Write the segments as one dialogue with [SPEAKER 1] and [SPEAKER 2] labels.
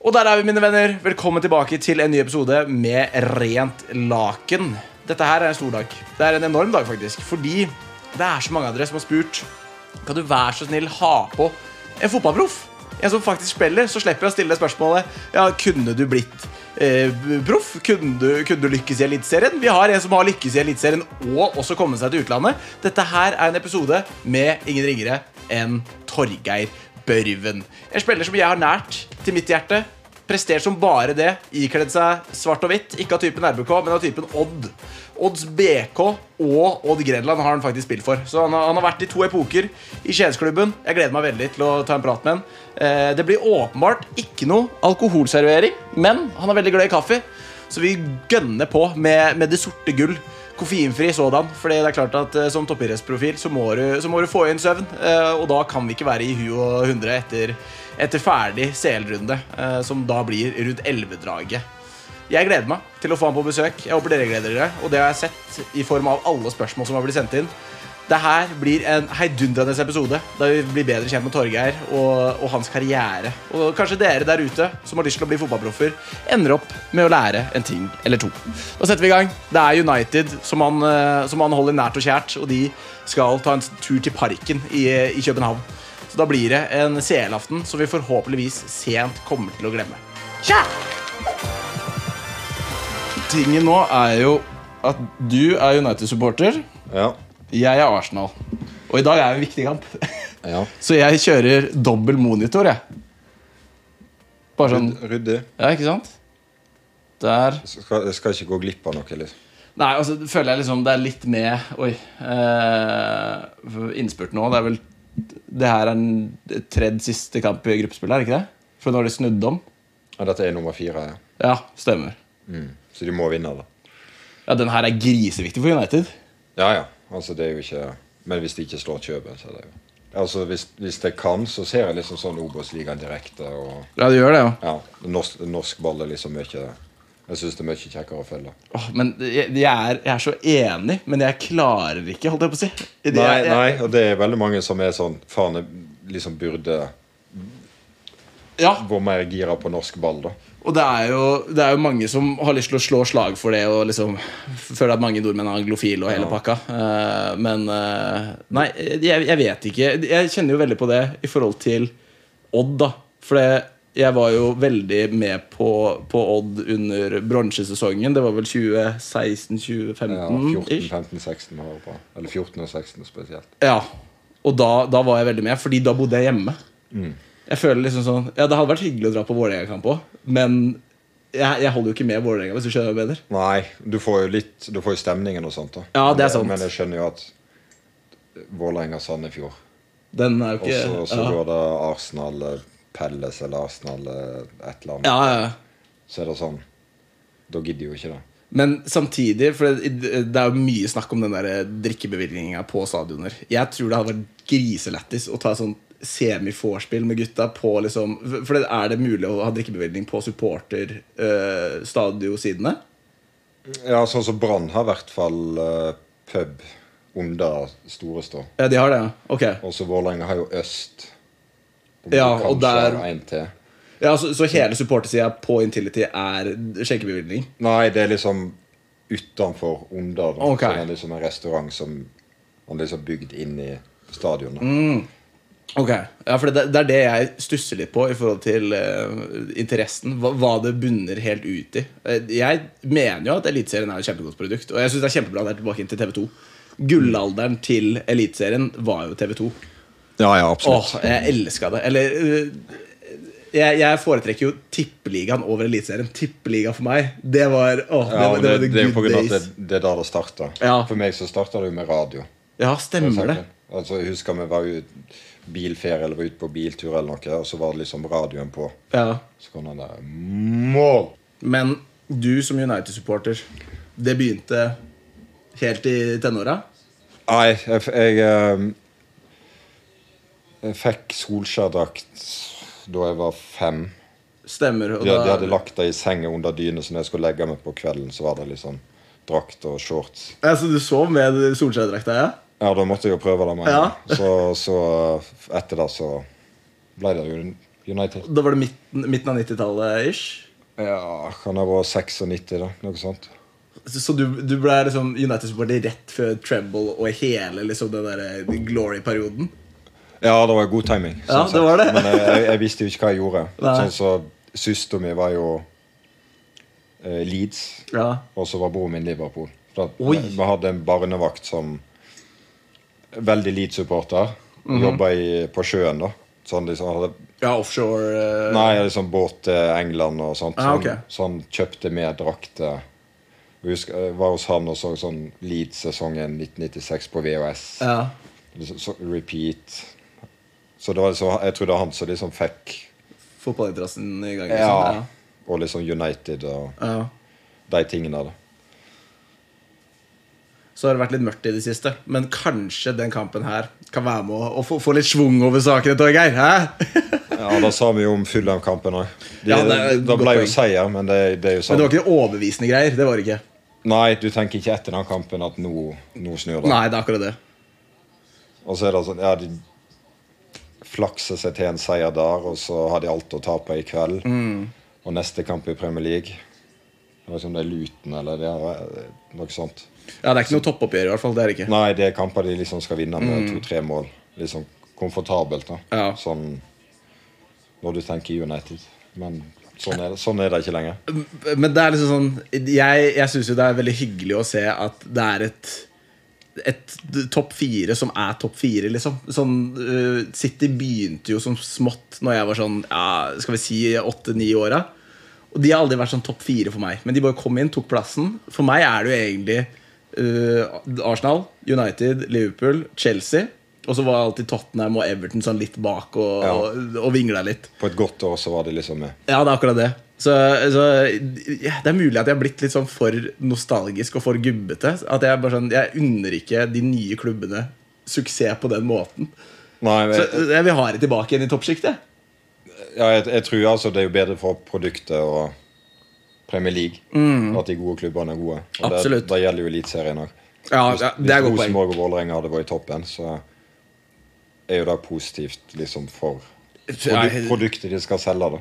[SPEAKER 1] Og der er vi, mine venner. Velkommen tilbake til en ny episode med Rent laken. Dette her er en stor dag. Det er en enorm dag, faktisk. Fordi det er så mange av dere som har spurt Kan du være så snill ha på en fotballproff. En som faktisk spiller. Så slipper jeg å stille det spørsmålet Ja, kunne du blitt eh, proff? Kunne, du- kunne du lykkes i Eliteserien? Vi har en som har lykkes i Eliteserien og også kommet seg til utlandet. Dette her er en episode med ingen ringere enn Torgeir Børven. En spiller som jeg har nært til mitt hjerte. Prestert som bare det. Ikledd seg svart og hvitt. Ikke av typen RBK, men av typen Odd. Odds BK og Odd Grenland har han faktisk spilt for. Så han har, han har vært i to epoker i Skiensklubben. Jeg gleder meg veldig til å ta en prat med han. Eh, det blir åpenbart ikke noe alkoholservering, men han er veldig glad i kaffe. Så vi gønner på med, med det sorte gull. Koffeinfri sådan. Fordi det er klart at eh, Som toppidrettsprofil så, må du- så må du få inn søvn. eh, Og da kan vi ikke være i hu og hundre etter, etter ferdig CL-runde, eh, som da blir rundt 11-draget. Jeg gleder meg til å få han på besøk. Jeg håper dere gleder dere. Og det har jeg sett i form av alle spørsmål som har blitt sendt inn. Det her blir en heidundrende episode der vi blir bedre kjent med Torgeir og, og hans karriere. Og kanskje dere der ute som har lyst til å bli fotballproffer, ender opp med å lære en ting eller to. Da setter vi i gang. Det er United som han, eh, som han holder nært og kjært, og de skal ta en tur til parken i, i København. Så da blir det en CL-aften som vi forhåpentligvis sent kommer til å glemme. Tja!
[SPEAKER 2] Tingen nå er jo at du er United-supporter,
[SPEAKER 3] Ja.
[SPEAKER 2] jeg er Arsenal. Og i dag er en viktig kamp.
[SPEAKER 3] ja.
[SPEAKER 2] Så jeg kjører dobbel monitor, jeg. Bare sånn
[SPEAKER 3] Ryddig.
[SPEAKER 2] Ja, ikke sant? Der.
[SPEAKER 3] Skal, jeg skal ikke gå glipp av noe. Liksom.
[SPEAKER 2] Nei, altså føler jeg liksom det er litt med Oi. Eh, innspurt nå. Det er vel Det her er den tredje siste kamp i gruppespillet, er det ikke det? For nå har de snudd om.
[SPEAKER 3] Ja, dette er nummer fire, ja.
[SPEAKER 2] Ja, stemmer.
[SPEAKER 3] Mm. så de må vinne, da.
[SPEAKER 2] Ja, den her er griseviktig for United.
[SPEAKER 3] Ja, ja. Altså, det er jo ikke Men hvis de ikke slår Kjøben, så er det jo Altså, hvis, hvis de kan, så ser jeg liksom sånn Obos-ligaen direkte. og
[SPEAKER 2] Ja, det gjør det, jo.
[SPEAKER 3] ja, norsk, norsk ball er liksom mye Jeg syns det er mye kjekkere å følge.
[SPEAKER 2] Åh, men jeg, jeg, er, jeg er så enig, men jeg klarer ikke, holdt jeg på å si. Det-
[SPEAKER 3] Nei,
[SPEAKER 2] jeg-
[SPEAKER 3] nei, og det er veldig mange som er sånn Faen, jeg liksom burde
[SPEAKER 2] Ja,
[SPEAKER 3] vært mer gira på norsk ball, da.
[SPEAKER 2] og det er, jo, det er jo mange som har lyst til å slå slag for det, og liksom føler at mange nordmenn er anglofile og hele pakka. Eh, men eh, Nei, jeg, jeg vet ikke. Jeg kjenner jo veldig på det i forhold til Odd, da. For det- jeg var jo veldig med på, på Odd under bronsesesongen. Det var vel 2016-2015?
[SPEAKER 3] Ja, 14, 15, 16 har jeg på. Eller 14 og 16 spesielt.
[SPEAKER 2] Ja, og da, da var jeg veldig med, fordi da bodde jeg hjemme. Jeg føler liksom sånn Ja, det hadde vært hyggelig å dra på Vålerenga-kamp òg, men jeg, jeg holder jo ikke med Vålerenga, hvis du skjønner hva jeg mener.
[SPEAKER 3] Nei, du får jo litt Du får jo stemningen og sånt, da.
[SPEAKER 2] Ja, det er sant.
[SPEAKER 3] Men jeg skjønner jo at Vålerenga-Sandefjord
[SPEAKER 2] Den er jo
[SPEAKER 3] Og
[SPEAKER 2] ikke
[SPEAKER 3] så så
[SPEAKER 2] ja.
[SPEAKER 3] går det Arsenal eh, Pelles eller Arsenal eh, et eller annet.
[SPEAKER 2] ja, ja, ja.
[SPEAKER 3] Så er det sånn Da gidder jo ikke det.
[SPEAKER 2] Men samtidig, for det, det er jo mye snakk om den der drikkebevilgninga på stadioner. Jeg tror det hadde vært griselættis å ta sånn semi-vorspiel med gutta på liksom For det- er det mulig å ha drikkebevilgning på eh, supporter-stadiosidene?
[SPEAKER 3] Ja, sånn som Brann har i hvert fall eh, pub under Storestå.
[SPEAKER 2] ja, de har det, ja. Ok.
[SPEAKER 3] Og så Vålerenga har jo øst.
[SPEAKER 2] Ja, og der-
[SPEAKER 3] en til.
[SPEAKER 2] Ja, så, så hele supportersida på Intility er skjenkebevilgning?
[SPEAKER 3] Nei, det er liksom utenfor, under. da.
[SPEAKER 2] Ok.
[SPEAKER 3] Så det er liksom en restaurant som han liksom bygd inn i stadionet.
[SPEAKER 2] Mm. Ok, ja, for det, det er det jeg stusser litt på i forhold til eh, interessen. Hva, hva det bunner helt ut i. Eh, Jeg mener jo at Eliteserien er et kjempegodt produkt, og jeg syns det er kjempebra at det er tilbake inn til TV2. Gullalderen til Eliteserien var jo TV2.
[SPEAKER 3] Ja, ja,
[SPEAKER 2] Åh, jeg elska det. Eller eh, jeg, jeg foretrekker jo Tippeligaen over Eliteserien. Tippeliga for meg, det var åh, det, var-
[SPEAKER 3] Ja, og
[SPEAKER 2] det,
[SPEAKER 3] det,
[SPEAKER 2] var
[SPEAKER 3] det er jo
[SPEAKER 2] the
[SPEAKER 3] på grunn
[SPEAKER 2] good
[SPEAKER 3] av at
[SPEAKER 2] days.
[SPEAKER 3] det, det er der det starter.
[SPEAKER 2] Ja.
[SPEAKER 3] For meg så starter det jo med radio.
[SPEAKER 2] Ja, stemmer det.
[SPEAKER 3] Altså, jeg husker vi var ute bilferie eller var ute på biltur, eller noe, og så var det liksom radioen på.
[SPEAKER 2] Ja.
[SPEAKER 3] Så kom den der Mål!
[SPEAKER 2] Men du som United-supporter, det begynte helt i tenåra?
[SPEAKER 3] Nei, jeg, f- jeg, ehm, jeg fikk Solskjær-drakt da jeg var fem.
[SPEAKER 2] Stemmer. Og
[SPEAKER 3] De, de
[SPEAKER 2] da,
[SPEAKER 3] hadde lagt det i senga under dyna, så når jeg skulle legge meg på kvelden, så var det liksom drakt og shorts.
[SPEAKER 2] ja, så du sov med Solskjær-drakta? Ja?
[SPEAKER 3] Ja, da måtte jeg jo prøve det med en
[SPEAKER 2] Ja.
[SPEAKER 3] gang. Så, så etter det så ble det jo United.
[SPEAKER 2] Da var det midten, midten av 90-tallet ish?
[SPEAKER 3] Ja, kan ha vært 96, da. Noe sånt.
[SPEAKER 2] Så, så du, du ble liksom United-supporter rett før Treble og hele liksom den der glory-perioden?
[SPEAKER 3] Ja, det var god timing.
[SPEAKER 2] Ja,
[SPEAKER 3] sånn
[SPEAKER 2] det var det.
[SPEAKER 3] sett. Men eh, jeg, jeg visste jo ikke hva jeg gjorde.
[SPEAKER 2] Nei.
[SPEAKER 3] Sånn så Søsteren min var jo eh, Leeds,
[SPEAKER 2] Ja.
[SPEAKER 3] og så var broren min Liverpool. Da,
[SPEAKER 2] Oi.
[SPEAKER 3] Vi hadde en barnevakt som Veldig Leeds-supporter.
[SPEAKER 2] Mhm.
[SPEAKER 3] Jobba i- på sjøen, da. Så han liksom hadde
[SPEAKER 2] Ja, offshore eh,
[SPEAKER 3] Nei, liksom båt til England og sånt.
[SPEAKER 2] Ah,
[SPEAKER 3] Så
[SPEAKER 2] ok.
[SPEAKER 3] han, så han kjøpte med drakter. Jeg husker, jeg var hos han og så sånn Leeds-sesongen 1996 på VHS.
[SPEAKER 2] Ja.
[SPEAKER 3] Liksom, så, repeat. Så det var liksom, jeg tror det var han som liksom fikk
[SPEAKER 2] Fotballinteressen i gang. Liksom.
[SPEAKER 3] ja, Og liksom United og
[SPEAKER 2] Ja. ja.
[SPEAKER 3] de tingene der.
[SPEAKER 2] Så har det vært litt mørkt i det siste, men kanskje den kampen her kan være med å, å få, få litt schwung over sakene, Torgeir? Hæ?
[SPEAKER 3] Ja, Det sa vi jo om Fulham-kampen òg. De,
[SPEAKER 2] Ja, det er et
[SPEAKER 3] det
[SPEAKER 2] godt
[SPEAKER 3] ble
[SPEAKER 2] poeng.
[SPEAKER 3] jo seier, men det, det er jo
[SPEAKER 2] Men
[SPEAKER 3] sant.
[SPEAKER 2] det var ikke overbevisende greier. Det var det ikke.
[SPEAKER 3] Nei, du tenker ikke etter den kampen at nå, nå snur det.
[SPEAKER 2] Nei, det er akkurat det.
[SPEAKER 3] Og så er det sånn Ja, de flakser seg til en seier der, og så har de alt å tape i kveld.
[SPEAKER 2] Mm.
[SPEAKER 3] Og neste kamp i Premier League. Jeg vet ikke om det er Luton eller det er, eh, noe sånt.
[SPEAKER 2] Ja, Det er ikke noe toppoppgjør, i hvert fall. Det er det ikke.
[SPEAKER 3] Nei, det er kamper de liksom skal vinne med to-tre mål. Liksom komfortabelt, da.
[SPEAKER 2] Mm. Ja.
[SPEAKER 3] Sånn når du tenker United. Men sånn er det, sånn er det ikke lenger.
[SPEAKER 2] Men det er liksom sånn Jeg, jeg syns jo det er veldig hyggelig å se at det er et et topp fire som er topp fire, liksom. Sånn, øh, City begynte jo som smått når jeg var sånn ja, skal vi si åtte-ni åra. Og de har aldri vært sånn topp fire for meg. Men de bare kom inn, tok plassen. For meg er det jo egentlig øh, Arsenal, United, Liverpool, Chelsea. Og så var alltid Tottenham og Everton sånn litt bak og,
[SPEAKER 3] Ja.
[SPEAKER 2] og, og vingla litt.
[SPEAKER 3] På et godt år så var de liksom med.
[SPEAKER 2] Ja, det er akkurat det. Så, så ja, Det er mulig at jeg har blitt litt sånn for nostalgisk og for gubbete. At Jeg bare sånn, jeg unner ikke de nye klubbene suksess på den måten.
[SPEAKER 3] Nei, men
[SPEAKER 2] Så
[SPEAKER 3] jeg,
[SPEAKER 2] Jeg vil ha det tilbake igjen i toppsjiktet.
[SPEAKER 3] eh, ja, jeg, jeg tror altså det er jo bedre for produktet og Premier League at de gode klubbene er gode. Og
[SPEAKER 2] Mm. Absolutt.
[SPEAKER 3] Det, det gjelder jo Eliteserien òg.
[SPEAKER 2] Ja,
[SPEAKER 3] Hvis,
[SPEAKER 2] det er
[SPEAKER 3] hvis
[SPEAKER 2] godt poeng.
[SPEAKER 3] Rosenborg og Vålerenga hadde vært i toppen, så er jo det positivt liksom for produ
[SPEAKER 2] Ja,
[SPEAKER 3] produktet de skal selge. da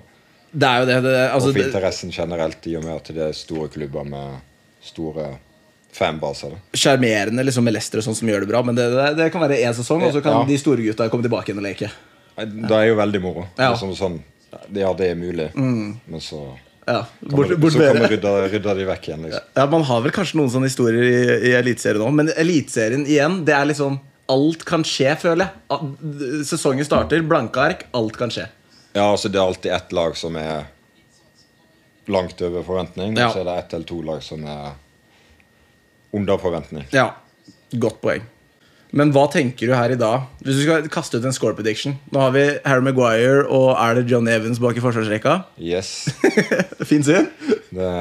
[SPEAKER 2] Det er jo det. det altså,
[SPEAKER 3] og for
[SPEAKER 2] det-
[SPEAKER 3] interessen generelt, i og med at det er store klubber med store fanbaser. da.
[SPEAKER 2] sjarmerende liksom, med Leicester og sånn som gjør det bra, men det, det, det kan være én sesong, og så kan
[SPEAKER 3] Ja.
[SPEAKER 2] de store gutta komme tilbake igjen og leke.
[SPEAKER 3] Det er jo veldig moro.
[SPEAKER 2] Ja.
[SPEAKER 3] Liksom sånn, ja, det er mulig, men så
[SPEAKER 2] Ja,
[SPEAKER 3] kan
[SPEAKER 2] bort,
[SPEAKER 3] man-
[SPEAKER 2] bort
[SPEAKER 3] så kan
[SPEAKER 2] med
[SPEAKER 3] man
[SPEAKER 2] det.
[SPEAKER 3] rydde, rydde de vekk igjen. liksom
[SPEAKER 2] Ja, Man har vel kanskje noen sånne historier i, i Eliteserien òg, men Eliteserien igjen, det er liksom Alt kan skje, føler jeg. Al- Sesongen starter, blanke ark, alt kan skje.
[SPEAKER 3] Ja, altså Det er alltid ett lag som er langt over forventning,
[SPEAKER 2] Ja.
[SPEAKER 3] og så er det ett eller to lag som er under forventning.
[SPEAKER 2] Ja, godt poeng. Men hva tenker du her i dag? Hvis du skal kaste ut en score prediction Nå har vi Harry Maguire og er det John Evans bak i forsvarsrekka.
[SPEAKER 3] Yes.
[SPEAKER 2] Fin syn.
[SPEAKER 3] Det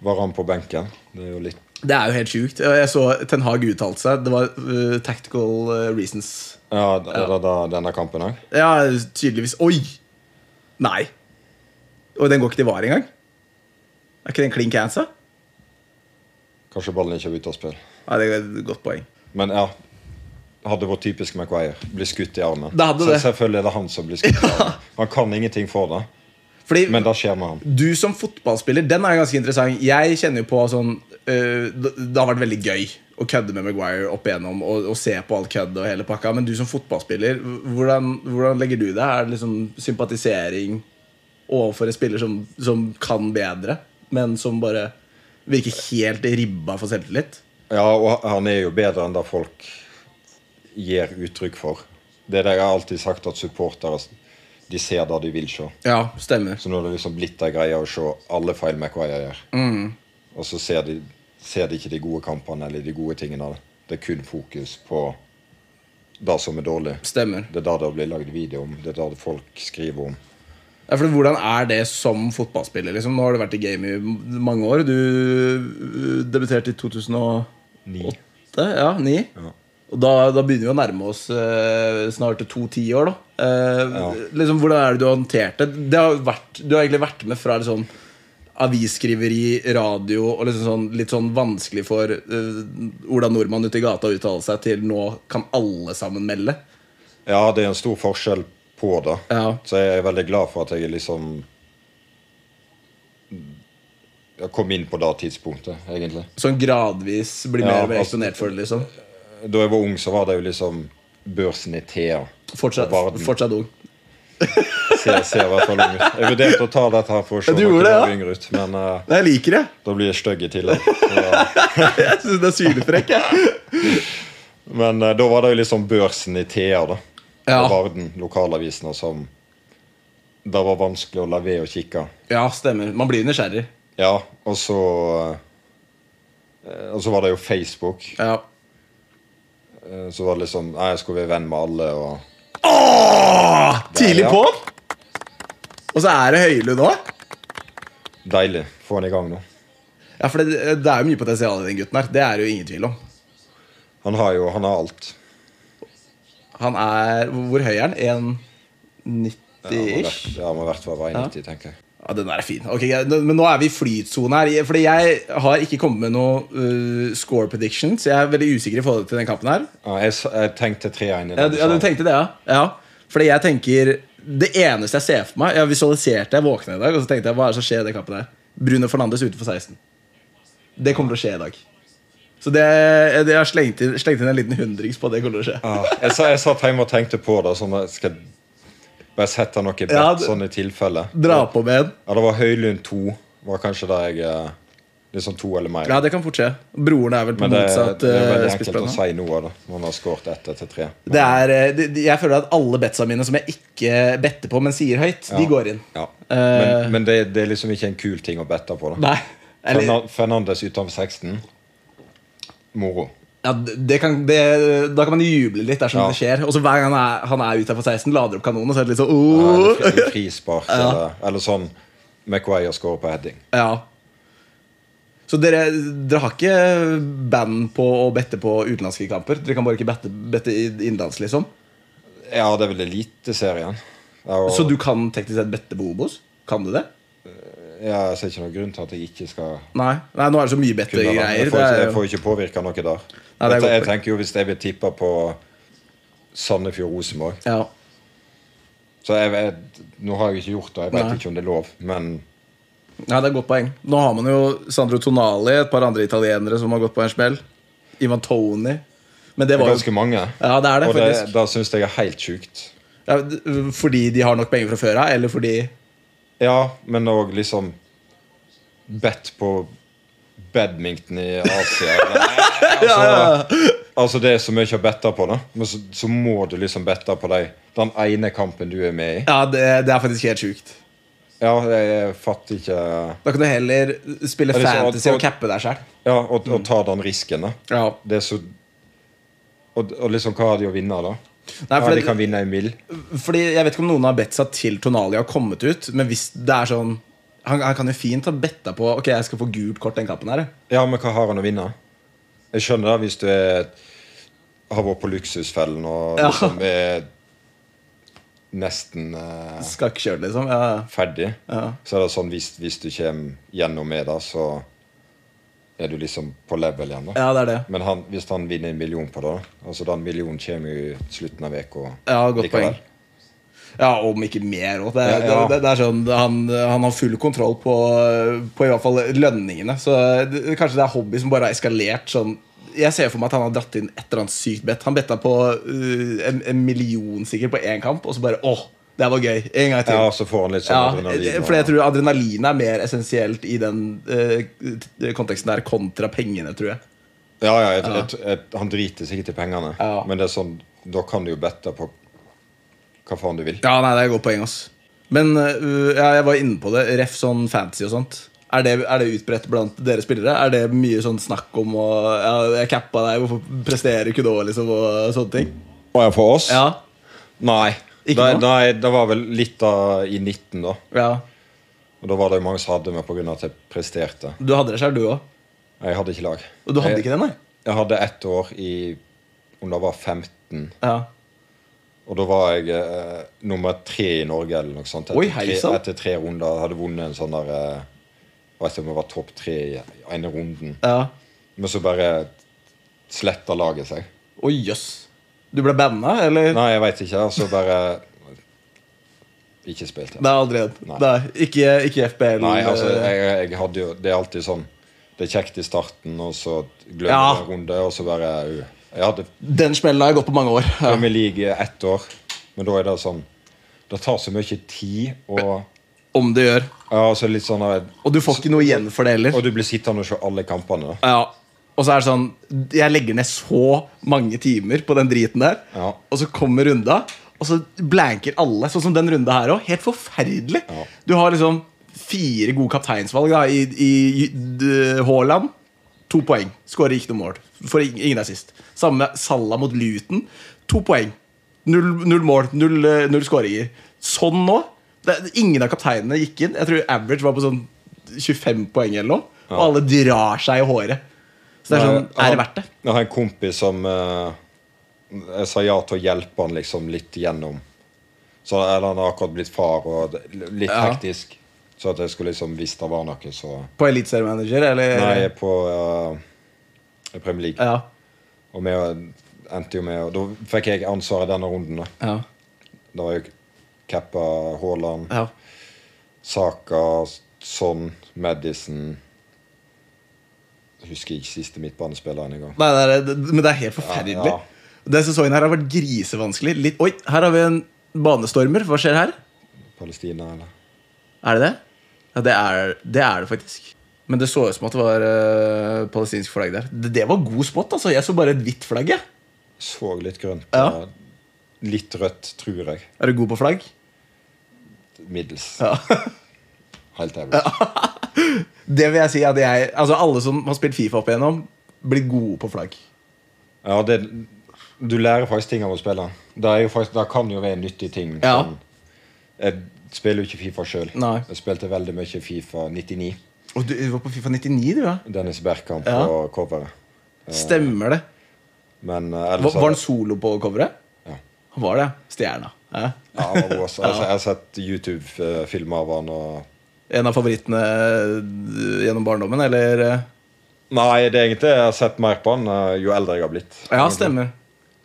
[SPEAKER 3] var han på benken. Det er jo litt
[SPEAKER 2] Det er jo helt sjukt. Og Jeg så Ten Hag uttalte seg. Det var uh, tactical uh, reasons.
[SPEAKER 3] Ja, det er det da denne kampen òg?
[SPEAKER 2] Ja, tydeligvis. Oi! Nei. Og den går ikke til VAR engang? Er ikke den klin cancer?
[SPEAKER 3] Kanskje ballen ikke er ute av spill.
[SPEAKER 2] Nei, det er et godt poeng.
[SPEAKER 3] Men ja. Hadde vært typisk Maguire. Bli skutt i armen.
[SPEAKER 2] Det hadde
[SPEAKER 3] Så
[SPEAKER 2] det.
[SPEAKER 3] Selvfølgelig er det han som blir skutt i armen. Han kan ingenting for det,
[SPEAKER 2] Fordi
[SPEAKER 3] men det skjer med han.
[SPEAKER 2] du som fotballspiller, den er ganske interessant. Jeg kjenner jo på sånn øh, Det det har vært veldig gøy å kødde med Maguire opp igjennom og, og se på alt kødd og hele pakka. Men du som fotballspiller, hvordan, hvordan legger du deg? Er det liksom sympatisering overfor en spiller som, som kan bedre, men som bare virker helt ribba for selvtillit?
[SPEAKER 3] Ja, og han er jo bedre enn det folk gir uttrykk for. Det er det jeg har alltid sagt, at supportere de ser det de vil se.
[SPEAKER 2] Ja, stemmer.
[SPEAKER 3] Så nå er det liksom blitt ei greie å se alle feil Maguire gjør. Og så ser de, ser de ikke de gode kampene eller de gode tingene. Det er kun fokus på det som er dårlig.
[SPEAKER 2] Stemmer.
[SPEAKER 3] Det er det det blir lagd video om. Det er det folk skriver om.
[SPEAKER 2] Ja, for Hvordan er det som fotballspiller? Liksom? Nå har du vært i gamet i mange år. Du øh, debuterte i 2009. Ja, ni.
[SPEAKER 3] Ja.
[SPEAKER 2] Og da, da begynner vi å nærme oss eh, snart to tiår. da. Eh,
[SPEAKER 3] Ja.
[SPEAKER 2] liksom, hvordan er det du har håndtert det? det har jo vært, du har egentlig vært med fra liksom, avisskriveri, radio og liksom sånn, litt sånn vanskelig for eh, Ola Nordmann ute i gata å uttale seg, til nå kan alle sammen melde.
[SPEAKER 3] Ja, det er en stor forskjell på det.
[SPEAKER 2] Ja.
[SPEAKER 3] Så jeg er veldig glad for at jeg liksom Jeg kom inn på det tidspunktet, egentlig.
[SPEAKER 2] Sånn gradvis blir
[SPEAKER 3] Ja,
[SPEAKER 2] mer og mer
[SPEAKER 3] altså-
[SPEAKER 2] eksponert for det, liksom.
[SPEAKER 3] Da jeg var ung, så var det jo liksom børsen i Thea.
[SPEAKER 2] Fortsatt,
[SPEAKER 3] Og verden.
[SPEAKER 2] fortsatt ung.
[SPEAKER 3] Ser, ser i hvert fall ung ut. Jeg vurderte å ta dette her for å se
[SPEAKER 2] Ja, du gjorde det, ja.
[SPEAKER 3] yngre ut, men eh,
[SPEAKER 2] Nei, jeg liker det.
[SPEAKER 3] da blir jeg stygg i tillegg. Så,
[SPEAKER 2] Jeg syns det er svinefrekk. jeg.
[SPEAKER 3] men eh, da var det jo liksom børsen i Thea, da.
[SPEAKER 2] Ja.
[SPEAKER 3] Og Varden, lokalavisene som Det var vanskelig å la være å kikke.
[SPEAKER 2] Ja, stemmer. Man blir nysgjerrig.
[SPEAKER 3] Ja, og så eh, Og så var det jo Facebook.
[SPEAKER 2] Ja.
[SPEAKER 3] Eh, Så var det liksom Nei, jeg skulle være venn med alle, og
[SPEAKER 2] Åh, tidlig
[SPEAKER 3] Der, ja.
[SPEAKER 2] på! Og så er det Høylund òg.
[SPEAKER 3] Deilig. Få han i gang nå.
[SPEAKER 2] Ja, for det, det er jo mye potensial i den gutten her. Det er det jo ingen tvil om.
[SPEAKER 3] Han har jo han har alt.
[SPEAKER 2] Han er Hvor høy er han? 1,90-ish?
[SPEAKER 3] Ja, Han har vært fra vei 90, tenker jeg.
[SPEAKER 2] Ja, den der er fin. Ok, jeg- nå- Men nå er vi i flytsone her. Fordi jeg har ikke kommet med noe uh, score prediction, så jeg er veldig usikker i forhold til den kampen her.
[SPEAKER 3] Ja, jeg, s- jeg tenkte 3-1 i
[SPEAKER 2] Ja, du, ja, du
[SPEAKER 3] salen.
[SPEAKER 2] tenkte det, ja. ja. Fordi jeg tenker Det eneste jeg ser for meg Jeg visualiserte jeg våkna i dag, og så tenkte jeg hva er det som skjer i den kampen her? Bruno Fernandes utenfor 16. Det kommer til å skje i dag. Så det, det jeg har slengt inn, slengt inn en liten hundrings på at det kommer til å skje.
[SPEAKER 3] Ja, Ah, jeg, sa- jeg satt hjemme og tenkte på det, sånn at jeg skal bare sette noe bet,
[SPEAKER 2] Ja, det-
[SPEAKER 3] sånn i tilfelle.
[SPEAKER 2] Dra på med en.
[SPEAKER 3] Ja, det var Høylund 2. Var kanskje der jeg eh, Liksom to eller mer.
[SPEAKER 2] Ja, det kan fort skje. Broren er vel på
[SPEAKER 3] Men det,
[SPEAKER 2] motsatt
[SPEAKER 3] det er veldig
[SPEAKER 2] eh,
[SPEAKER 3] enkelt å
[SPEAKER 2] spissbane.
[SPEAKER 3] si noe av det når man har skåret ett etter tre.
[SPEAKER 2] Det er, eh, de- de- jeg føler at alle betsa mine som jeg ikke better på, men sier høyt, de
[SPEAKER 3] Ja.
[SPEAKER 2] går inn.
[SPEAKER 3] Ja.
[SPEAKER 2] Eh.
[SPEAKER 3] Men, men det, det er liksom ikke en kul ting å bette på. da
[SPEAKER 2] Nei. Eller,
[SPEAKER 3] Fernan- Fernandes utenfor 16. Moro.
[SPEAKER 2] ja, det kan, det, da kan man juble litt dersom
[SPEAKER 3] Ja.
[SPEAKER 2] det skjer. Og så hver gang han er, han er utenfor 16, lader opp kanonen, og så er det litt sånn
[SPEAKER 3] Ja,
[SPEAKER 2] oh.
[SPEAKER 3] Eller fri- frispark, eller, eller sånn McWire scorer på heading.
[SPEAKER 2] Ja. Så dere, dere har ikke band på å bette på utenlandske kamper? Dere kan bare ikke bette, bette i- innenlands, liksom?
[SPEAKER 3] Ja, det er vel Eliteserien. Ja, og-
[SPEAKER 2] Så du kan teknisk sett bette på Obos? Kan du det?
[SPEAKER 3] ja, jeg ser ikke noen grunn til at jeg ikke skal
[SPEAKER 2] Nei, Nei nå er det så mye
[SPEAKER 3] kunne det. Jeg
[SPEAKER 2] bettegreier.
[SPEAKER 3] får, ikke,
[SPEAKER 2] det er
[SPEAKER 3] jeg
[SPEAKER 2] jo-
[SPEAKER 3] får ikke påvirka noe der.
[SPEAKER 2] Nei, det er
[SPEAKER 3] Dette, jeg
[SPEAKER 2] godt poeng.
[SPEAKER 3] tenker jo Hvis jeg vil tippe på Sandefjord-Rosenborg
[SPEAKER 2] Ja.
[SPEAKER 3] Så jeg vet, Nå har jeg jo ikke gjort det, jeg vet
[SPEAKER 2] Nei.
[SPEAKER 3] ikke om det er lov, men
[SPEAKER 2] Nei, det er et godt poeng. Nå har man jo Sandro Tonali, et par andre italienere som har gått på en smell. Ivan Tony. Men det
[SPEAKER 3] det er
[SPEAKER 2] var jo
[SPEAKER 3] ganske mange.
[SPEAKER 2] Ja, det er det,
[SPEAKER 3] og det,
[SPEAKER 2] faktisk.
[SPEAKER 3] da syns jeg er helt sjukt.
[SPEAKER 2] ja, d- Fordi de har nok penger fra før av, eller fordi
[SPEAKER 3] Ja, men òg liksom Bet på badminton i Asia. Altså, altså, det er så mye å bette på, da. Men så, så må du liksom bette på deg. Den ene kampen du er med i.
[SPEAKER 2] Ja, det, det er faktisk helt sjukt.
[SPEAKER 3] Ja, jeg fatter ikke
[SPEAKER 2] Da kan du heller spille
[SPEAKER 3] Ja, det er sånn at-
[SPEAKER 2] fantasy og cappe deg sjøl.
[SPEAKER 3] Ja, og, og ta den risken, da.
[SPEAKER 2] Ja.
[SPEAKER 3] Det er så og, og liksom, hva har de å vinne, da?
[SPEAKER 2] Nei,
[SPEAKER 3] ja,
[SPEAKER 2] for
[SPEAKER 3] de kan
[SPEAKER 2] det,
[SPEAKER 3] vinne en mill.
[SPEAKER 2] fordi jeg vet ikke om noen har bedt seg til Tonali har kommet ut, men hvis det er sånn Han, han kan jo fint ha betta på Ok, jeg skal få gult kort den kampen her. jeg.
[SPEAKER 3] Ja, men hva har han å vinne? Jeg skjønner det hvis du er, har vært på luksusfellen og
[SPEAKER 2] Ja.
[SPEAKER 3] liksom er nesten eh,
[SPEAKER 2] Skakkjørt, liksom. Ja, ja.
[SPEAKER 3] ferdig.
[SPEAKER 2] Ja.
[SPEAKER 3] Så er det sånn hvis, hvis du kommer gjennom med det, så er du liksom på level igjen. da.
[SPEAKER 2] ja, det er det.
[SPEAKER 3] Men han, hvis han vinner en million på det, da, altså den millionen kommer jo i slutten av uka
[SPEAKER 2] Ja, godt poeng. Ja, om ikke mer òg. Det, er-
[SPEAKER 3] Ja, ja.
[SPEAKER 2] det, det er sånn, han, han har full kontroll på, på i hvert fall lønningene. Så det, kanskje det er hobby som bare har eskalert sånn. Jeg ser for meg at han har dratt inn et eller annet sykt bett. Han betta på uh, en, en million sikkert på én kamp, og så bare åh, det var gøy. En gang til.
[SPEAKER 3] Ja,
[SPEAKER 2] Ja,
[SPEAKER 3] så får han litt sånn adrenalin.
[SPEAKER 2] for jeg
[SPEAKER 3] og-
[SPEAKER 2] tror adrenalinet er mer essensielt i den eh, konteksten der kontra pengene, tror jeg.
[SPEAKER 3] Ja, ja, jeg, jeg, jeg, han driter sikkert i pengene,
[SPEAKER 2] Ja.
[SPEAKER 3] men det er sånn, da kan du jo bette på hva faen du vil.
[SPEAKER 2] Ja, nei, det er et godt poeng, ass. Men øh, ja, jeg var inne på det. Ref sånn fantasy og sånt. Er det, er det utbredt blant dere spillere? Er det mye sånn snakk om å ja, 'Jeg cappa deg, hvorfor presterer ikke du òg?' Liksom, og sånne ting.
[SPEAKER 3] Og jeg for oss?
[SPEAKER 2] Ja.
[SPEAKER 3] Nei.
[SPEAKER 2] Ikke
[SPEAKER 3] Nei,
[SPEAKER 2] nå?
[SPEAKER 3] nei, det var vel litt av i 19, da.
[SPEAKER 2] ja.
[SPEAKER 3] Og da var det jo mange som hadde meg pga. at jeg presterte.
[SPEAKER 2] Du hadde det sjøl, du òg.
[SPEAKER 3] Jeg hadde ikke lag.
[SPEAKER 2] Og du hadde
[SPEAKER 3] jeg,
[SPEAKER 2] ikke det, nei?
[SPEAKER 3] Jeg hadde ett år i Om det var 15.
[SPEAKER 2] Ja.
[SPEAKER 3] Og da var jeg eh, nummer tre i Norge eller noe sånt. Etter,
[SPEAKER 2] Oi, hei, sant?
[SPEAKER 3] tre, etter tre runder Jeg hadde vunnet en sånn der eh, Vet ikke om jeg var topp tre i ene runden.
[SPEAKER 2] ja.
[SPEAKER 3] Men så bare sletta laget seg.
[SPEAKER 2] Å jøss. Du ble banna, eller?
[SPEAKER 3] Nei, jeg veit ikke. Og så altså bare Ikke spilt
[SPEAKER 2] Nei,
[SPEAKER 3] det.
[SPEAKER 2] aldri en.
[SPEAKER 3] Nei.
[SPEAKER 2] Nei, ikke, ikke FBL.
[SPEAKER 3] Nei, altså,
[SPEAKER 2] eh,
[SPEAKER 3] jeg, jeg hadde jo Det er alltid sånn Det er kjekt i starten, og så glemmer
[SPEAKER 2] Ja.
[SPEAKER 3] jeg en runde, og så bare au. Jeg hadde
[SPEAKER 2] Den smellen har jeg gått på mange år. Ja.
[SPEAKER 3] Premier League i ett år, men da er det sånn Det tar så mye tid, og
[SPEAKER 2] Om det gjør.
[SPEAKER 3] ja, altså litt sånn der-
[SPEAKER 2] Og du får ikke noe igjen for det heller.
[SPEAKER 3] Og du blir sittende og se alle kampene, da.
[SPEAKER 2] Ja. Og så er det sånn Jeg legger ned så mange timer på den driten der,
[SPEAKER 3] Ja.
[SPEAKER 2] og så kommer runda, og så blanker alle. Sånn som den runda her òg. Helt forferdelig.
[SPEAKER 3] Ja.
[SPEAKER 2] Du har liksom fire gode kapteinsvalg da, i, i, d- Haaland. To poeng. Skårer ikke noe mål. For ing- ingen er sist. Samme med Salah mot Luton. To poeng. Null, null mål. Null, eh, null skåringer. Sånn nå. Det, ingen av kapteinene gikk inn. Jeg tror average var på sånn 25 poeng eller noe. Og alle drar seg i håret. Så det er sånn,
[SPEAKER 3] Jeg har-
[SPEAKER 2] er det verdt det?
[SPEAKER 3] Jeg har en kompis som eh, Jeg sa ja til å hjelpe han liksom litt gjennom. Så eller han har akkurat blitt far, og det- litt
[SPEAKER 2] Ja.
[SPEAKER 3] hektisk. Så at jeg skulle liksom visst det var noe, så
[SPEAKER 2] På eliteseriemanager, eller?
[SPEAKER 3] Nei, jeg er på eh, Premier League.
[SPEAKER 2] Ja.
[SPEAKER 3] Og vi endte jo med og Da fikk jeg ansvaret denne runden, da.
[SPEAKER 2] Ja.
[SPEAKER 3] Det var jo Kappa, Haaland,
[SPEAKER 2] ja.
[SPEAKER 3] Saka, Son, Madison Jeg Husker ikke siste midtbanespilleren engang.
[SPEAKER 2] Nei, det er, det, men det er helt forferdelig.
[SPEAKER 3] Ja,
[SPEAKER 2] Den sesongen her har vært grisevanskelig. Litt, oi, her har vi en banestormer. Hva skjer her?
[SPEAKER 3] Palestina, eller?
[SPEAKER 2] Er det det? Ja, det er det, er det faktisk. Men det så ut som at det var eh, palestinsk flagg der. Det, det var god spot, altså. Jeg så bare et hvitt flagg. jeg.
[SPEAKER 3] Så litt grønt.
[SPEAKER 2] Ja.
[SPEAKER 3] og Litt rødt, tror jeg.
[SPEAKER 2] Er du god på flagg?
[SPEAKER 3] Middels.
[SPEAKER 2] Ja.
[SPEAKER 3] Helt average.
[SPEAKER 2] Det vil jeg si at jeg Altså, alle som har spilt Fifa opp igjennom, blir gode på flagg.
[SPEAKER 3] Ja, det, du lærer faktisk ting av å spille. Det, er jo faktisk, det kan jo være nyttige ting.
[SPEAKER 2] Ja.
[SPEAKER 3] sånn. jeg spiller jo ikke Fifa sjøl.
[SPEAKER 2] Nei.
[SPEAKER 3] Jeg spilte veldig mye Fifa 99.
[SPEAKER 2] Og du, du var på Fifa 99, du, ja?
[SPEAKER 3] Dennis Bergkamp
[SPEAKER 2] Ja.
[SPEAKER 3] og coveret.
[SPEAKER 2] Stemmer det.
[SPEAKER 3] Men eh,
[SPEAKER 2] Var,
[SPEAKER 3] ellers
[SPEAKER 2] var han solo på coveret?
[SPEAKER 3] Ja.
[SPEAKER 2] Han var det. Stjerna. Ja.
[SPEAKER 3] Ja, han var også, altså, jeg har sett YouTube-filmer av han og
[SPEAKER 2] En av favorittene eh, gjennom barndommen, eller? eh?
[SPEAKER 3] Nei, det er egentlig jeg har sett mer på han eh, jo eldre jeg har blitt.
[SPEAKER 2] Ja, stemmer.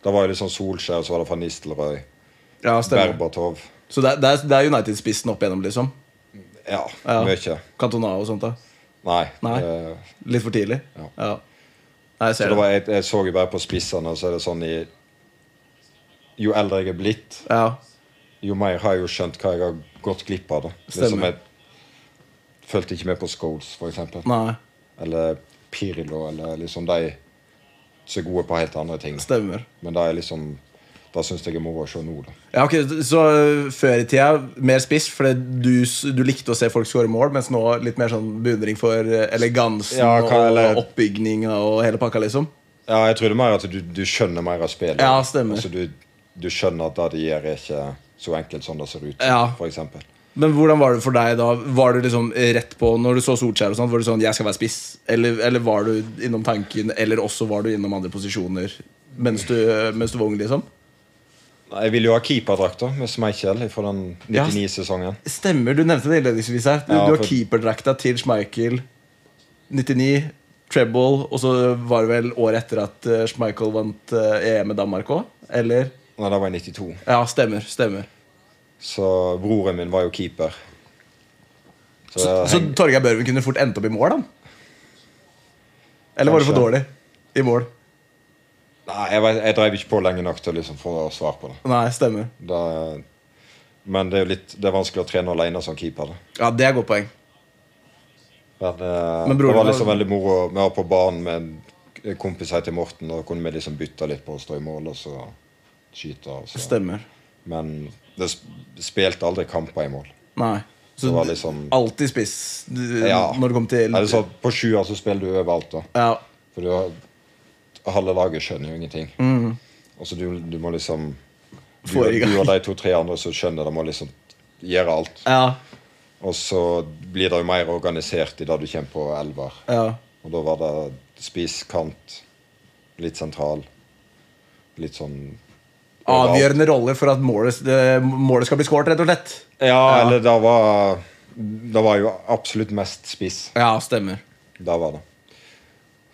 [SPEAKER 3] Da var jo liksom Solskjær, så var det van Nistelrooy,
[SPEAKER 2] Ja, stemmer.
[SPEAKER 3] Berbatov
[SPEAKER 2] Så det, er- det er, det er United-spissen opp igjennom, liksom?
[SPEAKER 3] Ja,
[SPEAKER 2] Ja.
[SPEAKER 3] mye.
[SPEAKER 2] Cantona og sånt, da?
[SPEAKER 3] Nei.
[SPEAKER 2] Nei.
[SPEAKER 3] eh,
[SPEAKER 2] Litt for tidlig?
[SPEAKER 3] Ja.
[SPEAKER 2] Nei, jeg
[SPEAKER 3] så
[SPEAKER 2] ser
[SPEAKER 3] det
[SPEAKER 2] det.
[SPEAKER 3] var, jeg, jeg så jo bare på spissene, og så er det sånn i Jo eldre jeg er blitt,
[SPEAKER 2] Ja.
[SPEAKER 3] jo mer har jeg jo skjønt hva jeg har gått glipp av. da Liksom
[SPEAKER 2] Stemmer.
[SPEAKER 3] jeg fulgte ikke med på Scholes, for eksempel.
[SPEAKER 2] Nei,
[SPEAKER 3] Eller Pirlo, eller liksom de som er gode på helt andre ting. da.
[SPEAKER 2] stemmer.
[SPEAKER 3] Men det er liksom Det syns jeg er moro å se nå, da.
[SPEAKER 2] Ja, ok, Så eh, før i tida mer spiss, fordi du, s- du likte å se folk score mål, mens nå litt mer sånn beundring for eh, elegansen
[SPEAKER 3] Ja, hva- eller-
[SPEAKER 2] og oppbygninga og hele pakka, liksom?
[SPEAKER 3] Ja, jeg tror det er mer at du, du skjønner mer av spillet.
[SPEAKER 2] Ja, stemmer.
[SPEAKER 3] Altså, du, du skjønner at det de gjør, er ikke så enkelt som det ser ut,
[SPEAKER 2] Ja.
[SPEAKER 3] for eksempel.
[SPEAKER 2] Men hvordan var det for deg da? Var du liksom rett på når du så Solskjær og sånt, Var du sånn 'jeg skal være spiss'? Eller, eller var du innom tanken, eller også var du innom andre posisjoner mens du, mens du var ung, liksom?
[SPEAKER 3] Nei, Jeg ville jo ha keeperdrakt da, med Schmeichel fra den 99-sesongen.
[SPEAKER 2] Stemmer, du nevnte det innledningsvis her. Du,
[SPEAKER 3] Ja,
[SPEAKER 2] du har
[SPEAKER 3] for-
[SPEAKER 2] keeperdrakta til Schmeichel. 99, treble, og så var det vel året etter at eh, Schmeichel vant eh, EM med Danmark òg? Eller?
[SPEAKER 3] Nei, det var i 92.
[SPEAKER 2] Ja, stemmer. stemmer
[SPEAKER 3] Så broren min var jo keeper. Så,
[SPEAKER 2] Så,
[SPEAKER 3] jeg
[SPEAKER 2] så
[SPEAKER 3] heng-
[SPEAKER 2] Torgeir Børven kunne fort endt opp i mål, da? Eller var det for
[SPEAKER 3] Kanskje.
[SPEAKER 2] dårlig i mål?
[SPEAKER 3] Nei, jeg, vet- jeg drev ikke på lenge nok til å liksom få svar på det.
[SPEAKER 2] Nei, stemmer.
[SPEAKER 3] det men det er jo litt Det er vanskelig å trene alene som keeper. da.
[SPEAKER 2] Ja, det er godt poeng.
[SPEAKER 3] Men, eh,
[SPEAKER 2] Men broren
[SPEAKER 3] det var
[SPEAKER 2] var-
[SPEAKER 3] liksom veldig moro. Vi var på banen med en kompis her til Morten, og da kunne vi liksom bytte litt på å stå i mål og så skyte. Og så.
[SPEAKER 2] Stemmer.
[SPEAKER 3] Men det sp- spilte aldri kamper i mål.
[SPEAKER 2] Nei. Så
[SPEAKER 3] Det var liksom-
[SPEAKER 2] alltid spiss du-
[SPEAKER 3] Ja. sånn?
[SPEAKER 2] når det kom til
[SPEAKER 3] Eller så På sjuer så spiller du overalt, da.
[SPEAKER 2] Ja,
[SPEAKER 3] For du har, halve laget skjønner jo ingenting. Og så du, du må liksom du,
[SPEAKER 2] Mm. Få i gang.
[SPEAKER 3] du og de to-tre andre som skjønner det, må liksom gjøre alt.
[SPEAKER 2] ja,
[SPEAKER 3] Og så blir det jo mer organisert i det du kommer på elver.
[SPEAKER 2] ja.
[SPEAKER 3] Og da var det spiss, kant, litt sentral. Litt sånn
[SPEAKER 2] Avgjørende rolle for at målet, eh, målet skal bli skåret, rett og slett.
[SPEAKER 3] Ja, eller det var Det var jo absolutt mest spiss.
[SPEAKER 2] Ja, stemmer.
[SPEAKER 3] Det var det.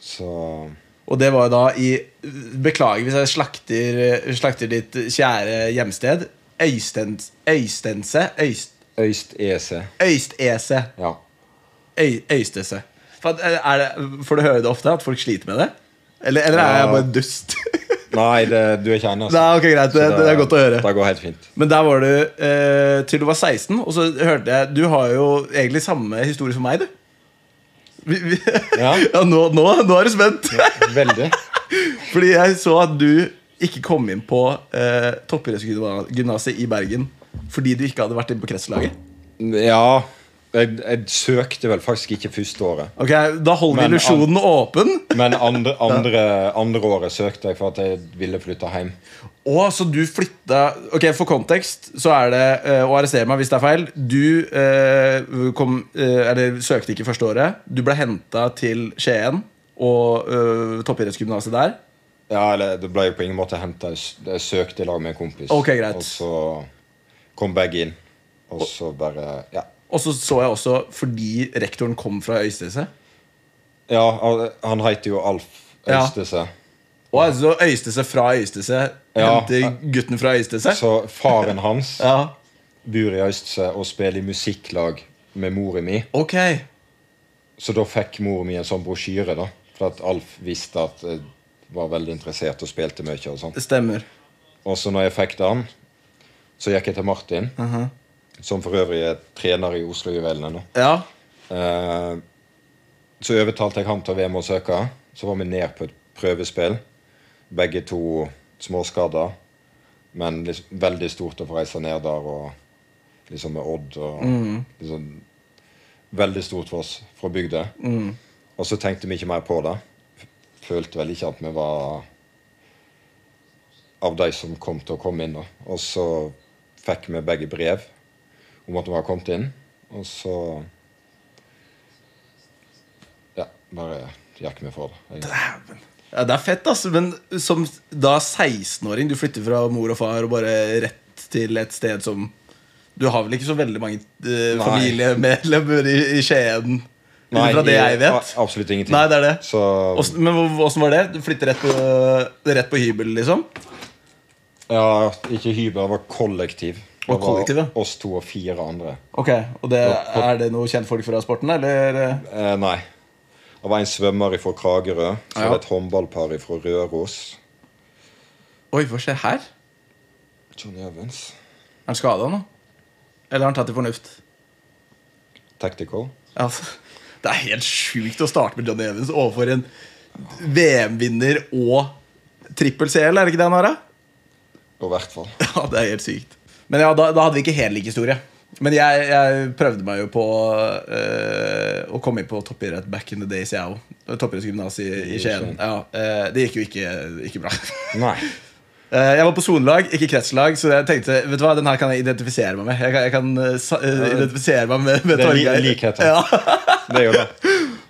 [SPEAKER 3] Så
[SPEAKER 2] Og det var jo da i Beklager hvis jeg slakter, slakter ditt kjære hjemsted. Øystens, Øystense Øyst, E
[SPEAKER 3] Øyst EC.
[SPEAKER 2] Øystese
[SPEAKER 3] Ja.
[SPEAKER 2] Øy, Øystese for, at, eh, er det, Får du høre det ofte at folk sliter med det? Eller, eller er jeg
[SPEAKER 3] Ja.
[SPEAKER 2] bare en dust?
[SPEAKER 3] Nei, det, du er ikke ennå.
[SPEAKER 2] Nei, ok, greit, det, det er godt å høre
[SPEAKER 3] Det går helt fint.
[SPEAKER 2] Men der var du eh, til du var 16 Og så hørte jeg Du har jo egentlig samme historie som meg, du vi, vi,
[SPEAKER 3] Ja.
[SPEAKER 2] ja nå, nå, nå er du spent
[SPEAKER 3] Veldig.
[SPEAKER 2] Fordi jeg så at du ikke kom inn på eh, toppidrettsgymnaset i Bergen fordi du ikke hadde vært inne på kretslaget.
[SPEAKER 3] Ja. Jeg, jeg søkte vel faktisk ikke første året.
[SPEAKER 2] Ok, Da holder vi
[SPEAKER 3] Men
[SPEAKER 2] illusjonen åpen.
[SPEAKER 3] Men andre, andre, andre året søkte jeg for at jeg ville flytte hjem.
[SPEAKER 2] Å, så du flytta Ok, For kontekst så er det eh, Å arrestere meg hvis det er feil. Du eh, kom eh, Eller søkte ikke første året. Du ble henta til Skien og eh, toppidrettsgymnaset der.
[SPEAKER 3] Ja, eller Det ble jo på ingen måte henta. Jeg, s- jeg søkte i lag med en kompis.
[SPEAKER 2] Ok, greit.
[SPEAKER 3] Og så kom begge inn. Og så bare Ja.
[SPEAKER 2] Og så så jeg også fordi rektoren kom fra Øystese.
[SPEAKER 3] ja han- han heter jo Alf
[SPEAKER 2] Ja.
[SPEAKER 3] Øystese.
[SPEAKER 2] Og altså Øystese fra Øystese
[SPEAKER 3] Ja.
[SPEAKER 2] henter gutten fra Øystese.
[SPEAKER 3] Så faren hans
[SPEAKER 2] Ja
[SPEAKER 3] bor i Øystese og spiller i musikklag med mora mi.
[SPEAKER 2] Ok.
[SPEAKER 3] Så da fikk mor mi en sånn brosjyre, da. For at Alf visste at jeg var veldig interessert og spilte mye. Og sånn.
[SPEAKER 2] Det stemmer.
[SPEAKER 3] Og så når jeg fikk den, så gikk jeg til Martin, som for øvrig er trener i Oslo-juvelene nå.
[SPEAKER 2] Ja.
[SPEAKER 3] Eh, så overtalte jeg han til å være med og søke. Så var vi ned på et prøvespill. Begge to småskadda, men liksom, veldig stort å få reise ned der og liksom med Odd og liksom, Veldig stort for oss fra bygda. Og så tenkte vi ikke mer på det. F- Følte vel ikke at vi var av de som kom til å komme inn. Da. Og så fikk vi begge brev om at vi var kommet inn. Og så Ja, bare gikk vi for det. egentlig.
[SPEAKER 2] Dæven. Ja, det er fett, ass. Men som da 16-åring, du flytter fra mor og far og bare rett til et sted som Du har vel ikke så veldig mange eh,
[SPEAKER 3] Nei.
[SPEAKER 2] familiemedlemmer i, i Skien? Nei, fra det jeg vet?
[SPEAKER 3] a- Absolutt ingenting.
[SPEAKER 2] Nei, det er det.
[SPEAKER 3] Så
[SPEAKER 2] Åssen- men hvor- åssen var det? Du flytter rett på, rett på hybel, liksom?
[SPEAKER 3] ja, ikke hybel, det var kollektiv. Det
[SPEAKER 2] Og kollektiv, ja.
[SPEAKER 3] var oss to og fire andre.
[SPEAKER 2] Ok, og det, Er det noen kjentfolk fra sporten, eller?
[SPEAKER 3] Eh, nei. Det var en svømmer fra Kragerø. Så var det et håndballpar fra Røros.
[SPEAKER 2] Oi, hva skjer her?
[SPEAKER 3] Johnny Evans.
[SPEAKER 2] Er han skada nå? Eller har han tatt til fornuft?
[SPEAKER 3] Tactical.
[SPEAKER 2] Altså, det er helt sjukt å starte med Johnny Evans overfor en VM-vinner og trippel CL, er det ikke det han har? da?
[SPEAKER 3] Og i hvert fall.
[SPEAKER 2] Ja, det er helt sykt. Men ja, da, da hadde vi ikke helt lik historie. Men jeg, jeg prøvde meg jo på eh, å komme inn på toppidrett back in the days, jeg òg. Toppidrettsgymnas i, i Skien.
[SPEAKER 3] sånn.
[SPEAKER 2] Ja, eh, det gikk jo ikke, ikke bra.
[SPEAKER 3] Nei.
[SPEAKER 2] Eh, jeg var på sonelag, ikke kretslag, så jeg tenkte vet du hva, den her kan jeg identifisere meg med. Jeg kan, jeg kan eh, sa- eh, identifisere meg med, med
[SPEAKER 3] Det er li-
[SPEAKER 2] Torgeir.
[SPEAKER 3] likheter.
[SPEAKER 2] Ja.
[SPEAKER 3] Det er jo det.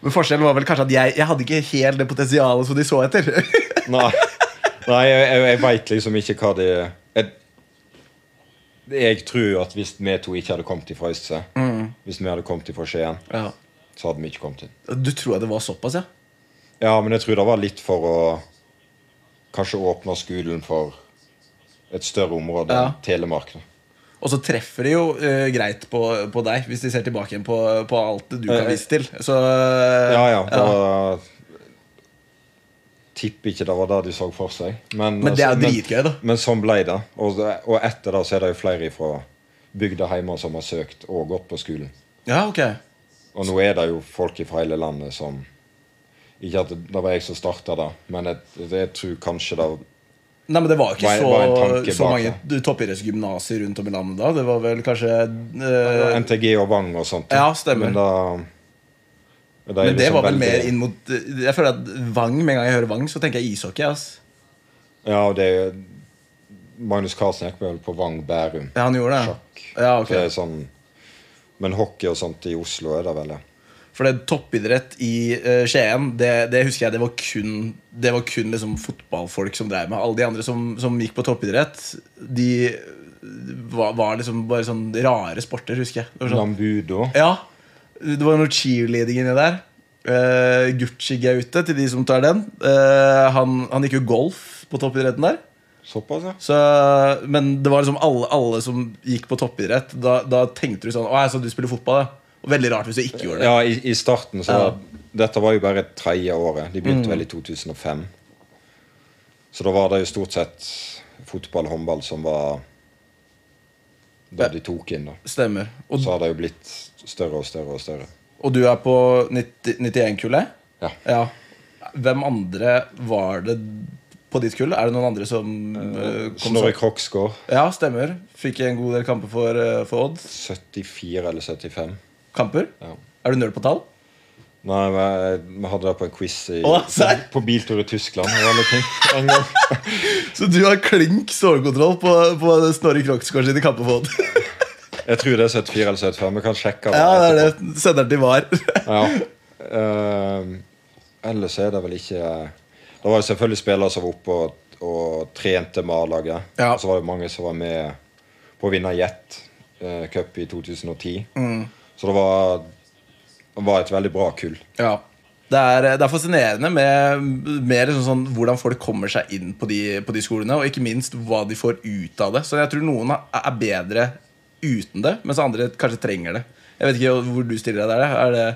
[SPEAKER 2] Men forskjellen var vel kanskje at jeg, jeg hadde ikke helt det potensialet som de så etter.
[SPEAKER 3] Nei, Nei jeg, jeg, jeg veit liksom ikke hva de jeg, jeg tror at hvis vi to ikke hadde kommet ifra Øystse,
[SPEAKER 2] Mm.
[SPEAKER 3] hvis vi hadde kommet ifra Skien, så hadde vi ikke kommet inn.
[SPEAKER 2] Du tror jeg det var såpass, ja?
[SPEAKER 3] Ja, men jeg tror det var litt for å kanskje åpne skolen for et større område
[SPEAKER 2] Ja.
[SPEAKER 3] enn Telemark. da.
[SPEAKER 2] Og så treffer de jo eh, greit på, på deg, hvis de ser tilbake igjen på, på alt du kan
[SPEAKER 3] Eh,
[SPEAKER 2] vise til. Så
[SPEAKER 3] Ja, ja. Da tipper ikke det var det de så for seg. Men,
[SPEAKER 2] Men det er jo dritgøy, da.
[SPEAKER 3] Men sånn ble det. Og, og etter det så er det jo flere fra bygda hjemme som har søkt og gått på skolen.
[SPEAKER 2] Ja, ok.
[SPEAKER 3] Og nå er det jo folk fra hele landet som Ikke at det var jeg som starta det, men jeg, jeg tror kanskje det
[SPEAKER 2] Nei, men Det var jo ikke
[SPEAKER 3] Hva er- hva er en
[SPEAKER 2] så,
[SPEAKER 3] tanke
[SPEAKER 2] så
[SPEAKER 3] bak
[SPEAKER 2] mange toppidrettsgymnaser rundt om i landet da. Det var vel kanskje
[SPEAKER 3] var
[SPEAKER 2] eh,
[SPEAKER 3] NTG og Vang og sånt.
[SPEAKER 2] Ja, stemmer.
[SPEAKER 3] Men da- det, er
[SPEAKER 2] Men det
[SPEAKER 3] liksom
[SPEAKER 2] var vel
[SPEAKER 3] veldig-
[SPEAKER 2] mer inn mot eh, Jeg føler at Vang, Med en gang jeg hører Vang, så tenker jeg ishockey. ass
[SPEAKER 3] Ja, og det er Magnus Carlsen gikk vel på Vang Bærum.
[SPEAKER 2] Ja, han gjorde det.
[SPEAKER 3] Sjakk.
[SPEAKER 2] Ja, ok
[SPEAKER 3] Så det er sånn, men hockey og sånt i Oslo er det vel, ja.
[SPEAKER 2] For det toppidrett i eh, Skien, det, det husker jeg det var kun, det var kun liksom fotballfolk som drev med. Alle de andre som, som gikk på toppidrett, de var, var liksom bare sånn rare sporter, husker jeg. Det var sånn,
[SPEAKER 3] Lambudo.
[SPEAKER 2] ja, det var noe cheerleading inni der. Eh, Gucci-Gaute, til de som tar den. Eh, han, han gikk jo golf på toppidretten der.
[SPEAKER 3] Såpass, ja.
[SPEAKER 2] Så, men det var liksom alle, alle som gikk på toppidrett, da, da tenkte du sånn Å, jeg så du spiller fotball, ja. Og veldig rart hvis du ikke gjorde det.
[SPEAKER 3] Ja, i, i starten så
[SPEAKER 2] Ja. Mm.
[SPEAKER 3] Dette var jo bare tredje året. De begynte vel i 2005. Så da var det jo stort sett fotball og håndball som var da
[SPEAKER 2] Ja.
[SPEAKER 3] de tok inn. da
[SPEAKER 2] Stemmer. Og,
[SPEAKER 3] Så har det jo blitt større og større og større.
[SPEAKER 2] og du er på 90 91-kullet?
[SPEAKER 3] Ja.
[SPEAKER 2] Ja. Hvem andre var det på ditt kull? Er det noen andre som eh, kom
[SPEAKER 3] Snorre
[SPEAKER 2] så-
[SPEAKER 3] Kroksgård,
[SPEAKER 2] Ja, stemmer. Fikk en god del kamper for, eh, for Odd.
[SPEAKER 3] 74 eller 75.
[SPEAKER 2] Kamper?
[SPEAKER 3] Ja.
[SPEAKER 2] Er du nerd på tall?
[SPEAKER 3] Nei, men eh, vi hadde det på en quiz i,
[SPEAKER 2] Å, serr?
[SPEAKER 3] på biltur i Tyskland. Og alle ting. En gang.
[SPEAKER 2] Så du har klink stålkontroll på, på Snorre Kroksgaard sine kamper for Odd?
[SPEAKER 3] Jeg tror det er 74 eller 75. Vi kan sjekke.
[SPEAKER 2] ja, det er det. Sender den til VAR.
[SPEAKER 3] Ja. Ehm, ellers er det vel ikke Det var jo selvfølgelig spillere som var oppe og, og trente med A-laget.
[SPEAKER 2] Ja.
[SPEAKER 3] Og så var det mange som var med på å vinne Jet eh, Cup i 2010.
[SPEAKER 2] Mm.
[SPEAKER 3] Så det var, det var et veldig bra kull.
[SPEAKER 2] Ja. Det er, det er fascinerende med, med liksom sånn, hvordan folk kommer seg inn på de, på de skolene, og ikke minst hva de får ut av det. Så jeg tror noen er- er bedre uten det, mens andre kanskje trenger det. Jeg vet ikke hvor du stiller deg der. Er det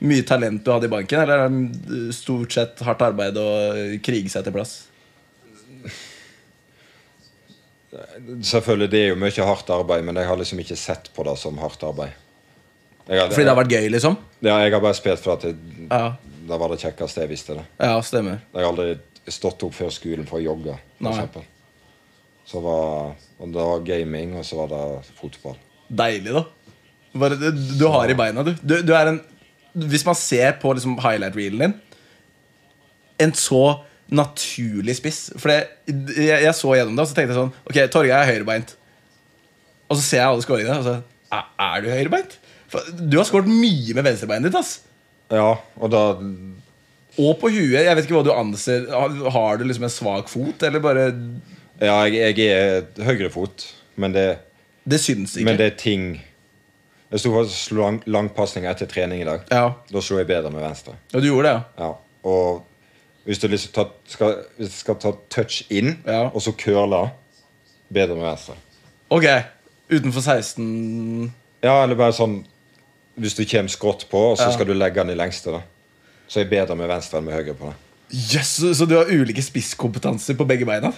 [SPEAKER 2] mye talent du hadde i banken, eller er det stort sett hardt arbeid og krige seg til plass?
[SPEAKER 3] Selvfølgelig, det er jo mye hardt arbeid, men jeg har liksom ikke sett på det som hardt arbeid. Jeg har,
[SPEAKER 2] Fordi det har vært gøy, liksom?
[SPEAKER 3] ja, jeg har bare spilt for at det,
[SPEAKER 2] Ja,
[SPEAKER 3] det var det kjekkeste jeg visste. det
[SPEAKER 2] ja stemmer.
[SPEAKER 3] Jeg har aldri stått opp før skolen for å jogge, for
[SPEAKER 2] Nei.
[SPEAKER 3] eksempel. Så var, og det var gaming, og så var det fotball.
[SPEAKER 2] Deilig, da. Bare, du, du har i beina, du. du, du er en, hvis man ser på liksom, highlight-reelen din En så naturlig spiss. For det, jeg, jeg så gjennom det, og så tenkte jeg sånn Ok, Torgeir er høyrebeint. Og så ser jeg alle scoringene, og så "Æ, Er du høyrebeint? For, du har skåret mye med venstrebeinet ditt. ass
[SPEAKER 3] Ja, og da
[SPEAKER 2] Og på huet. Jeg vet ikke hva du anser Har, har du liksom en svak fot, eller bare
[SPEAKER 3] Ja, jeg, jeg er høyrefot, men det,
[SPEAKER 2] Det syns ikke.
[SPEAKER 3] men det er ting Jeg sto faktisk og slo lang, langpasning etter trening i dag.
[SPEAKER 2] ja.
[SPEAKER 3] Da slo jeg bedre med venstre.
[SPEAKER 2] ja, du gjorde det, ja.
[SPEAKER 3] Ja. Og hvis du liksom ta, skal, hvis du skal ta touch inn,
[SPEAKER 2] Ja.
[SPEAKER 3] og så curle Bedre med venstre.
[SPEAKER 2] Ok. Utenfor 16
[SPEAKER 3] Ja, eller bare sånn Hvis du kommer skrått på, og så
[SPEAKER 2] Ja.
[SPEAKER 3] skal du legge den i lengste, da. Så er jeg bedre med venstre enn med høyre på det.
[SPEAKER 2] Yes, så- så du har ulike spisskompetanser på begge beina?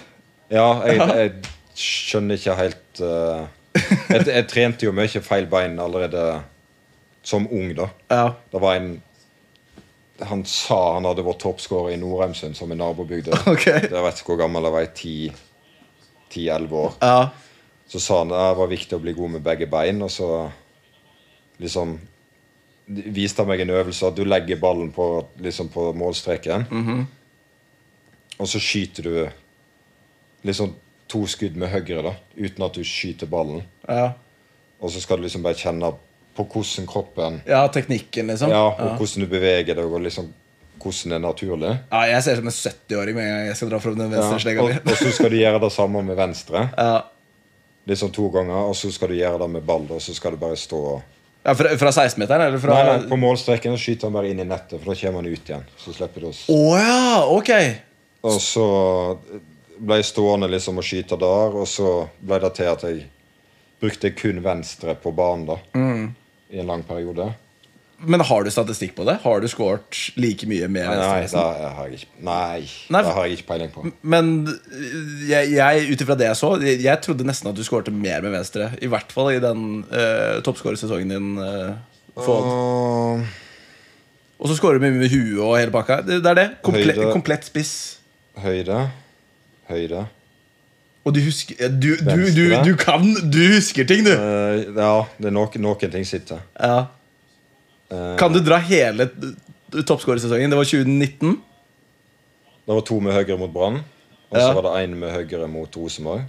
[SPEAKER 3] Ja, jeg, jeg skjønner ikke helt eh, jeg, jeg trente jo mye feil bein allerede som ung, da.
[SPEAKER 2] Ja.
[SPEAKER 3] Det var en Han sa han hadde vært toppskårer i Norheimsund, som i nabobygda.
[SPEAKER 2] Ok.
[SPEAKER 3] Jeg vet ikke hvor gammel jeg var, jeg var 10-11 år.
[SPEAKER 2] Ja,
[SPEAKER 3] Så sa han "Ah, det var viktig å bli god med begge bein, og så liksom viste han meg en øvelse at du legger ballen på, liksom på målstreken, og så skyter du liksom to skudd med høyre, da, uten at du skyter ballen.
[SPEAKER 2] ja.
[SPEAKER 3] Og så skal du liksom bare kjenne på hvordan kroppen
[SPEAKER 2] ja teknikken, liksom?
[SPEAKER 3] Ja, og
[SPEAKER 2] ja.
[SPEAKER 3] hvordan du beveger deg, og liksom hvordan det er naturlig.
[SPEAKER 2] Ja, jeg ser ut som en 70-åring med en gang jeg skal dra fram den
[SPEAKER 3] Ja,
[SPEAKER 2] venstre slegga
[SPEAKER 3] og,
[SPEAKER 2] mi.
[SPEAKER 3] og så skal du gjøre det samme med venstre,
[SPEAKER 2] Ja.
[SPEAKER 3] liksom to ganger, og så skal du gjøre det med ball, og så skal du bare stå og
[SPEAKER 2] Ja, fra, fra 16-meteren, eller fra
[SPEAKER 3] Nei, nei, på målstreken skyter han bare inn i nettet, for da kommer han ut igjen. Så slipper du oss.
[SPEAKER 2] Å ja, ok!
[SPEAKER 3] Og så ble jeg stående liksom og skyte der, og så ble det til at jeg brukte kun venstre på banen da,
[SPEAKER 2] Mm.
[SPEAKER 3] i en lang periode.
[SPEAKER 2] Men har du statistikk på det? Har du scoret like mye med
[SPEAKER 3] Nei, nei, det
[SPEAKER 2] venstrebeisen?
[SPEAKER 3] har jeg ikke, nei,
[SPEAKER 2] Nei,
[SPEAKER 3] det
[SPEAKER 2] for-
[SPEAKER 3] har jeg ikke peiling på.
[SPEAKER 2] Men øh, jeg, jeg ut ifra det jeg så, jeg, jeg trodde nesten at du skårte mer med venstre. I hvert fall i den uh, toppskårersesongen din. øh, for Odd.
[SPEAKER 3] Og-
[SPEAKER 2] og så skårer du mye med huet og hele pakka. Det, det er det. Komple
[SPEAKER 3] Høyde.
[SPEAKER 2] komplett spiss.
[SPEAKER 3] høyde, høyde.
[SPEAKER 2] Og du husker Du, du,
[SPEAKER 3] Venstre.
[SPEAKER 2] du, du kan Du husker ting, du!
[SPEAKER 3] Eh, ja, det er noen, noen ting sitter.
[SPEAKER 2] Ja.
[SPEAKER 3] Eh,
[SPEAKER 2] Kan du dra hele t- toppskårersesongen? Det var 2019.
[SPEAKER 3] Det var to med høyre mot Brann, og så
[SPEAKER 2] Ja.
[SPEAKER 3] var det en med høyre mot Rosenborg.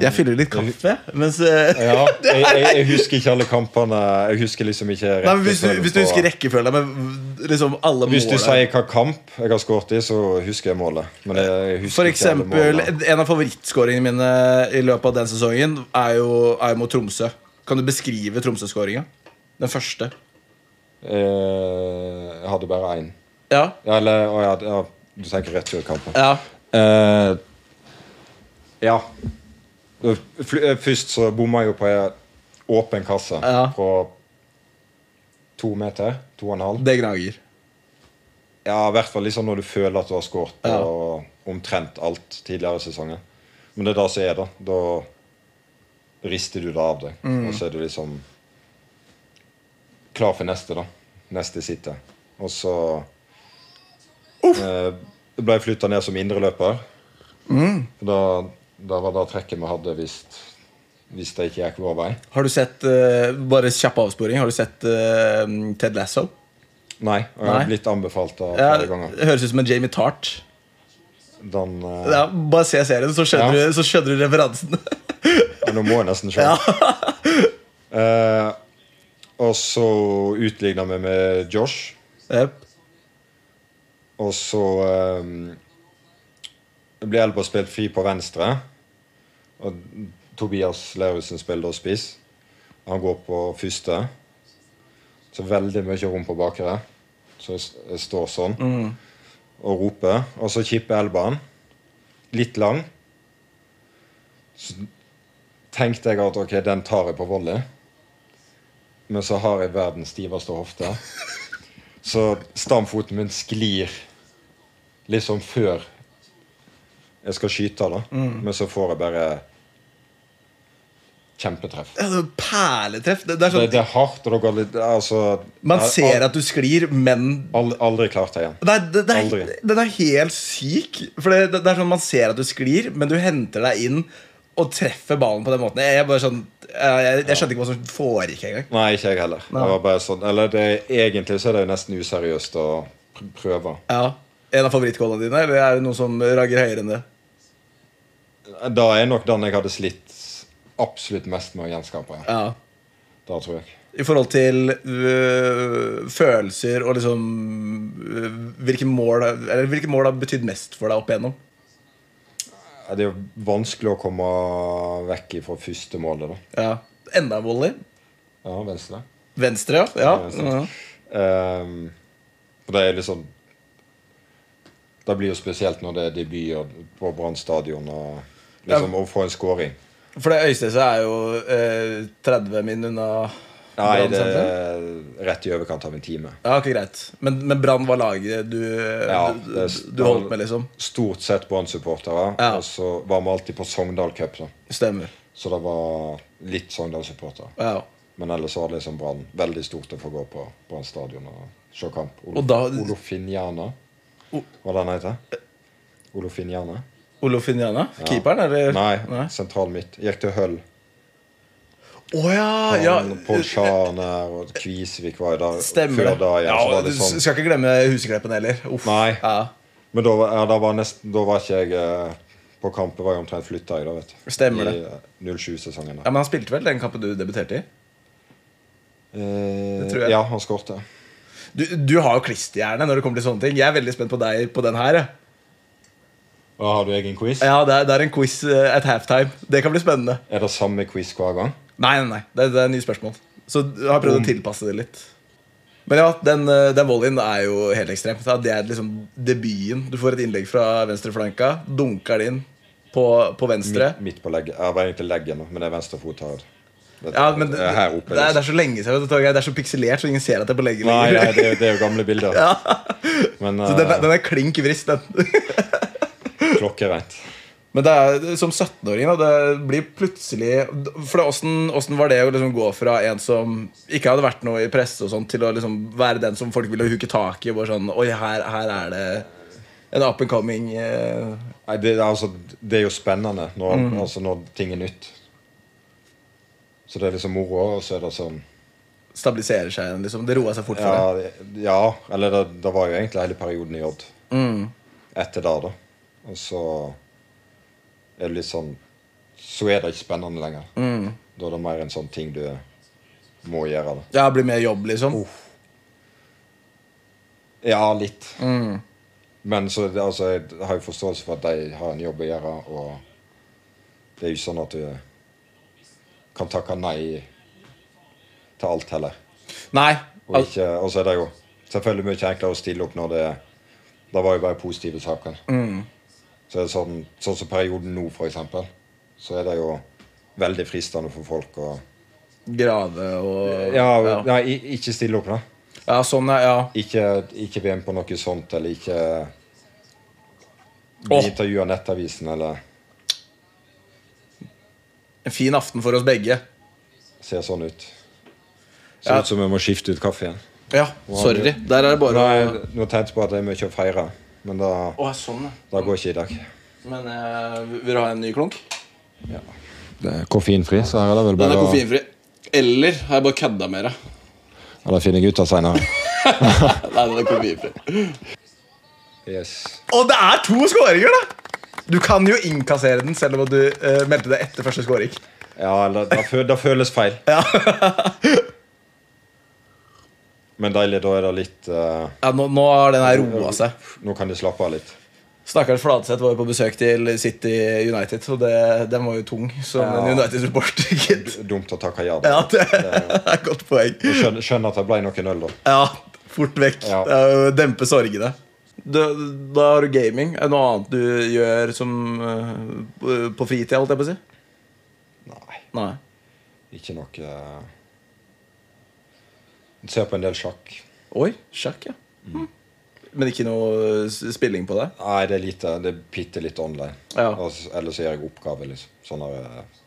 [SPEAKER 2] Jeg fyller litt kaffe. Mens, eh,
[SPEAKER 3] Ja, Mm. jeg, jeg, jeg husker ikke alle kampene. Jeg husker liksom ikke
[SPEAKER 2] nei, men hvis, du,
[SPEAKER 3] rekkefølgen
[SPEAKER 2] hvis du
[SPEAKER 3] på-
[SPEAKER 2] husker rekkefølgen med liksom alle
[SPEAKER 3] Hvis du
[SPEAKER 2] målene
[SPEAKER 3] sier hva kamp jeg har skåret i, så husker jeg målet. Men jeg husker
[SPEAKER 2] For
[SPEAKER 3] ikke alle
[SPEAKER 2] eksempel,
[SPEAKER 3] målene.
[SPEAKER 2] en av favorittskåringene mine i løpet av den sesongen er jo, er jo mot Tromsø. Kan du beskrive Tromsø-skåringa? Den første.
[SPEAKER 3] Eh, Jeg hadde bare én.
[SPEAKER 2] Ja.
[SPEAKER 3] Ja, Eller å ja, ja, du tenker returkampen.
[SPEAKER 2] ja.
[SPEAKER 3] Eh, Ja. Fly- eh, Først så bomma jeg jo på ei åpen kasse
[SPEAKER 2] Ja.
[SPEAKER 3] på to meter. To og en halv.
[SPEAKER 2] Det gnager.
[SPEAKER 3] Ja, i hvert fall liksom når du føler at du har skåret på
[SPEAKER 2] Ja.
[SPEAKER 3] omtrent alt tidligere i sesongen. Men det er det som er, da. Da rister du det av deg.
[SPEAKER 2] Mm.
[SPEAKER 3] Og så er du liksom klar for neste, da. Neste sitter. Og så eh, ble jeg flytta ned som indreløper.
[SPEAKER 2] Mm.
[SPEAKER 3] Da, da var det trekket vi hadde hvis, hvis det ikke gikk vår vei.
[SPEAKER 2] Har du sett eh, Bare kjapp avsporing. Har du sett eh, Ted Lasso?
[SPEAKER 3] Nei. Og jeg
[SPEAKER 2] Nei.
[SPEAKER 3] har blitt anbefalt det
[SPEAKER 2] Ja,
[SPEAKER 3] flere ganger.
[SPEAKER 2] det høres ut som en Jamie Tart.
[SPEAKER 3] Den, eh,
[SPEAKER 2] Ja, bare se serien, så skjønner,
[SPEAKER 3] Ja.
[SPEAKER 2] du, så skjønner du referansen.
[SPEAKER 3] Men nå må jeg nesten se. Eh, og så utligna vi med Josh.
[SPEAKER 2] Jep.
[SPEAKER 3] Og så eh, ble Elba spilt fri på venstre. Og Tobias Lauritzen spiller da spiss. Han går på første. Så veldig mye rom på bakre. Så jeg s- jeg står sånn
[SPEAKER 2] Mm.
[SPEAKER 3] og roper. Og så kipper Elbaen. Litt lang. Så tenkte jeg at ok, den tar jeg på volley. Men så har jeg verdens stiveste hofte. Så stamfoten min sklir liksom før jeg skal skyte, da.
[SPEAKER 2] Mm.
[SPEAKER 3] Men så får jeg bare kjempetreff.
[SPEAKER 2] Ja, det er sånn Perletreff. Det, det er
[SPEAKER 3] Det,
[SPEAKER 2] sånn,
[SPEAKER 3] det er hardt, og det går litt altså,
[SPEAKER 2] man ser at du sklir, men
[SPEAKER 3] Aldri, aldri klart det igjen.
[SPEAKER 2] Nei, det, det er,
[SPEAKER 3] Aldri.
[SPEAKER 2] Den er helt syk. For det, det, det er sånn Man ser at du sklir, men du henter deg inn og treffer ballen på den måten. Jeg, er bare sånn, jeg, jeg, jeg skjønte ikke hva som foregikk engang.
[SPEAKER 3] Nei, ikke jeg heller.
[SPEAKER 2] Nei.
[SPEAKER 3] Det var bare sånn, eller det, egentlig så er det jo nesten useriøst å pr- prøve.
[SPEAKER 2] Ja. En av favorittkålene dine, eller er det noe som ragger høyere enn det?
[SPEAKER 3] Da er nok den jeg hadde slitt absolutt mest med å gjenskape. Ja.
[SPEAKER 2] Ja.
[SPEAKER 3] Da tror jeg.
[SPEAKER 2] I forhold til øh, følelser og liksom øh, hvilke mål Eller hvilke mål har betydd mest for deg opp igjennom?
[SPEAKER 3] Ja, Det er jo vanskelig å komme vekk ifra første målet, da.
[SPEAKER 2] Ja. Enda en volley.
[SPEAKER 3] Ja, venstre.
[SPEAKER 2] Venstre, ja.
[SPEAKER 3] Ja,
[SPEAKER 2] ja.
[SPEAKER 3] sant. Ehm, og det er liksom Det blir jo spesielt når det er debut og- på Brann stadion og liksom, å få en scoring.
[SPEAKER 2] For det Øystese er jo øh, 30 min unna
[SPEAKER 3] Nei,
[SPEAKER 2] Brann
[SPEAKER 3] det
[SPEAKER 2] sentrum.
[SPEAKER 3] er rett i overkant av en time.
[SPEAKER 2] Ja, ok, greit. Men, men Brann var laget du, øh,
[SPEAKER 3] Ja,
[SPEAKER 2] du,
[SPEAKER 3] det er-
[SPEAKER 2] du holdt med, liksom?
[SPEAKER 3] Stort sett Brann-supportere.
[SPEAKER 2] Ja.
[SPEAKER 3] Og så var vi alltid på Sogndal Cup, da.
[SPEAKER 2] Stemmer.
[SPEAKER 3] Så det var litt Sogndal-supportere.
[SPEAKER 2] Ja.
[SPEAKER 3] Men ellers var det liksom Brann veldig stort å få gå på Brann stadion og se kamp. Olof,
[SPEAKER 2] Og da-
[SPEAKER 3] Olofiniana,
[SPEAKER 2] O-
[SPEAKER 3] hva den heter den? Olofiniana?
[SPEAKER 2] Olofiniana? Keeperen, eller?
[SPEAKER 3] Nei,
[SPEAKER 2] Eh, Nei.
[SPEAKER 3] sentral midt. Gikk til Høll.
[SPEAKER 2] Å ja!
[SPEAKER 3] Han,
[SPEAKER 2] Ah, ja.
[SPEAKER 3] Pål Schaen her, og Kvisvik var jo der
[SPEAKER 2] Stemmer
[SPEAKER 3] før da.
[SPEAKER 2] det.
[SPEAKER 3] Ja, så var
[SPEAKER 2] du
[SPEAKER 3] det sånn.
[SPEAKER 2] skal ikke glemme Husekleppen heller. Uff.
[SPEAKER 3] Nei.
[SPEAKER 2] Ja.
[SPEAKER 3] Men da, var- ja, da, var nesten, da var ikke jeg eh, på kamp. Jeg var jo omtrent flytta i da, vet du.
[SPEAKER 2] Stemmer
[SPEAKER 3] I eh, 07-sesongen.
[SPEAKER 2] Ja, Men han spilte vel den kampen du debuterte i?
[SPEAKER 3] Eh,
[SPEAKER 2] Det tror jeg.
[SPEAKER 3] ja, han skårte.
[SPEAKER 2] Du, du har jo klisterhjerne når det kommer til sånne ting. Jeg er veldig spent på deg på den her. jeg.
[SPEAKER 3] Og Har du egen quiz?
[SPEAKER 2] Ja, det er, det er en quiz eh, at halftime. Det kan bli spennende.
[SPEAKER 3] Er det samme quiz hver gang?
[SPEAKER 2] Nei, nei, nei. Det, det er nye spørsmål. Så du har prøvd å tilpasse det litt. Men ja, den, eh, den volleyen er jo helt ekstrem. Ja, Det er liksom debuten. Du får et innlegg fra venstreflanka, dunker det inn på, på venstre.
[SPEAKER 3] Midt, midt på leggen. Ja, det var egentlig leggen, da, men det er venstre fot her. Det,
[SPEAKER 2] Ja, men det,
[SPEAKER 3] det er her oppe.
[SPEAKER 2] det,
[SPEAKER 3] liksom.
[SPEAKER 2] er, det er så lenge siden. vet du, Torgeir. Det er så pikselert, så ingen ser at det er på leggen
[SPEAKER 3] Nei, nei
[SPEAKER 2] lenger.
[SPEAKER 3] det, er- det er jo gamle bilder. Men
[SPEAKER 2] Så den, er-
[SPEAKER 3] eh,
[SPEAKER 2] den er klink vrist, den.
[SPEAKER 3] klokkereint.
[SPEAKER 2] Men det er som 17-åring, da. Det blir plutselig For det, åssen, åssen var det å liksom gå fra en som ikke hadde vært noe i presse, og sånt, til å liksom være den som folk ville huke tak i? og Bare sånn Oi, her, her er det en up and coming eh,
[SPEAKER 3] Nei, det, er altså, det er jo spennende når,
[SPEAKER 2] Mm.
[SPEAKER 3] altså, når ting er nytt. Så det er liksom moro, og så er det sånn
[SPEAKER 2] Stabiliserer seg igjen, liksom. Det roa seg fort for deg.
[SPEAKER 3] Ja, ja eller det, det var jo egentlig hele perioden i Odd.
[SPEAKER 2] Mm.
[SPEAKER 3] Etter det, da. Og så er det litt sånn Så er det ikke spennende lenger.
[SPEAKER 2] Mm.
[SPEAKER 3] Da er det mer en sånn ting du må gjøre. da.
[SPEAKER 2] Ja, blir mer jobb, liksom.
[SPEAKER 3] Ja, litt.
[SPEAKER 2] Mm.
[SPEAKER 3] Men så er det- altså, jeg har jo forståelse for at de har en jobb å gjøre, og det er jo ikke sånn at du kan takke nei til alt heller.
[SPEAKER 2] Nei.
[SPEAKER 3] Og, ikke, og så er det jo
[SPEAKER 2] Mm.
[SPEAKER 3] selvfølgelig mye enklere å stille opp når det Det var jo bare positive saker. Så er det sånn, sånn som perioden nå, for eksempel, så er det jo veldig fristende for folk å
[SPEAKER 2] Grave og
[SPEAKER 3] ja, Nei, i- ikke stille opp, da.
[SPEAKER 2] Ja, sånn, ja. ja.
[SPEAKER 3] Ikke, ikke være med på noe sånt, eller ikke
[SPEAKER 2] Åh.
[SPEAKER 3] bli intervjua av Nettavisen, eller
[SPEAKER 2] En fin aften for oss begge.
[SPEAKER 3] se sånn ut. Ser
[SPEAKER 2] Ja.
[SPEAKER 3] ut som vi må skifte ut kaffen.
[SPEAKER 2] Ja, sorry. Der er det bare
[SPEAKER 3] Nei,
[SPEAKER 2] å
[SPEAKER 3] nå tenkte jeg på at det er mye å feire, men det,
[SPEAKER 2] Å, sånn, ja.
[SPEAKER 3] det går ikke i dag.
[SPEAKER 2] Men eh, vil du ha en ny klunk?
[SPEAKER 3] Det er koffeinfri, så her er det
[SPEAKER 2] Den
[SPEAKER 3] vel bare
[SPEAKER 2] er
[SPEAKER 3] å
[SPEAKER 2] koffeinfri. Eller har jeg bare kødda med deg?
[SPEAKER 3] Eller finner jeg ut av seinere.
[SPEAKER 2] Nei, den er koffeinfri.
[SPEAKER 3] Yes.
[SPEAKER 2] Og det er to skåringer, da! Du kan jo innkassere den selv om du eh, meldte deg etter første skåring.
[SPEAKER 3] Ja, eller det, fø- det føles feil. men deilig, da er det litt eh,
[SPEAKER 2] Ja, nå, nå har den her roa seg.
[SPEAKER 3] Nå kan de slappe av litt.
[SPEAKER 2] Stakkars Fladseth var jo på besøk til City United, og det, den var jo tung som
[SPEAKER 3] Ja.
[SPEAKER 2] en United-supporter. gitt.
[SPEAKER 3] Dumt å takke ja.
[SPEAKER 2] Ja,
[SPEAKER 3] da.
[SPEAKER 2] det er et godt poeng.
[SPEAKER 3] Jeg Skjønner, skjønner at det ble noen øl, da.
[SPEAKER 2] Ja, fort vekk.
[SPEAKER 3] Ja.
[SPEAKER 2] Det er jo å Dempe sorgene. Da, da har du gaming. Er det noe annet du gjør som eh, på fritida, holdt jeg på å si?
[SPEAKER 3] Nei,
[SPEAKER 2] Nei.
[SPEAKER 3] ikke noe eh, Ser på en del sjakk.
[SPEAKER 2] Oi, sjakk, ja. Hm. Men ikke noe s- spilling på det?
[SPEAKER 3] Nei, det er lite, det er bitte litt online.
[SPEAKER 2] Ja.
[SPEAKER 3] Og s- Eller så gjør jeg oppgave, liksom. Sånn der, eh,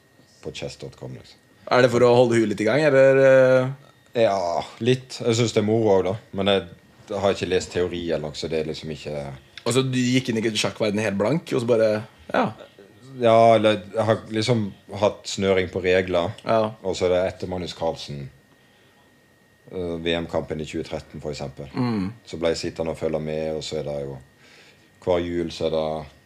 [SPEAKER 3] på chess.com, liksom.
[SPEAKER 2] Er det for å holde huet litt i gang, eller? eh?
[SPEAKER 3] Ja, litt. Jeg syns det er moro òg, da. Men jeg, jeg har ikke lest teori eller noe, så det er liksom ikke
[SPEAKER 2] Altså, Du gikk inn i sjakkverdenen helt blank, og så bare Ja.
[SPEAKER 3] Ja, eller jeg har liksom hatt snøring på regler.
[SPEAKER 2] ja.
[SPEAKER 3] Og så er det etter Magnus Carlsen, eh, VM-kampen i 2013, for eksempel. Så ble jeg sittende og følge med, og så er det jo Hver jul så er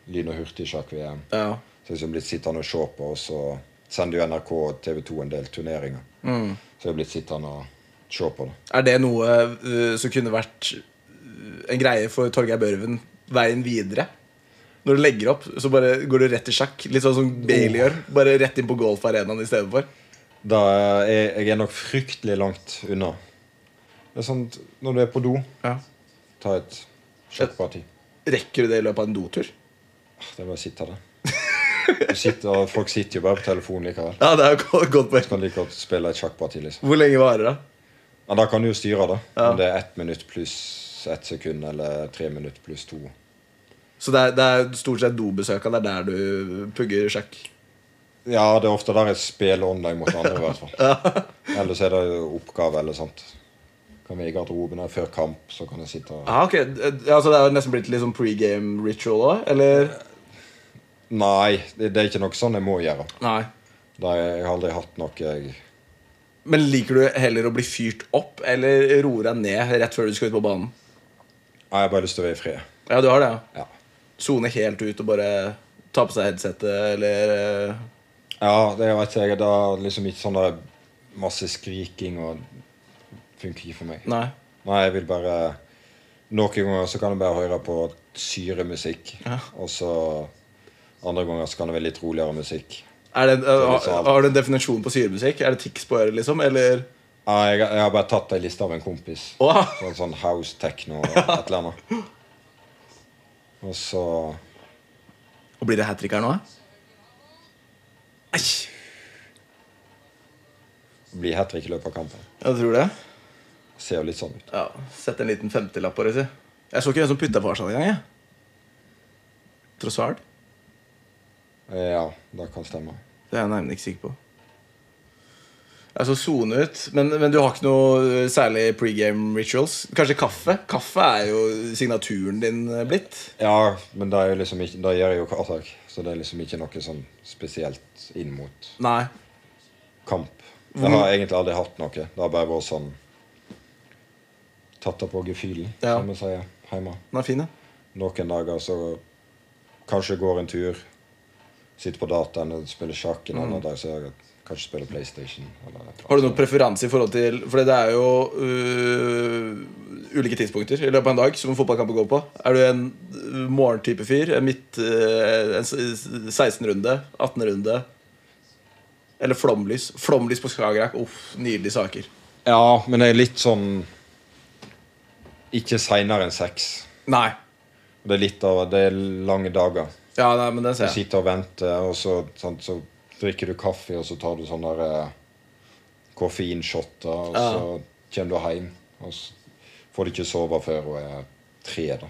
[SPEAKER 3] det lyn- og hurtigsjakk-VM.
[SPEAKER 2] ja.
[SPEAKER 3] Så jeg har blitt sittende og se på, og så sender jo NRK og TV 2 en del turneringer. Så jeg har blitt sittende og se på det.
[SPEAKER 2] Er det noe eh, som kunne vært eh, en greie for Torgeir Børven veien videre? Når du legger opp, så bare går du rett til sjakk. Litt sånn som Bailey gjør. Bare rett inn på golfarenaen i stedet for.
[SPEAKER 3] Da er jeg er nok fryktelig langt unna. Det er sånn når du er på do,
[SPEAKER 2] Ja.
[SPEAKER 3] ta et sjakkparti.
[SPEAKER 2] Rekker du det i løpet av en dotur?
[SPEAKER 3] Det er bare å sitte der. Du sitter, og folk sitter jo bare på telefonen likevel.
[SPEAKER 2] Ja, det er jo et godt- godt poeng.
[SPEAKER 3] Kan like godt spille et sjakkparti, liksom.
[SPEAKER 2] Hvor lenge varer det?
[SPEAKER 3] Ja, da kan du jo styre, da.
[SPEAKER 2] Ja.
[SPEAKER 3] Om det er ett minutt pluss ett sekund, eller tre minutt pluss to.
[SPEAKER 2] Så det er, det er stort sett dobesøka. Det er der du pugger sjakk.
[SPEAKER 3] Ja, det er ofte der jeg spiller online mot andre, i hvert fall. Ellers er det jo oppgave eller sånt. Kan vi i garderoben her før kamp, så kan jeg sitte og
[SPEAKER 2] Ah, ok, Eh, altså Det er jo nesten blitt litt sånn pregame ritual òg, eller?
[SPEAKER 3] Nei, det, det er ikke noe sånn jeg må gjøre.
[SPEAKER 2] Nei.
[SPEAKER 3] Det er, jeg har aldri hatt noe jeg
[SPEAKER 2] Men liker du heller å bli fyrt opp eller roe deg ned rett før du skal ut på banen?
[SPEAKER 3] Nei, jeg har bare lyst til å være i fred.
[SPEAKER 2] Ja, du har det, ja.
[SPEAKER 3] Ja.
[SPEAKER 2] Sone helt ut og bare ta på seg headsetet eller eh,
[SPEAKER 3] ja, det vet jeg. Det er liksom ikke sånn der masse skriking og funker ikke for meg.
[SPEAKER 2] Nei.
[SPEAKER 3] Nei, jeg vil bare Noen ganger så kan jeg bare høre på syremusikk. Og så andre ganger så kan det være litt roligere musikk.
[SPEAKER 2] Er det, eh,
[SPEAKER 3] litt
[SPEAKER 2] har,
[SPEAKER 3] sånn.
[SPEAKER 2] har du en definisjon på syremusikk? Er det tics på øret, liksom? Eller
[SPEAKER 3] Nei, jeg, jeg har bare tatt ei liste av en kompis.
[SPEAKER 2] Åh,
[SPEAKER 3] Sånn, sånn house techno og et eller annet. Og så
[SPEAKER 2] Og Blir det hat trick her nå? Æsj!
[SPEAKER 3] blir hat trick i løpet av kampen.
[SPEAKER 2] Jeg tror det.
[SPEAKER 3] Ser jo litt sånn ut.
[SPEAKER 2] Ja, Sett en liten femtilapp på det, si. Jeg så ikke hvem som putta på Arsenal engang. jeg. Trossard?
[SPEAKER 3] Ja, det kan stemme.
[SPEAKER 2] Det er jeg nærmere ikke sikker på. Jeg så sone ut, men, men du har ikke noe eh, særlig pregame rituals? Kanskje kaffe? Kaffe er jo signaturen din eh, blitt.
[SPEAKER 3] Ja, men det er jo liksom ikke Det gjør jeg jo hver dag. Så det er liksom ikke noe sånn spesielt inn mot
[SPEAKER 2] Nei.
[SPEAKER 3] kamp. Jeg har egentlig aldri hatt noe. Det har bare vært sånn Tatt det på gefühlen,
[SPEAKER 2] Ja.
[SPEAKER 3] som vi sier hjemme.
[SPEAKER 2] Den er fin, ja.
[SPEAKER 3] Noen dager så kanskje går en tur, sitter på dataen og spiller sjakk. En annen dag så jeg kanskje spiller PlayStation. Eller
[SPEAKER 2] Har du noen preferanse i forhold til For det er jo øh, ulike tidspunkter i løpet av en dag som en fotballkamp går på. Er du en øh, morgentype fyr? En midt øh, en s- s- 16-runde? 18-runde? Eller flomlys? Flomlys på Skagerrak. Uff, nydelige saker.
[SPEAKER 3] Ja, men det er litt sånn Ikke seinere enn seks.
[SPEAKER 2] Nei.
[SPEAKER 3] Det er litt av Det er lange dager.
[SPEAKER 2] Ja, nei, men den
[SPEAKER 3] Du
[SPEAKER 2] ser jeg.
[SPEAKER 3] sitter og venter, og så, sant, så drikker du kaffe, og så tar du sånne der, eh, koffeinshotter, og så kommer du hjem, og så får du ikke sove før hun er tre, da.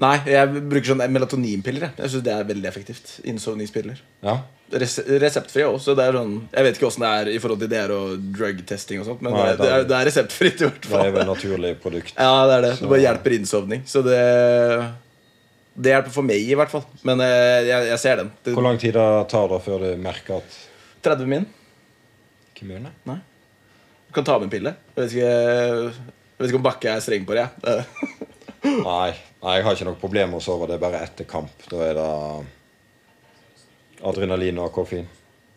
[SPEAKER 2] Nei, jeg bruker sånn melatoninpiller. Jeg, jeg syns det er veldig effektivt. Innsovningspiller.
[SPEAKER 3] Ja?
[SPEAKER 2] Res reseptfri også, så det er sånn Jeg vet ikke åssen det er i forhold til dere og drug-testing og sånt, men
[SPEAKER 3] Nei,
[SPEAKER 2] det, det, er, det er reseptfritt i hvert
[SPEAKER 3] Det er
[SPEAKER 2] fall.
[SPEAKER 3] jo et naturlig produkt.
[SPEAKER 2] Ja, det er det. Det bare hjelper innsovning. Så det Det hjelper for meg, i hvert fall. Men eh, jeg, jeg ser den. Det,
[SPEAKER 3] Hvor lang tid det tar det før du merker at
[SPEAKER 2] 30 min.
[SPEAKER 3] Ikke mye, nei.
[SPEAKER 2] Du kan ta med en pille. Jeg vet ikke, jeg vet ikke om Bakke er streng på det. jeg. Eh,
[SPEAKER 3] Nei, nei, jeg har ikke noe problem med å sove. Det er bare etter kamp. Da er det adrenalin og koffein.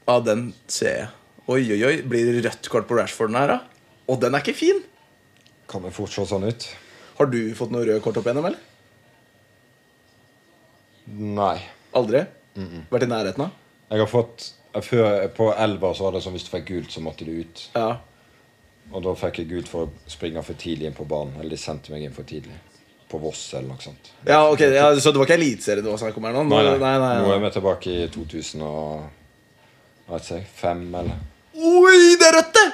[SPEAKER 2] Ja, den ser jeg. Oi, oi, oi. Blir det rødt kort på Rashford den her, da? Og den er ikke fin!
[SPEAKER 3] Kan det fort se sånn ut?
[SPEAKER 2] Har du fått noe røde kort opp igjennom, eller?
[SPEAKER 3] Nei.
[SPEAKER 2] Aldri? Vært i nærheten av?
[SPEAKER 3] Jeg har fått før, På elva så var det sånn hvis du fikk gult, så måtte du ut.
[SPEAKER 2] Ja.
[SPEAKER 3] Og da fikk jeg gult for å springe for tidlig inn på banen. Eller de sendte meg inn for tidlig. På Voss eller noe sånt.
[SPEAKER 2] ja, ok, ja, Så det var ikke eliteserie det var snakk om her nå? Nå-
[SPEAKER 3] Nå er vi tilbake i 2000 og Hva vet jeg, fem, eller
[SPEAKER 2] Oi, det er rødt, det!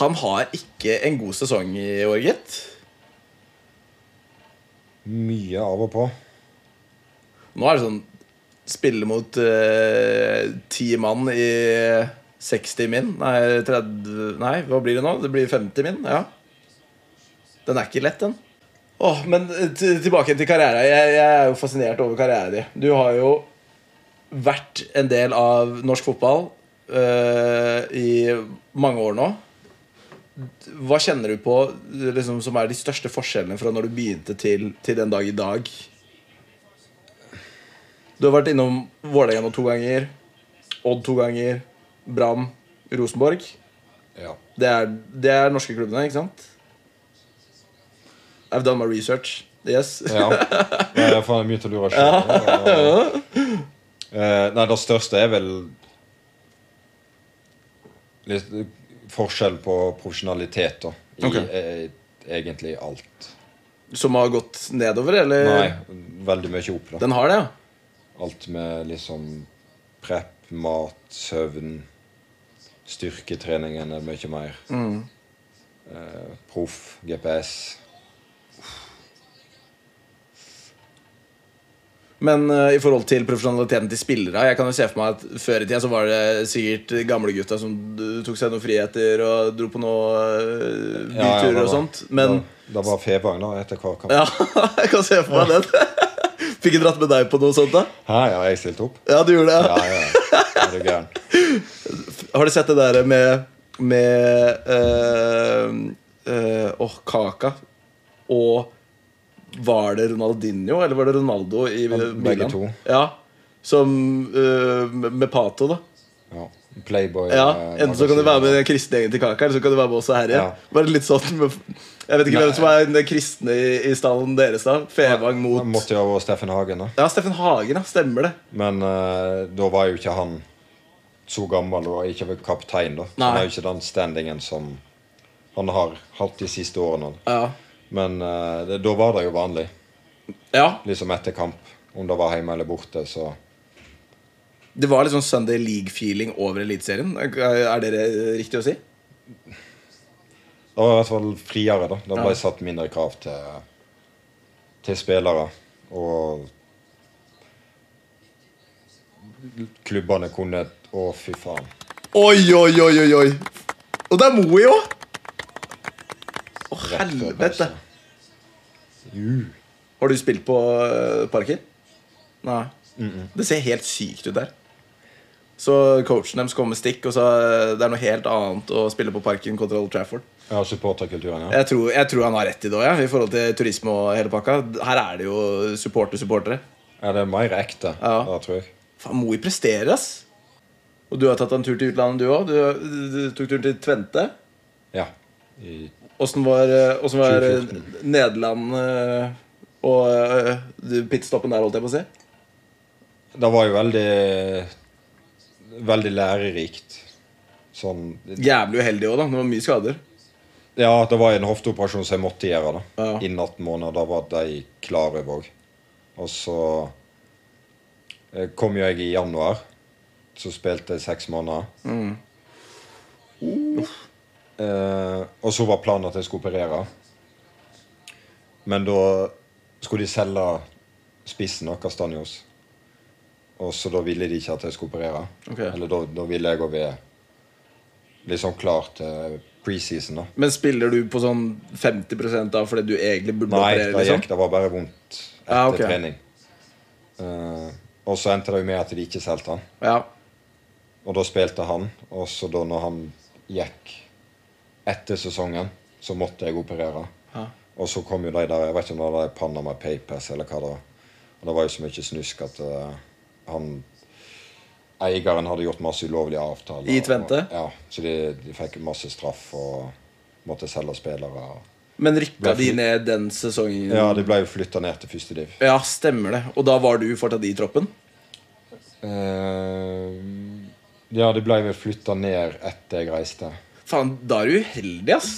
[SPEAKER 2] Han har ikke en god sesong i år, gitt.
[SPEAKER 3] Mye av og på.
[SPEAKER 2] Nå er det sånn Spille mot eh, ti mann i 60 min. Nei, 30 Nei, hva blir det nå? Det blir 50 min, ja. Den er ikke lett, den. Åh, men eh, t- tilbake til karrieren. Jeg, jeg er jo fascinert over karrieren din. Du har jo vært en del av norsk fotball eh, i mange år nå. Hva kjenner du på liksom, som er de største forskjellene fra når du begynte til, til den dag i dag? Du har vært innom Vålerenga nå to ganger. Odd to ganger. Brann. Rosenborg.
[SPEAKER 3] Ja.
[SPEAKER 2] Det er, det er norske klubbene, ikke sant? I've done my research. Yes.
[SPEAKER 3] Ja. Nei, jeg faen, jeg begynte å lure sjøl. Eh, Nei, det største er vel litt forskjell på profesjonalitet, da. I
[SPEAKER 2] Ok.
[SPEAKER 3] eh, egentlig alt.
[SPEAKER 2] Som har gått nedover, eller?
[SPEAKER 3] Nei, veldig mye opp, da.
[SPEAKER 2] Den har det, ja.
[SPEAKER 3] Alt med liksom prep, mat, søvn Styrketreningen er mye mer.
[SPEAKER 2] Mm.
[SPEAKER 3] Eh, Proff, GPS.
[SPEAKER 2] Men eh, i forhold til profesjonaliteten til spillere Jeg kan jo se for meg at Før i tida så var det sikkert gamlegutta som eh, tok seg noen friheter og dro på noen eh,
[SPEAKER 3] Ja, ja,
[SPEAKER 2] byturer
[SPEAKER 3] det
[SPEAKER 2] og
[SPEAKER 3] var-
[SPEAKER 2] sånt. Men
[SPEAKER 3] Det det var Fevang, da, etter hver kamp.
[SPEAKER 2] ja, jeg kan se for meg den. Fikk jeg dratt med deg på noe sånt, da?
[SPEAKER 3] Hæ, ja, jeg stilte opp.
[SPEAKER 2] Ja, du gjorde det. ja.
[SPEAKER 3] Ja, ja. ja. Er du gæren?
[SPEAKER 2] Har du sett det der med Med eh, eh, Åh, Kaka Og Var det Ronaldinho Eller var det Ronaldo i Milan?
[SPEAKER 3] to.
[SPEAKER 2] Ja Som eh, med- Med Pato da
[SPEAKER 3] Ja. Playboy.
[SPEAKER 2] ja,
[SPEAKER 3] eh,
[SPEAKER 2] Enten så kan du være med den kristne gjengen til Kaka Eller så kan du være med oss her
[SPEAKER 3] Ja.
[SPEAKER 2] Bare litt sånn med, Jeg vet ikke hvem som er den kristne i, i stallen deres da Fevang
[SPEAKER 3] Da
[SPEAKER 2] mot
[SPEAKER 3] Måtte jo ha vært Steffen Hagen, da.
[SPEAKER 2] Ja, Steffen Hagen da, stemmer det
[SPEAKER 3] Men eh, da var jo ikke han så gammel og ikke var kaptein, da. Så
[SPEAKER 2] Nei.
[SPEAKER 3] Han er jo ikke den standingen som han har hatt de siste årene.
[SPEAKER 2] Ja,
[SPEAKER 3] Men eh, det, da var det jo vanlig.
[SPEAKER 2] ja
[SPEAKER 3] Liksom etter kamp. Om det var hjemme eller borte, så
[SPEAKER 2] Det var litt sånn Sunday League-feeling over Eliteserien. Er det riktig å si?
[SPEAKER 3] Det var i hvert fall friere, da. Da ble
[SPEAKER 2] Ja.
[SPEAKER 3] det satt mindre krav til, til spillere. Og klubbene kunne Å, fy faen.
[SPEAKER 2] Oi, oi, oi, oi, oi. Og det er Moe jo! Å,
[SPEAKER 3] Rett før
[SPEAKER 2] helvete.
[SPEAKER 3] pause. Ju.
[SPEAKER 2] Har du spilt på øh, Parken? Nei. Det ser helt sykt ut der. Så coachen deres kommer med stikk, og så øh, det er noe helt annet å spille på Parken kontra Old Trafford.
[SPEAKER 3] Ja, supporterkulturen, ja.
[SPEAKER 2] Jeg tror, jeg tror han har rett i det òg, ja, i forhold til turisme og hele pakka. Her er det jo supporter-supportere.
[SPEAKER 3] ja. Det er mer ekte,
[SPEAKER 2] Ja.
[SPEAKER 3] det tror jeg.
[SPEAKER 2] Faen, Moe presterer, ass. Og du har tatt en tur til utlandet, du òg. Du, du, du tok turen til Tvente.
[SPEAKER 3] Ja. I,
[SPEAKER 2] Åssen var, eh, åssen var eh,
[SPEAKER 3] 2014.
[SPEAKER 2] Nederland eh, og eh, du, pitstoppen der, holdt jeg på å si?
[SPEAKER 3] det var jo veldig Veldig lærerikt. Sånn
[SPEAKER 2] Jævlig uheldig òg, da. Det var mye skader.
[SPEAKER 3] Ja, det var en hofteoperasjon som jeg måtte gjøre. da
[SPEAKER 2] Ja.
[SPEAKER 3] I 18 måneder. Da var de klar over òg. Og så eh, kom jo jeg i januar. Så spilte jeg seks måneder. Eh, og så var planen at jeg skulle operere. Men da skulle de selge spissen av Castanjos. Og så da ville de ikke at jeg skulle operere.
[SPEAKER 2] Ok.
[SPEAKER 3] Eller da, da ville jeg gå ved liksom klar til preseason, da.
[SPEAKER 2] Men spiller du på sånn 50 da fordi du egentlig burde
[SPEAKER 3] Nei,
[SPEAKER 2] operere?
[SPEAKER 3] det
[SPEAKER 2] Liksom?
[SPEAKER 3] gikk, det var bare vondt etter
[SPEAKER 2] Ja, ok.
[SPEAKER 3] trening. Eh, og så endte det jo med at de ikke solgte han.
[SPEAKER 2] liksom? Ja.
[SPEAKER 3] Og da spilte han, og så da når han gikk etter sesongen, så måtte jeg operere.
[SPEAKER 2] Ja.
[SPEAKER 3] Og så kom jo de der, jeg vet ikke om det var de Panama Papers eller hva det var. Og det var jo så mye snusk at eh, han Eieren hadde gjort masse ulovlige avtaler.
[SPEAKER 2] I Twente?
[SPEAKER 3] Og, ja, så de, de fikk masse straff og måtte selge spillere. Og,
[SPEAKER 2] Men rykka
[SPEAKER 3] Ble
[SPEAKER 2] de
[SPEAKER 3] fri-
[SPEAKER 2] ned den sesongen?
[SPEAKER 3] ja, de ble jo flytta ned til første div.
[SPEAKER 2] Ja, stemmer det. Og da var du fortsatt i troppen?
[SPEAKER 3] Eh, ja, de ble vel flytta ned etter jeg reiste.
[SPEAKER 2] Faen, da er du uheldig, ass.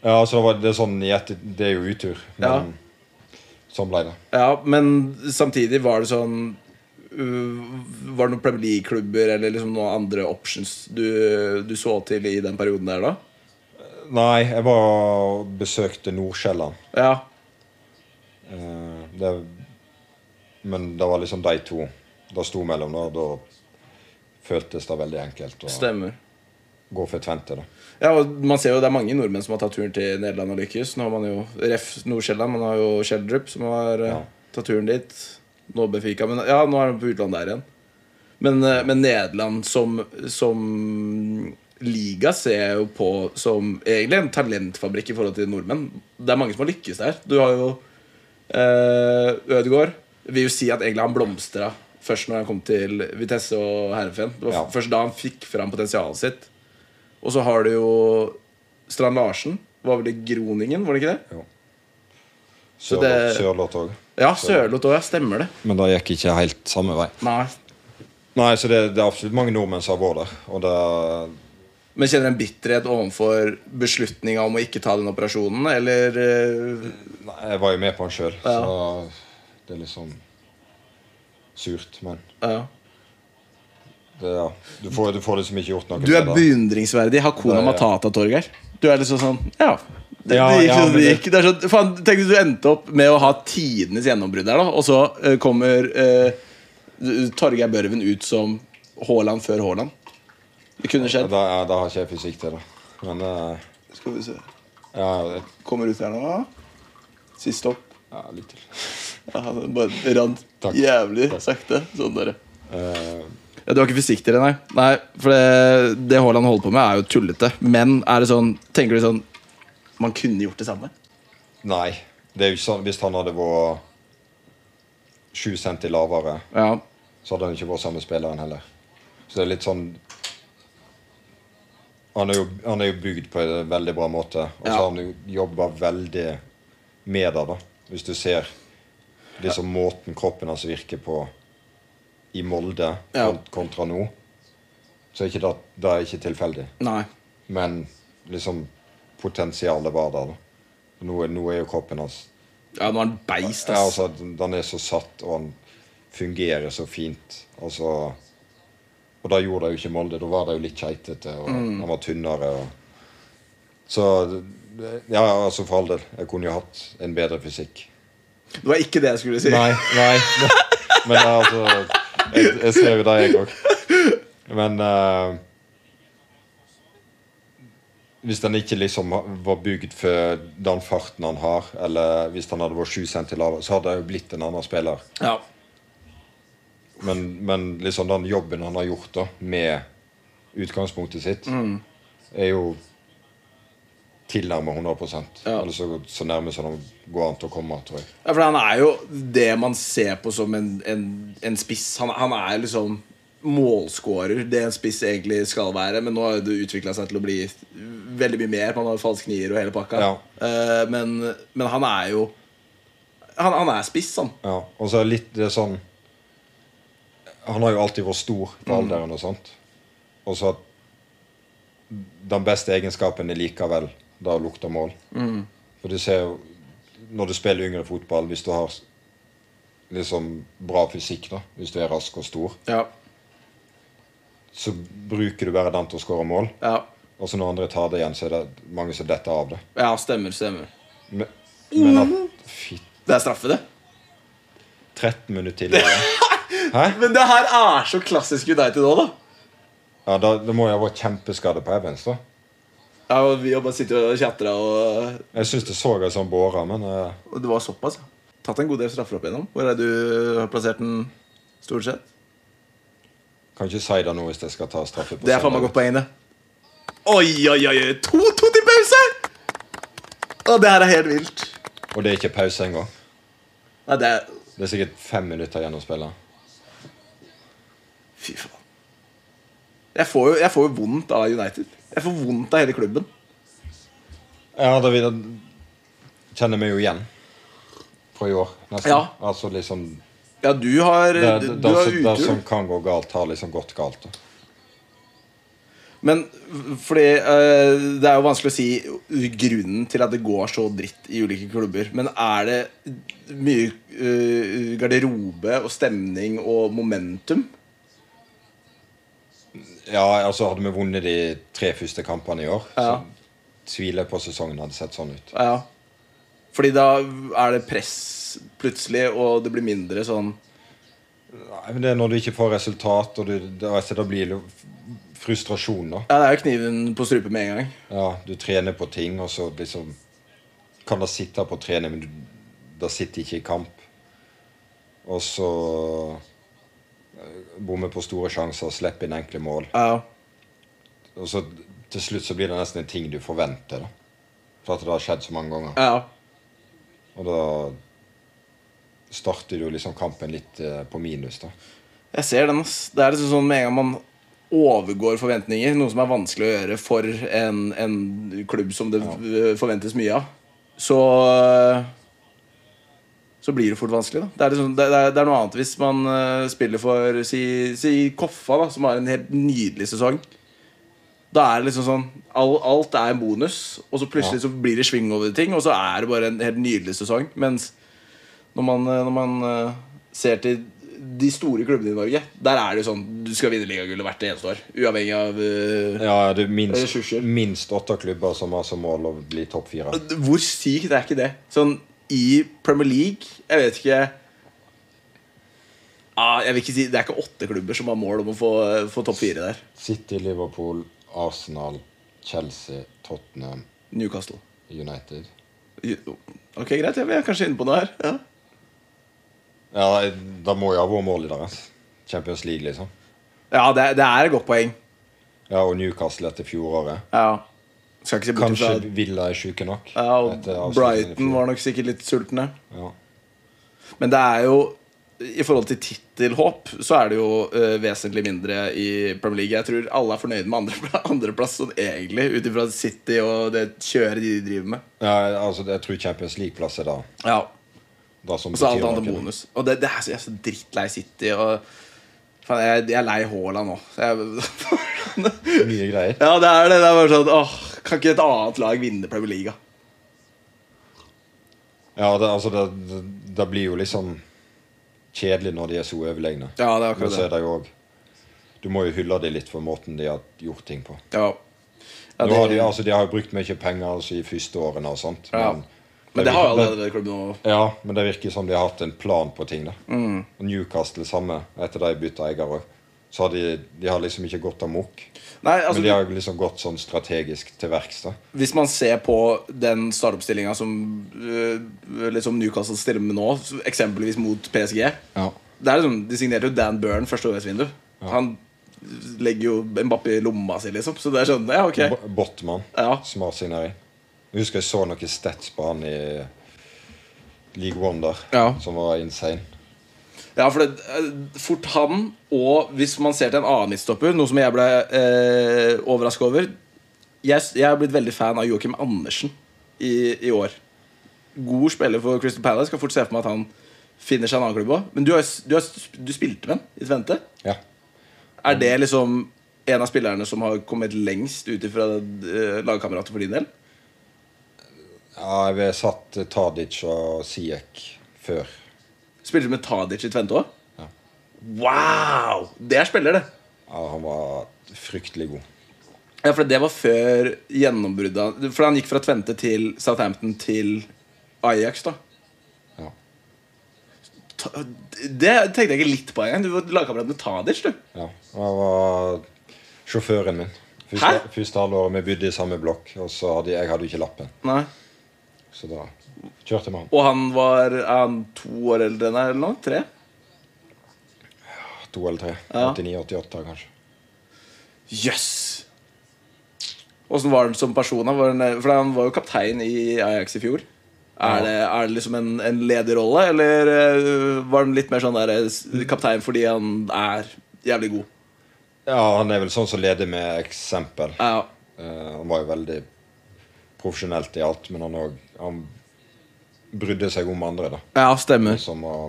[SPEAKER 3] Ja, altså det, var, det, er sånn, i etter, det er jo utur, men sånn ble det.
[SPEAKER 2] Ja, men samtidig var det sånn øh, Var det noen Premier League-klubber eller liksom noen andre options du, du så til i den perioden der, da?
[SPEAKER 3] Nei, jeg var og besøkte Nordsjælland.
[SPEAKER 2] Ja.
[SPEAKER 3] Eh, det, men det var liksom de to det sto mellom, da. Da føltes det veldig enkelt å
[SPEAKER 2] Stemmer.
[SPEAKER 3] gå for Tvente, da.
[SPEAKER 2] Ja, og Man ser jo det er mange nordmenn som har tatt turen til Nederland og lykkes. Nå har man jo Ref Nord-Sjælland, man har jo Schjelderup som har eh,
[SPEAKER 3] Ja.
[SPEAKER 2] tatt turen dit. Nå befika, men ja, nå er han på utlandet der igjen. Men, eh, men Nederland som, som liga ser jeg jo på som egentlig en talentfabrikk i forhold til nordmenn. Det er mange som har lykkes der. Du har jo eh, Ødegaard. Vil jo si at egentlig han blomstra først når han kom til Vitesse og Herrefeen. Det var
[SPEAKER 3] Ja.
[SPEAKER 2] først da han fikk fram potensialet sitt. Og så har du jo Strand Larsen. Var vel i Groningen, var det ikke det? Så det-
[SPEAKER 3] Sørlott- Sørloth òg.
[SPEAKER 2] Ja, Sørloth òg, ja. Stemmer det.
[SPEAKER 3] Men det gikk ikke helt samme vei.
[SPEAKER 2] Nei.
[SPEAKER 3] Nei, så det, det er absolutt mange nordmenn som har vært der. Og det
[SPEAKER 2] Men kjenner du en bitterhet overfor beslutninga om å ikke ta den operasjonen, eller eh,
[SPEAKER 3] Nei, jeg var jo med på den sjøl,
[SPEAKER 2] Ja.
[SPEAKER 3] så det er litt sånn surt. Men
[SPEAKER 2] ja.
[SPEAKER 3] det, ja. du, får, du får liksom ikke gjort noe
[SPEAKER 2] Du er
[SPEAKER 3] med det.
[SPEAKER 2] beundringsverdig Hakuna
[SPEAKER 3] Det er-
[SPEAKER 2] Matata, Torgeir. Du er liksom sånn Ja. Det,
[SPEAKER 3] Ja,
[SPEAKER 2] det gikk
[SPEAKER 3] ja,
[SPEAKER 2] som det
[SPEAKER 3] men
[SPEAKER 2] gikk. Det er sånn, faen, tenk hvis du endte opp med å ha tidenes gjennombrudd der, da, og så eh, kommer eh, Torgeir Børven ut som Haaland før Haaland. Det kunne
[SPEAKER 3] Ja,
[SPEAKER 2] skjedd.
[SPEAKER 3] Da, ja, da har ikke jeg fysikk til det. Men eh,
[SPEAKER 2] Skal vi se.
[SPEAKER 3] ja, jeg-
[SPEAKER 2] Kommer ut her nå. Siste opp.
[SPEAKER 3] ja, litt til.
[SPEAKER 2] Ja, det bare rant
[SPEAKER 3] Takk.
[SPEAKER 2] jævlig sakte. Sånn der.
[SPEAKER 3] Eh,
[SPEAKER 2] Ja, du har ikke fysikk til det, nei? Nei, for det, det Haaland holder på med, er jo tullete. Men er det sånn, tenker du sånn Man kunne gjort det samme?
[SPEAKER 3] nei. Det er jo ikke sånn, Hvis han hadde vært sju centi lavere,
[SPEAKER 2] Ja.
[SPEAKER 3] så hadde han ikke vært samme spilleren heller. Så det er litt sånn Han er jo, han er jo bygd på en veldig bra måte, og så
[SPEAKER 2] Ja.
[SPEAKER 3] har han jo jobba veldig med det, da. Hvis du ser liksom måten kroppen hans virker på i Molde
[SPEAKER 2] Ja.
[SPEAKER 3] kont- kontra nå, så er ikke det, det er ikke tilfeldig.
[SPEAKER 2] Nei.
[SPEAKER 3] Men liksom potensialet var der, da. Nå, er- nå er jo kroppen hans
[SPEAKER 2] Ja, nå er han beist,
[SPEAKER 3] ja,
[SPEAKER 2] ass.
[SPEAKER 3] altså, den er så satt, og han fungerer så fint. Altså, og da gjorde det jo ikke Molde. Da var det jo litt keitete, og han var tynnere. Og, så Ja, altså for all del. Jeg kunne jo hatt en bedre fysikk.
[SPEAKER 2] Det var ikke det jeg skulle si.
[SPEAKER 3] Nei, nei. Men det er altså Jeg, jeg ser jo det, jeg òg. Men eh, Hvis den ikke liksom var bygd for den farten han har, eller hvis han hadde vært 7 cm lavere, så hadde jeg jo blitt en annen spiller.
[SPEAKER 2] Ja.
[SPEAKER 3] Men, men liksom den jobben han har gjort da med utgangspunktet sitt, er jo tilnærmet 100
[SPEAKER 2] Ja.
[SPEAKER 3] Eller så, så nærme som det går an til å komme, tror jeg.
[SPEAKER 2] ja, for han er jo det man ser på som en, en, en spiss. Han, han er liksom målskårer, det en spiss egentlig skal være. Men nå har det utvikla seg til å bli veldig mye mer. Man har falsk nier og hele pakka.
[SPEAKER 3] Ja.
[SPEAKER 2] Eh, men, men han er jo Han, han er spiss, han.
[SPEAKER 3] Ja, og så er det litt det er sånn Han har jo alltid vært stor på alderen og sånt. Og så at den beste egenskapen er likevel da å lukte mål. For du ser jo når du spiller yngre fotball, hvis du har liksom bra fysikk, da, hvis du er rask og stor,
[SPEAKER 2] Ja.
[SPEAKER 3] så bruker du bare den til å skåre mål.
[SPEAKER 2] Ja,
[SPEAKER 3] Og så når andre tar det igjen, så er det mange som detter av det.
[SPEAKER 2] ja stemmer, stemmer.
[SPEAKER 3] Men, men at Fy,
[SPEAKER 2] Det er straffe, det.
[SPEAKER 3] 13 minutter tidligere Hæ?
[SPEAKER 2] Men det her er så klassisk United òg, da.
[SPEAKER 3] Ja, da, da må jeg ha vært kjempeskade på Evans, da.
[SPEAKER 2] Ja, og Vi har bare sittet og chatta, og,
[SPEAKER 3] Jeg syns det så jeg sånn båra, men eh,
[SPEAKER 2] og det var såpass. ja. Tatt en god del straffer opp igjennom. Hvor er det du har plassert den? Stort sett.
[SPEAKER 3] kan ikke si det nå hvis jeg skal ta straffe på
[SPEAKER 2] Det er faen meg
[SPEAKER 3] søndag.
[SPEAKER 2] godt poeng, det. Oi, oi, oi! 2-2 til pause! Å, det her er helt vilt.
[SPEAKER 3] Og det er ikke pause engang.
[SPEAKER 2] Nei, det er
[SPEAKER 3] Det er sikkert fem minutter igjen å spille.
[SPEAKER 2] Fy faen. Jeg får, jo, jeg får jo vondt av United. Jeg får vondt av hele klubben.
[SPEAKER 3] Ja, da vi da kjenner vi jo igjen fra i år, nesten.
[SPEAKER 2] Ja.
[SPEAKER 3] Altså liksom
[SPEAKER 2] Ja, du har,
[SPEAKER 3] Det, det,
[SPEAKER 2] du,
[SPEAKER 3] det,
[SPEAKER 2] du har
[SPEAKER 3] som- det sånn
[SPEAKER 2] utur.
[SPEAKER 3] som kan gå galt, har liksom gått galt. da.
[SPEAKER 2] Men f- fordi eh, det er jo vanskelig å si grunnen til at det går så dritt i ulike klubber. Men er det mye eh, garderobe og stemning og momentum?
[SPEAKER 3] Ja, altså Hadde vi vunnet de tre første kampene i år,
[SPEAKER 2] Ja.
[SPEAKER 3] så tviler jeg på sesongen hadde sett sånn ut.
[SPEAKER 2] Ja. Fordi da er det press plutselig, og det blir mindre sånn
[SPEAKER 3] Nei, men Det er når du ikke får resultat, og du, det, altså, da blir det jo frustrasjon. da.
[SPEAKER 2] Ja, det er jo kniven på strupen med en gang.
[SPEAKER 3] Ja, Du trener på ting, og så liksom kan det sitte på trening, men du, det sitter ikke i kamp. Og så eh, bommer på store sjanser og slipper inn enkle mål.
[SPEAKER 2] Ja.
[SPEAKER 3] Og så til slutt så blir det nesten en ting du forventer. da. For at det har skjedd så mange ganger.
[SPEAKER 2] ja.
[SPEAKER 3] Og da starter du liksom kampen litt eh, på minus, da.
[SPEAKER 2] Jeg ser den, ass. Det er liksom sånn med en gang man overgår forventninger, noe som er vanskelig å gjøre for en, en klubb som det øh, forventes mye av, så øh, så blir det fort vanskelig. da Det er, liksom, det, det er, det er noe annet hvis man øh, spiller for si, si Koffa, da som har en helt nydelig sesong. Da er det liksom sånn all, Alt er en bonus, og så plutselig så blir det sving over ting, og så er det bare en helt nydelig sesong. Mens når man, når man eh, ser til de store klubbene i Norge, der er det jo sånn du skal vinne ligagullet hvert eneste år. Uavhengig av eh,
[SPEAKER 3] Ja, det er minst,
[SPEAKER 2] Ressurser.
[SPEAKER 3] minst åtte klubber som har som mål å bli topp fire.
[SPEAKER 2] Hvor sykt er ikke det? Sånn i Premier League Jeg vet ikke ah, Jeg vil ikke si Det er ikke åtte klubber som har mål om å få, få topp fire der.
[SPEAKER 3] City, Liverpool, Arsenal, Chelsea, Tottenham,
[SPEAKER 2] Newcastle.
[SPEAKER 3] United.
[SPEAKER 2] Ok, greit. Jeg er kanskje inne på noe her. Ja.
[SPEAKER 3] Ja, Da må jo ha vært målet deres. Champions League, liksom.
[SPEAKER 2] Ja, det, er- det er et godt poeng.
[SPEAKER 3] Ja, Og Newcastle etter fjoråret.
[SPEAKER 2] Ja. Skal ikke se bort
[SPEAKER 3] Kanskje
[SPEAKER 2] fra
[SPEAKER 3] Villa er sjuke nok.
[SPEAKER 2] ja,
[SPEAKER 3] etter
[SPEAKER 2] og
[SPEAKER 3] avslutningen i
[SPEAKER 2] Brighton
[SPEAKER 3] fjor.
[SPEAKER 2] var nok sikkert litt sultne.
[SPEAKER 3] ja.
[SPEAKER 2] Men det er jo i forhold til tittelhåp så er det jo eh, vesentlig mindre i Premier League. Jeg tror alle er fornøyd med andre, andreplass sånn egentlig, ut ifra City og det kjøret de driver med.
[SPEAKER 3] ja, altså, Jeg tror Champions League-plass er da.
[SPEAKER 2] Ja,
[SPEAKER 3] da som
[SPEAKER 2] Og så alt
[SPEAKER 3] betyr
[SPEAKER 2] annet
[SPEAKER 3] noe.
[SPEAKER 2] bonus. Og det, det er så, jeg er så drittlei City. Og faen, jeg, jeg er lei Haaland nå. Så jeg,
[SPEAKER 3] Mye greier.
[SPEAKER 2] ja, det er det. Det er bare sånn åh, Kan ikke et annet lag vinne Premier League? da?
[SPEAKER 3] Ja, det, altså, det, det, det blir jo liksom kjedelig når de er så overlegne.
[SPEAKER 2] Ja, det er
[SPEAKER 3] Men så er
[SPEAKER 2] akkurat det.
[SPEAKER 3] det jo òg Du må jo hylle dem litt for måten de har gjort ting på.
[SPEAKER 2] Ja. Ja,
[SPEAKER 3] Nå har de,
[SPEAKER 2] det,
[SPEAKER 3] altså, de har jo brukt mye penger altså, i første årene og sånt.
[SPEAKER 2] Ja. men det har jo allerede klubben nå.
[SPEAKER 3] Ja, men det virker som de har hatt en plan på ting. da.
[SPEAKER 2] Mm.
[SPEAKER 3] Og Newcastle samme, etter de bytta eier òg. Så har de, de har liksom ikke gått amok.
[SPEAKER 2] Nei, altså,
[SPEAKER 3] men de har jo liksom gått sånn strategisk til verks. da.
[SPEAKER 2] Hvis man ser på den startoppstillinga som øh, liksom Newcastle stiller med nå, så- eksempelvis mot PSG
[SPEAKER 3] Ja.
[SPEAKER 2] det er liksom, De signerte jo Dan Byrne første årets vindu. Han legger jo Mbappé i lomma si, liksom. Så det er sånn, ja, ok.
[SPEAKER 3] B- Botman.
[SPEAKER 2] Ja.
[SPEAKER 3] Smart signering. Jeg husker jeg så noen stats på han i League One der,
[SPEAKER 2] Ja.
[SPEAKER 3] som var insane.
[SPEAKER 2] Ja, for det, øh, fort han, og hvis man ser til en annen midtstopper, noe som jeg ble øh, overraska over jeg, jeg har blitt veldig fan av Joakim Andersen i, i år. god spiller for Crystal Palace. Kan fort se for meg at han finner seg en annen klubb òg. Men du, har, du, har, du spilte med han i Tvente.
[SPEAKER 3] Ja.
[SPEAKER 2] Er det liksom en av spillerne som har kommet lengst ut ifra eh, lagkamerater for din del?
[SPEAKER 3] ja jeg satt Tadic og Siek før.
[SPEAKER 2] Spilte du med Tadic i Tvente òg? Wow! Det er spiller, det.
[SPEAKER 3] Ja, han var fryktelig god.
[SPEAKER 2] Ja, for det var før gjennombruddet han- For han gikk fra Tvente til Southampton til Ajax, da.
[SPEAKER 3] Ja.
[SPEAKER 2] Ta- Det tenkte jeg ikke litt på engang. Du var lagkamerat med Tadic, du.
[SPEAKER 3] Ja, han var sjåføren min. Første,
[SPEAKER 2] Hæ?
[SPEAKER 3] første halvåret vi bodde i samme blokk, og så hadde jeg hadde jo ikke lappen.
[SPEAKER 2] Nei.
[SPEAKER 3] Så da kjørte vi han.
[SPEAKER 2] Og han var er han to år eldre enn deg, eller noe? Tre?
[SPEAKER 3] To eller tre.
[SPEAKER 2] Ja.
[SPEAKER 3] 89-88, kanskje.
[SPEAKER 2] Jøss! Åssen var han som person? da? Var han, for han var jo kaptein i Ajax i fjor. Er,
[SPEAKER 3] Ja.
[SPEAKER 2] det, er det liksom en, en lederrolle, eller eh, var han litt mer sånn der, eh, s- kaptein fordi han er jævlig god?
[SPEAKER 3] Ja, han er vel sånn som leder med eksempel.
[SPEAKER 2] Ja.
[SPEAKER 3] Eh, han var jo veldig profesjonelt i alt, men han òg Han brydde seg om andre, da.
[SPEAKER 2] Ja, stemmer.
[SPEAKER 3] Som å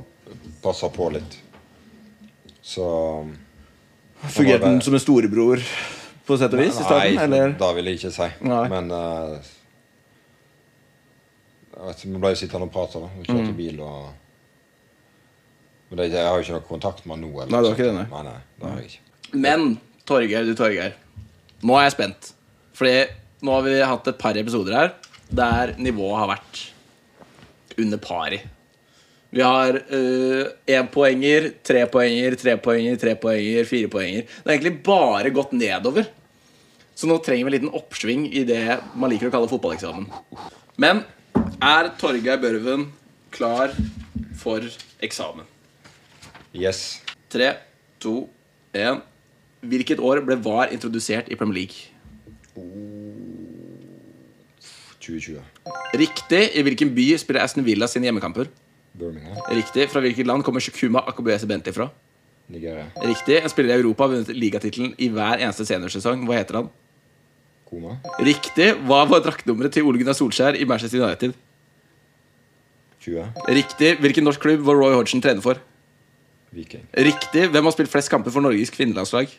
[SPEAKER 3] passe på litt. Så
[SPEAKER 2] Fungerte han som en storebror på sett og vis i starten? Eller?
[SPEAKER 3] da vil jeg ikke si.
[SPEAKER 2] Nei.
[SPEAKER 3] Men eh, jeg vet, ikke, Vi ble jo sittende og prate, da. Vi
[SPEAKER 2] Mm.
[SPEAKER 3] kjørte bil og Men det, jeg har jo ikke noe kontakt med han nå. Eller,
[SPEAKER 2] Nei, du har
[SPEAKER 3] noe
[SPEAKER 2] ikke
[SPEAKER 3] sånt.
[SPEAKER 2] det, nei.
[SPEAKER 3] Nei, nei, det har jeg ikke.
[SPEAKER 2] Men Torgeir, du Torgeir. Nå er jeg spent. Fordi nå har vi hatt et par episoder her der nivået har vært under pari. Vi har eh, énpoenger, uh, trepoenger, trepoenger, trepoenger, firepoenger. Det har egentlig bare gått nedover. Så nå trenger vi en liten oppsving i det man liker å kalle fotballeksamen. Men er Torgeir Børven klar for eksamen?
[SPEAKER 3] Yes.
[SPEAKER 2] Tre, to, én. Hvilket år ble VAR introdusert i Premier League?
[SPEAKER 3] 2020.
[SPEAKER 2] Riktig. I hvilken by spiller Aston Villa sine hjemmekamper?
[SPEAKER 3] Birmingham.
[SPEAKER 2] Riktig. Fra hvilket land kommer Shukuma Akabuese Bente fra?
[SPEAKER 3] Nigeria.
[SPEAKER 2] Riktig. En spiller i Europa har vunnet ligatittelen i hver eneste seniorsesong. Hva heter han?
[SPEAKER 3] Koma.
[SPEAKER 2] Riktig. Hva var draktnummeret til Ole Gunnar Solskjær i Manchester United?
[SPEAKER 3] 20.
[SPEAKER 2] Riktig. Hvilken norsk klubb var Roy Hodgson trener for?
[SPEAKER 3] Viking.
[SPEAKER 2] Riktig. Hvem har spilt flest kamper for Norges kvinnelandslag?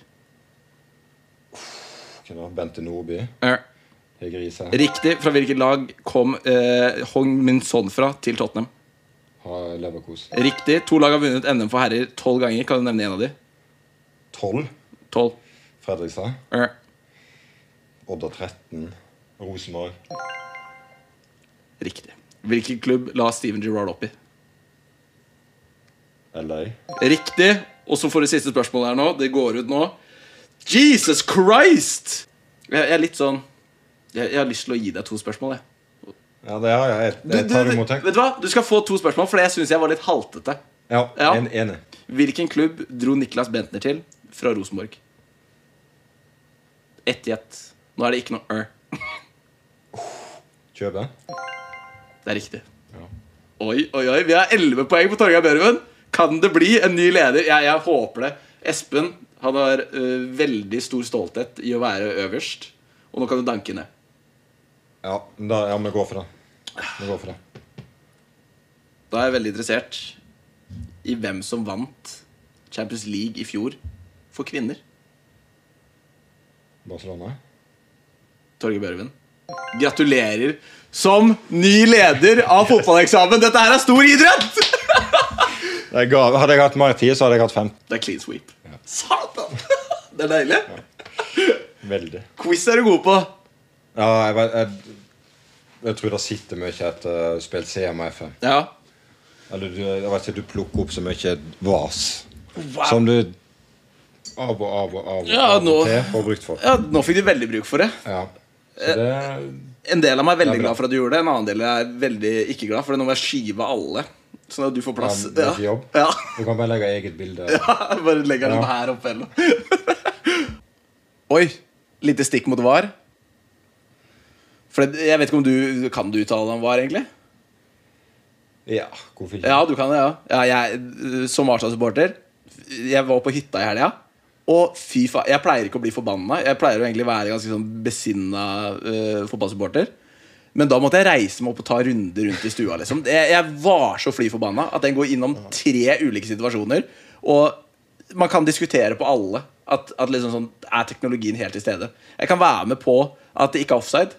[SPEAKER 3] Hvem da? Bente Nordby.
[SPEAKER 2] Eh.
[SPEAKER 3] Hege Riise.
[SPEAKER 2] Riktig. Fra hvilket lag kom eh, Hong Min Son fra til Tottenham?
[SPEAKER 3] Har Leverkos.
[SPEAKER 2] Riktig. To lag har vunnet NM for herrer tolv ganger. Kan du nevne en av de?
[SPEAKER 3] 12.
[SPEAKER 2] Tolv.
[SPEAKER 3] Fredrikstad.
[SPEAKER 2] Eh.
[SPEAKER 3] Odda 13. Rosenborg.
[SPEAKER 2] Riktig. Hvilken klubb la Steven Gerrard opp i?
[SPEAKER 3] LA.
[SPEAKER 2] Riktig. Og så får du siste spørsmål her nå. Det går ut nå. Jesus Christ! Jeg, jeg er litt sånn jeg, jeg har lyst til å gi deg to spørmål. Jeg.
[SPEAKER 3] Ja, det har jeg. Jeg, jeg tar imot
[SPEAKER 2] vet
[SPEAKER 3] deg.
[SPEAKER 2] du hva? Du skal få to spørsmål, for jeg syns jeg var litt haltete.
[SPEAKER 3] Ja,
[SPEAKER 2] Ja.
[SPEAKER 3] En, enig.
[SPEAKER 2] Hvilken klubb dro Niklas Bentner til fra Rosenborg? Ett gjett. Nå er det ikke noe r.
[SPEAKER 3] Kjøpe.
[SPEAKER 2] Det er riktig.
[SPEAKER 3] Ja.
[SPEAKER 2] Oi, oi, oi. Vi har elleve poeng på Torgeir Børven. Kan det bli en ny leder? Jeg, jeg håper det. Espen han har øh, veldig stor stolthet i å være øverst. Og nå kan du danke ned.
[SPEAKER 3] Ja, men da, ja, vi går for det. Vi går for det.
[SPEAKER 2] Da er jeg veldig interessert i hvem som vant Champions League i fjor for kvinner.
[SPEAKER 3] Barcelona.
[SPEAKER 2] Torgeir Børven. Gratulerer som ny leder av fotballeksamen! Dette her er stor idrett!
[SPEAKER 3] Jeg ga, hadde jeg hatt mer tid, så hadde jeg hatt fem.
[SPEAKER 2] Det er clean sweep. Satan! Det er deilig.
[SPEAKER 3] Veldig.
[SPEAKER 2] Quiz er du god på.
[SPEAKER 3] Ja, jeg, vet- jeg, jeg tror det sitter mye eh, etter å ha spilt CM og FM.
[SPEAKER 2] Ja.
[SPEAKER 3] Eller du, jeg vet ikke, du plukker opp så mye vas
[SPEAKER 2] Wow.
[SPEAKER 3] som du av og av og av og,
[SPEAKER 2] Ja,
[SPEAKER 3] av
[SPEAKER 2] nå-
[SPEAKER 3] og til får brukt for.
[SPEAKER 2] Ja, Nå fikk du veldig bruk for det.
[SPEAKER 3] Ja. Så det
[SPEAKER 2] En del av meg er veldig
[SPEAKER 3] Ja, bra.
[SPEAKER 2] glad for at du gjorde det, en annen del er veldig ikke glad. For nå må jeg skyve alle, sånn at du får plass.
[SPEAKER 3] Ja, det er ikke jobb.
[SPEAKER 2] Ja.
[SPEAKER 3] Du kan bare legge eget bilde.
[SPEAKER 2] Bare legger den
[SPEAKER 3] Ja.
[SPEAKER 2] her oppe eller noe. Oi. Lite stikk mot var. For det- jeg vet ikke om du Kan du uttale deg om var, egentlig?
[SPEAKER 3] Ja, hvorfor ikke?
[SPEAKER 2] Ja, du kan det, ja. ja jeg, som Arsenal-supporter Jeg var på hytta i helga. Og fy faen, jeg pleier ikke å bli forbanna. Jeg pleier jo egentlig å være ganske sånn besinna eh, fotballsupporter. Men da måtte jeg reise meg opp og ta runder rundt i stua. liksom Jeg, jeg var så fly forbanna at den går innom tre ulike situasjoner. Og man kan diskutere på alle. At, at liksom sånn, Er teknologien helt til stede? Jeg kan være med på at det ikke er offside.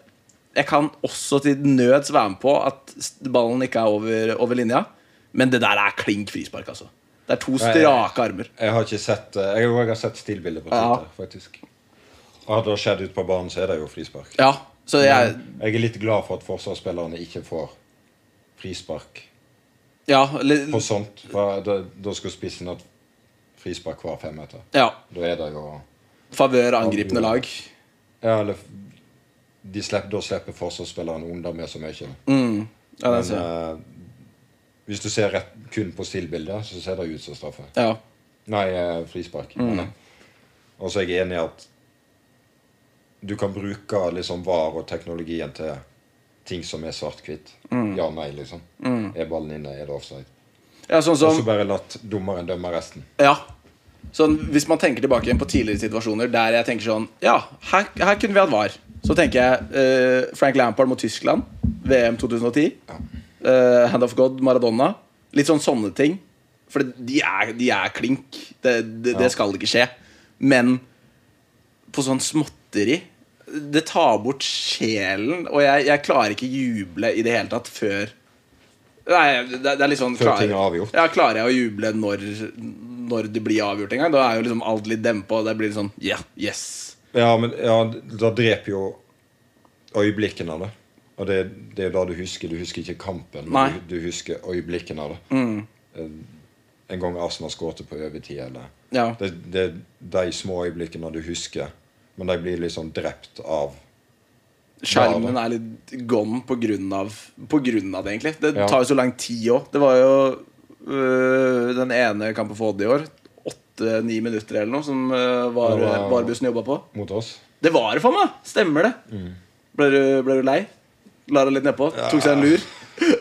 [SPEAKER 2] Jeg kan også til nøds være med på at s- ballen ikke er over, over linja. Men det der er klink frispark, altså. Det er to strake armer.
[SPEAKER 3] Jeg har ikke sett eh, Jeg har også sett stilbilder på Twitter, faktisk. Og hadde det skjedd ute på banen, så er det jo frispark.
[SPEAKER 2] Ja, så jeg
[SPEAKER 3] Jeg er litt glad for at forsvarsspillerne ikke får frispark
[SPEAKER 2] Ja. eller-
[SPEAKER 3] på sånt. for Da, da skal spissen ha frispark hver femmeter.
[SPEAKER 2] ja
[SPEAKER 3] Da er det jo
[SPEAKER 2] Favør angripende lag.
[SPEAKER 3] Ja, eller de slipper, Da slipper forsvarsspillerne unna med så mye.
[SPEAKER 2] Ja, det
[SPEAKER 3] Men
[SPEAKER 2] ser jeg.
[SPEAKER 3] eh, hvis du ser rett, kun på stillbildet, så ser det ut som straffe.
[SPEAKER 2] Ja.
[SPEAKER 3] Nei, eh, frispark. Og så er jeg enig i at du kan bruke liksom VAR og teknologien til ting som er svart-hvitt. Ja, nei, liksom. Er ballen inne, er det offside?
[SPEAKER 2] ja, sånn
[SPEAKER 3] Og så
[SPEAKER 2] som
[SPEAKER 3] bare latt dommeren dømme resten.
[SPEAKER 2] Ja. Sånn, hvis man tenker tilbake igjen på tidligere situasjoner der jeg tenker sånn Ja, her, her kunne vi hatt VAR. Så tenker jeg eh, Frank Lampard mot Tyskland, VM 2010. Eh, Hand of God, Maradona. Litt sånn sånne ting. For de er, de er klink. Det, det, det skal ikke skje. Men på sånn småtteri Det tar bort sjelen, og jeg, jeg klarer ikke juble i det hele tatt før Nei, det, det er litt sånn
[SPEAKER 3] Før ting er avgjort.
[SPEAKER 2] Ja, klarer jeg å juble når, når det blir avgjort en gang? Da er jo liksom alt litt dempa, og det blir litt sånn Ja, yes.
[SPEAKER 3] Ja, men ja, da dreper jo øyeblikkene av det. Og det, det er jo da du husker. Du husker ikke kampen,
[SPEAKER 2] Nei. Mm.
[SPEAKER 3] men du, du husker øyeblikkene av det. En- En gang Arsenal skårte på overtid, eller
[SPEAKER 2] Ja.
[SPEAKER 3] det, det er de små øyeblikkene du husker, men de blir liksom drept av
[SPEAKER 2] Skjermen er litt gone på grunn av, på grunn av det, egentlig. Det
[SPEAKER 3] Ja.
[SPEAKER 2] tar jo så lang tid òg. Det var jo øh, den ene kampen for Odd i år. Åtte-ni minutter eller noe som øh, var,
[SPEAKER 3] Ja, ja, ja.
[SPEAKER 2] Varbussen jobba på.
[SPEAKER 3] mot oss.
[SPEAKER 2] Det var det for meg! Stemmer det. Ble, du, ble du lei? La deg litt nedpå? Tok seg en lur?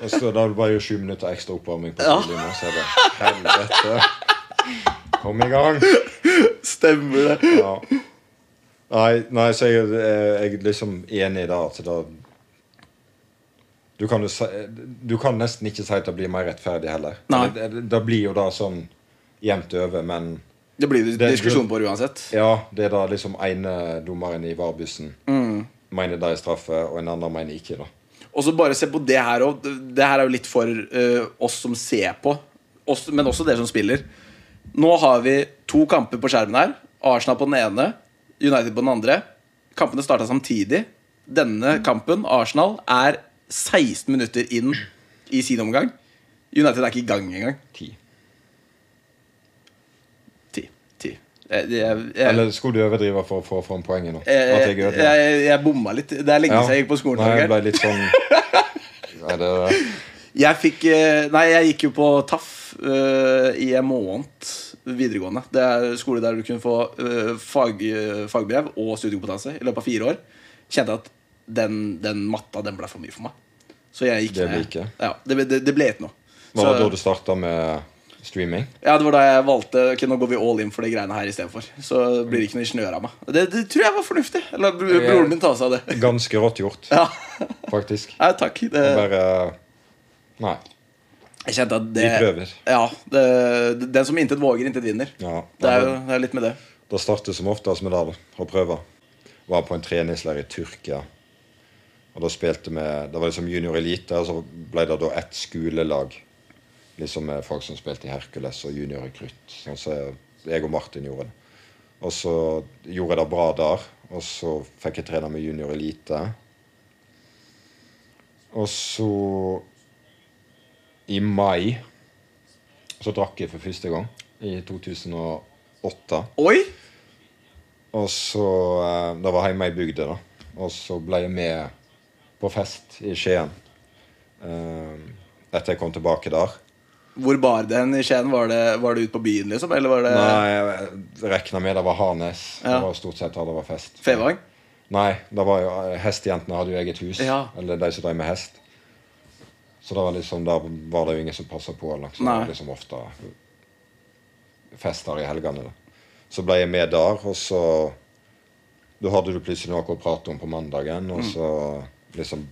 [SPEAKER 3] Og så Da var det jo sju minutter ekstra oppvarming på
[SPEAKER 2] Ja.
[SPEAKER 3] Solli nå, så er det Helvete! Kom i gang!
[SPEAKER 2] Stemmer det.
[SPEAKER 3] Ja. Nei, nei, så jeg, eh, jeg er liksom enig i det at det du kan, jo si, du kan nesten ikke si at det blir mer rettferdig heller.
[SPEAKER 2] Nei.
[SPEAKER 3] Det, det, det blir jo da sånn jevnt over, men
[SPEAKER 2] Det blir jo
[SPEAKER 3] Det-
[SPEAKER 2] diskusjon på det uansett.
[SPEAKER 3] ja, det er da liksom ene dommeren i VAR-bussen
[SPEAKER 2] Mm.
[SPEAKER 3] mener det er straffe, og en annen mener ikke. da.
[SPEAKER 2] Og så bare se på det her òg. Det her er jo litt for eh, oss som ser på, oss, men også dere som spiller. Nå har vi to kamper på skjermen her. Arsenal på den ene, United på den andre. Kampene starta samtidig. Denne kampen, Arsenal, er 16 minutter inn i sin omgang. United er ikke i gang engang.
[SPEAKER 3] Ti.
[SPEAKER 2] Ti. Ti. Jeg, jeg, jeg,
[SPEAKER 3] Eller skulle du overdrive for å få fram poenget nå? At
[SPEAKER 2] jeg,
[SPEAKER 3] jeg
[SPEAKER 2] jeg,
[SPEAKER 3] ødela?
[SPEAKER 2] Eh, jeg bomma litt. Det er lenge
[SPEAKER 3] Ja.
[SPEAKER 2] siden jeg gikk på skolen.
[SPEAKER 3] Nei, jeg
[SPEAKER 2] Torgeir.
[SPEAKER 3] ble litt sånn Nei, det
[SPEAKER 2] Jeg fikk eh, Nei, jeg gikk jo på TAF eh, i en måned videregående. Det er skole der du kunne få eh, fag, eh, fagbrev og studiekompetanse i løpet av fire år. Kjente at den, den matta den ble for mye for meg. Så jeg gikk
[SPEAKER 3] Det ble
[SPEAKER 2] ned.
[SPEAKER 3] ikke.
[SPEAKER 2] Ja, det, ble- det, det ble ikke noe.
[SPEAKER 3] Hva var
[SPEAKER 2] Så-
[SPEAKER 3] det da du starta med streaming?
[SPEAKER 2] ja, det var da jeg valgte Ok, nå går vi all in for de greiene her istedenfor. Så blir det ikke noe ingeniør av meg. Det, det tror jeg var fornuftig. La bro- broren min ta seg av det.
[SPEAKER 3] Ganske rått gjort,
[SPEAKER 2] Ja,
[SPEAKER 3] faktisk.
[SPEAKER 2] Nei, takk. Det,
[SPEAKER 3] Og Bare Nei.
[SPEAKER 2] jeg kjente at det
[SPEAKER 3] Vi prøver.
[SPEAKER 2] Ja, det, Den som intet våger, intet vinner.
[SPEAKER 3] Ja.
[SPEAKER 2] Det er jo det er litt med det.
[SPEAKER 3] Det starter som oftest med det, da, å prøve. Var på en treningsleir i Tyrkia. Og da spilte vi Det var liksom junior elite, og så ble det da ett skolelag. Liksom med folk som spilte i Hercules og junior rekrutt. Sånn som jeg- jeg og Martin gjorde det. Og så gjorde jeg det bra der. Og så fikk jeg trene med junior elite. Og så I mai så drakk jeg for første gang. I 2008.
[SPEAKER 2] Oi!
[SPEAKER 3] Og så eh, Det var hjemme i bygda, da. Og så ble jeg med på fest i Skien. Eh, Etter jeg kom tilbake der.
[SPEAKER 2] Hvor bar det hen i Skien? Var det, var det ut på byen, liksom? Eller var det
[SPEAKER 3] Nei, jeg regna med det var Harnes.
[SPEAKER 2] Ja.
[SPEAKER 3] Det var stort sett der det var fest.
[SPEAKER 2] Fevang?
[SPEAKER 3] Nei, det var jo, eh, hestjentene hadde jo eget hus.
[SPEAKER 2] Ja.
[SPEAKER 3] Eller de som drev med hest. Så det var liksom, der var det jo ingen som passa på. Eller, noe, så det
[SPEAKER 2] Nei.
[SPEAKER 3] var liksom ofte fester i helgene. Da. Så ble jeg med der, og så Da hadde du plutselig noe å prate om på mandagen, og
[SPEAKER 2] Mm.
[SPEAKER 3] så liksom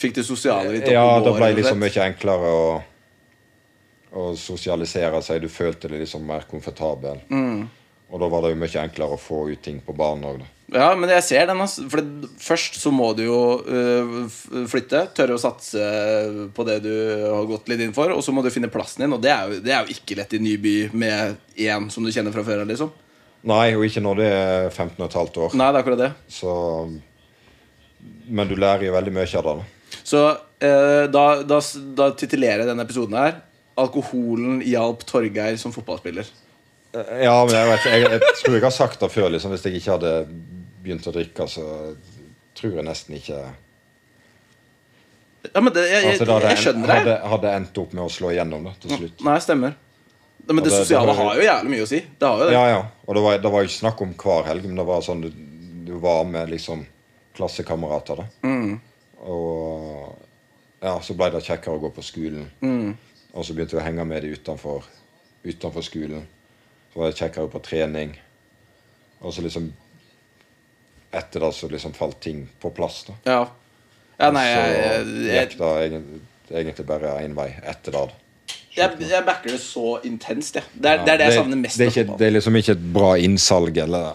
[SPEAKER 2] Fikk det sosiale litt opp
[SPEAKER 3] Ja,
[SPEAKER 2] og
[SPEAKER 3] det
[SPEAKER 2] går,
[SPEAKER 3] ble
[SPEAKER 2] rett og
[SPEAKER 3] liksom
[SPEAKER 2] slett?
[SPEAKER 3] mye enklere å,
[SPEAKER 2] Mm.
[SPEAKER 3] å sosialisere seg. Du følte deg liksom mer komfortabel. Og da var det jo mye enklere å få ut ting på banen òg, da.
[SPEAKER 2] Ja, men jeg ser den. ass. For det, først så må du jo øh, f- flytte. Tørre å satse på det du har gått litt inn for. Og så må du finne plassen din, og det er jo, det er jo ikke lett i ny by med én som du kjenner fra før av. Liksom.
[SPEAKER 3] Nei, og ikke når det er 15 15,5 år.
[SPEAKER 2] Nei, det er akkurat det.
[SPEAKER 3] Så Men du lærer jo veldig mye av det. da.
[SPEAKER 2] Så øh, da, da, s- da titulerer jeg denne episoden her 'Alkoholen hjalp Torgeir som fotballspiller'.
[SPEAKER 3] Ja, men jeg vet Jeg, jeg tror jeg har sagt det før, liksom. Hvis jeg ikke hadde begynt å drikke, så tror jeg nesten ikke
[SPEAKER 2] Ja, men det, jeg, jeg,
[SPEAKER 3] Altså, da
[SPEAKER 2] jeg,
[SPEAKER 3] hadde en-
[SPEAKER 2] skjønner det.
[SPEAKER 3] Hadde, hadde endt opp med å slå igjennom da, til slutt.
[SPEAKER 2] Nei, stemmer. Ja, men
[SPEAKER 3] Ja,
[SPEAKER 2] det,
[SPEAKER 3] det- det
[SPEAKER 2] sosiale
[SPEAKER 3] hører-
[SPEAKER 2] har jo jævlig mye å si. Det har jo det.
[SPEAKER 3] Ja, ja. Og det var, det var jo ikke snakk om hver helg, men det var sånn du, du var med liksom klassekamerater. da.
[SPEAKER 2] Mm.
[SPEAKER 3] Og ja, så ble det kjekkere å gå på skolen.
[SPEAKER 2] Mm.
[SPEAKER 3] Og så begynte vi å henge med de utenfor, utenfor skolen. Så var det kjekkere på trening. Og så liksom Etter det så liksom falt ting på plass. da.
[SPEAKER 2] Ja. ja
[SPEAKER 3] Altså,
[SPEAKER 2] nei, jeg, jeg,
[SPEAKER 3] så
[SPEAKER 2] jeg,
[SPEAKER 3] gikk det egen- egentlig bare én vei etter det. da.
[SPEAKER 2] Jeg, jeg backer det så intenst, jeg. Det er det, er det jeg savner mest.
[SPEAKER 3] det er,
[SPEAKER 2] av
[SPEAKER 3] ikke,
[SPEAKER 2] fotball.
[SPEAKER 3] det er liksom ikke et bra innsalg, eller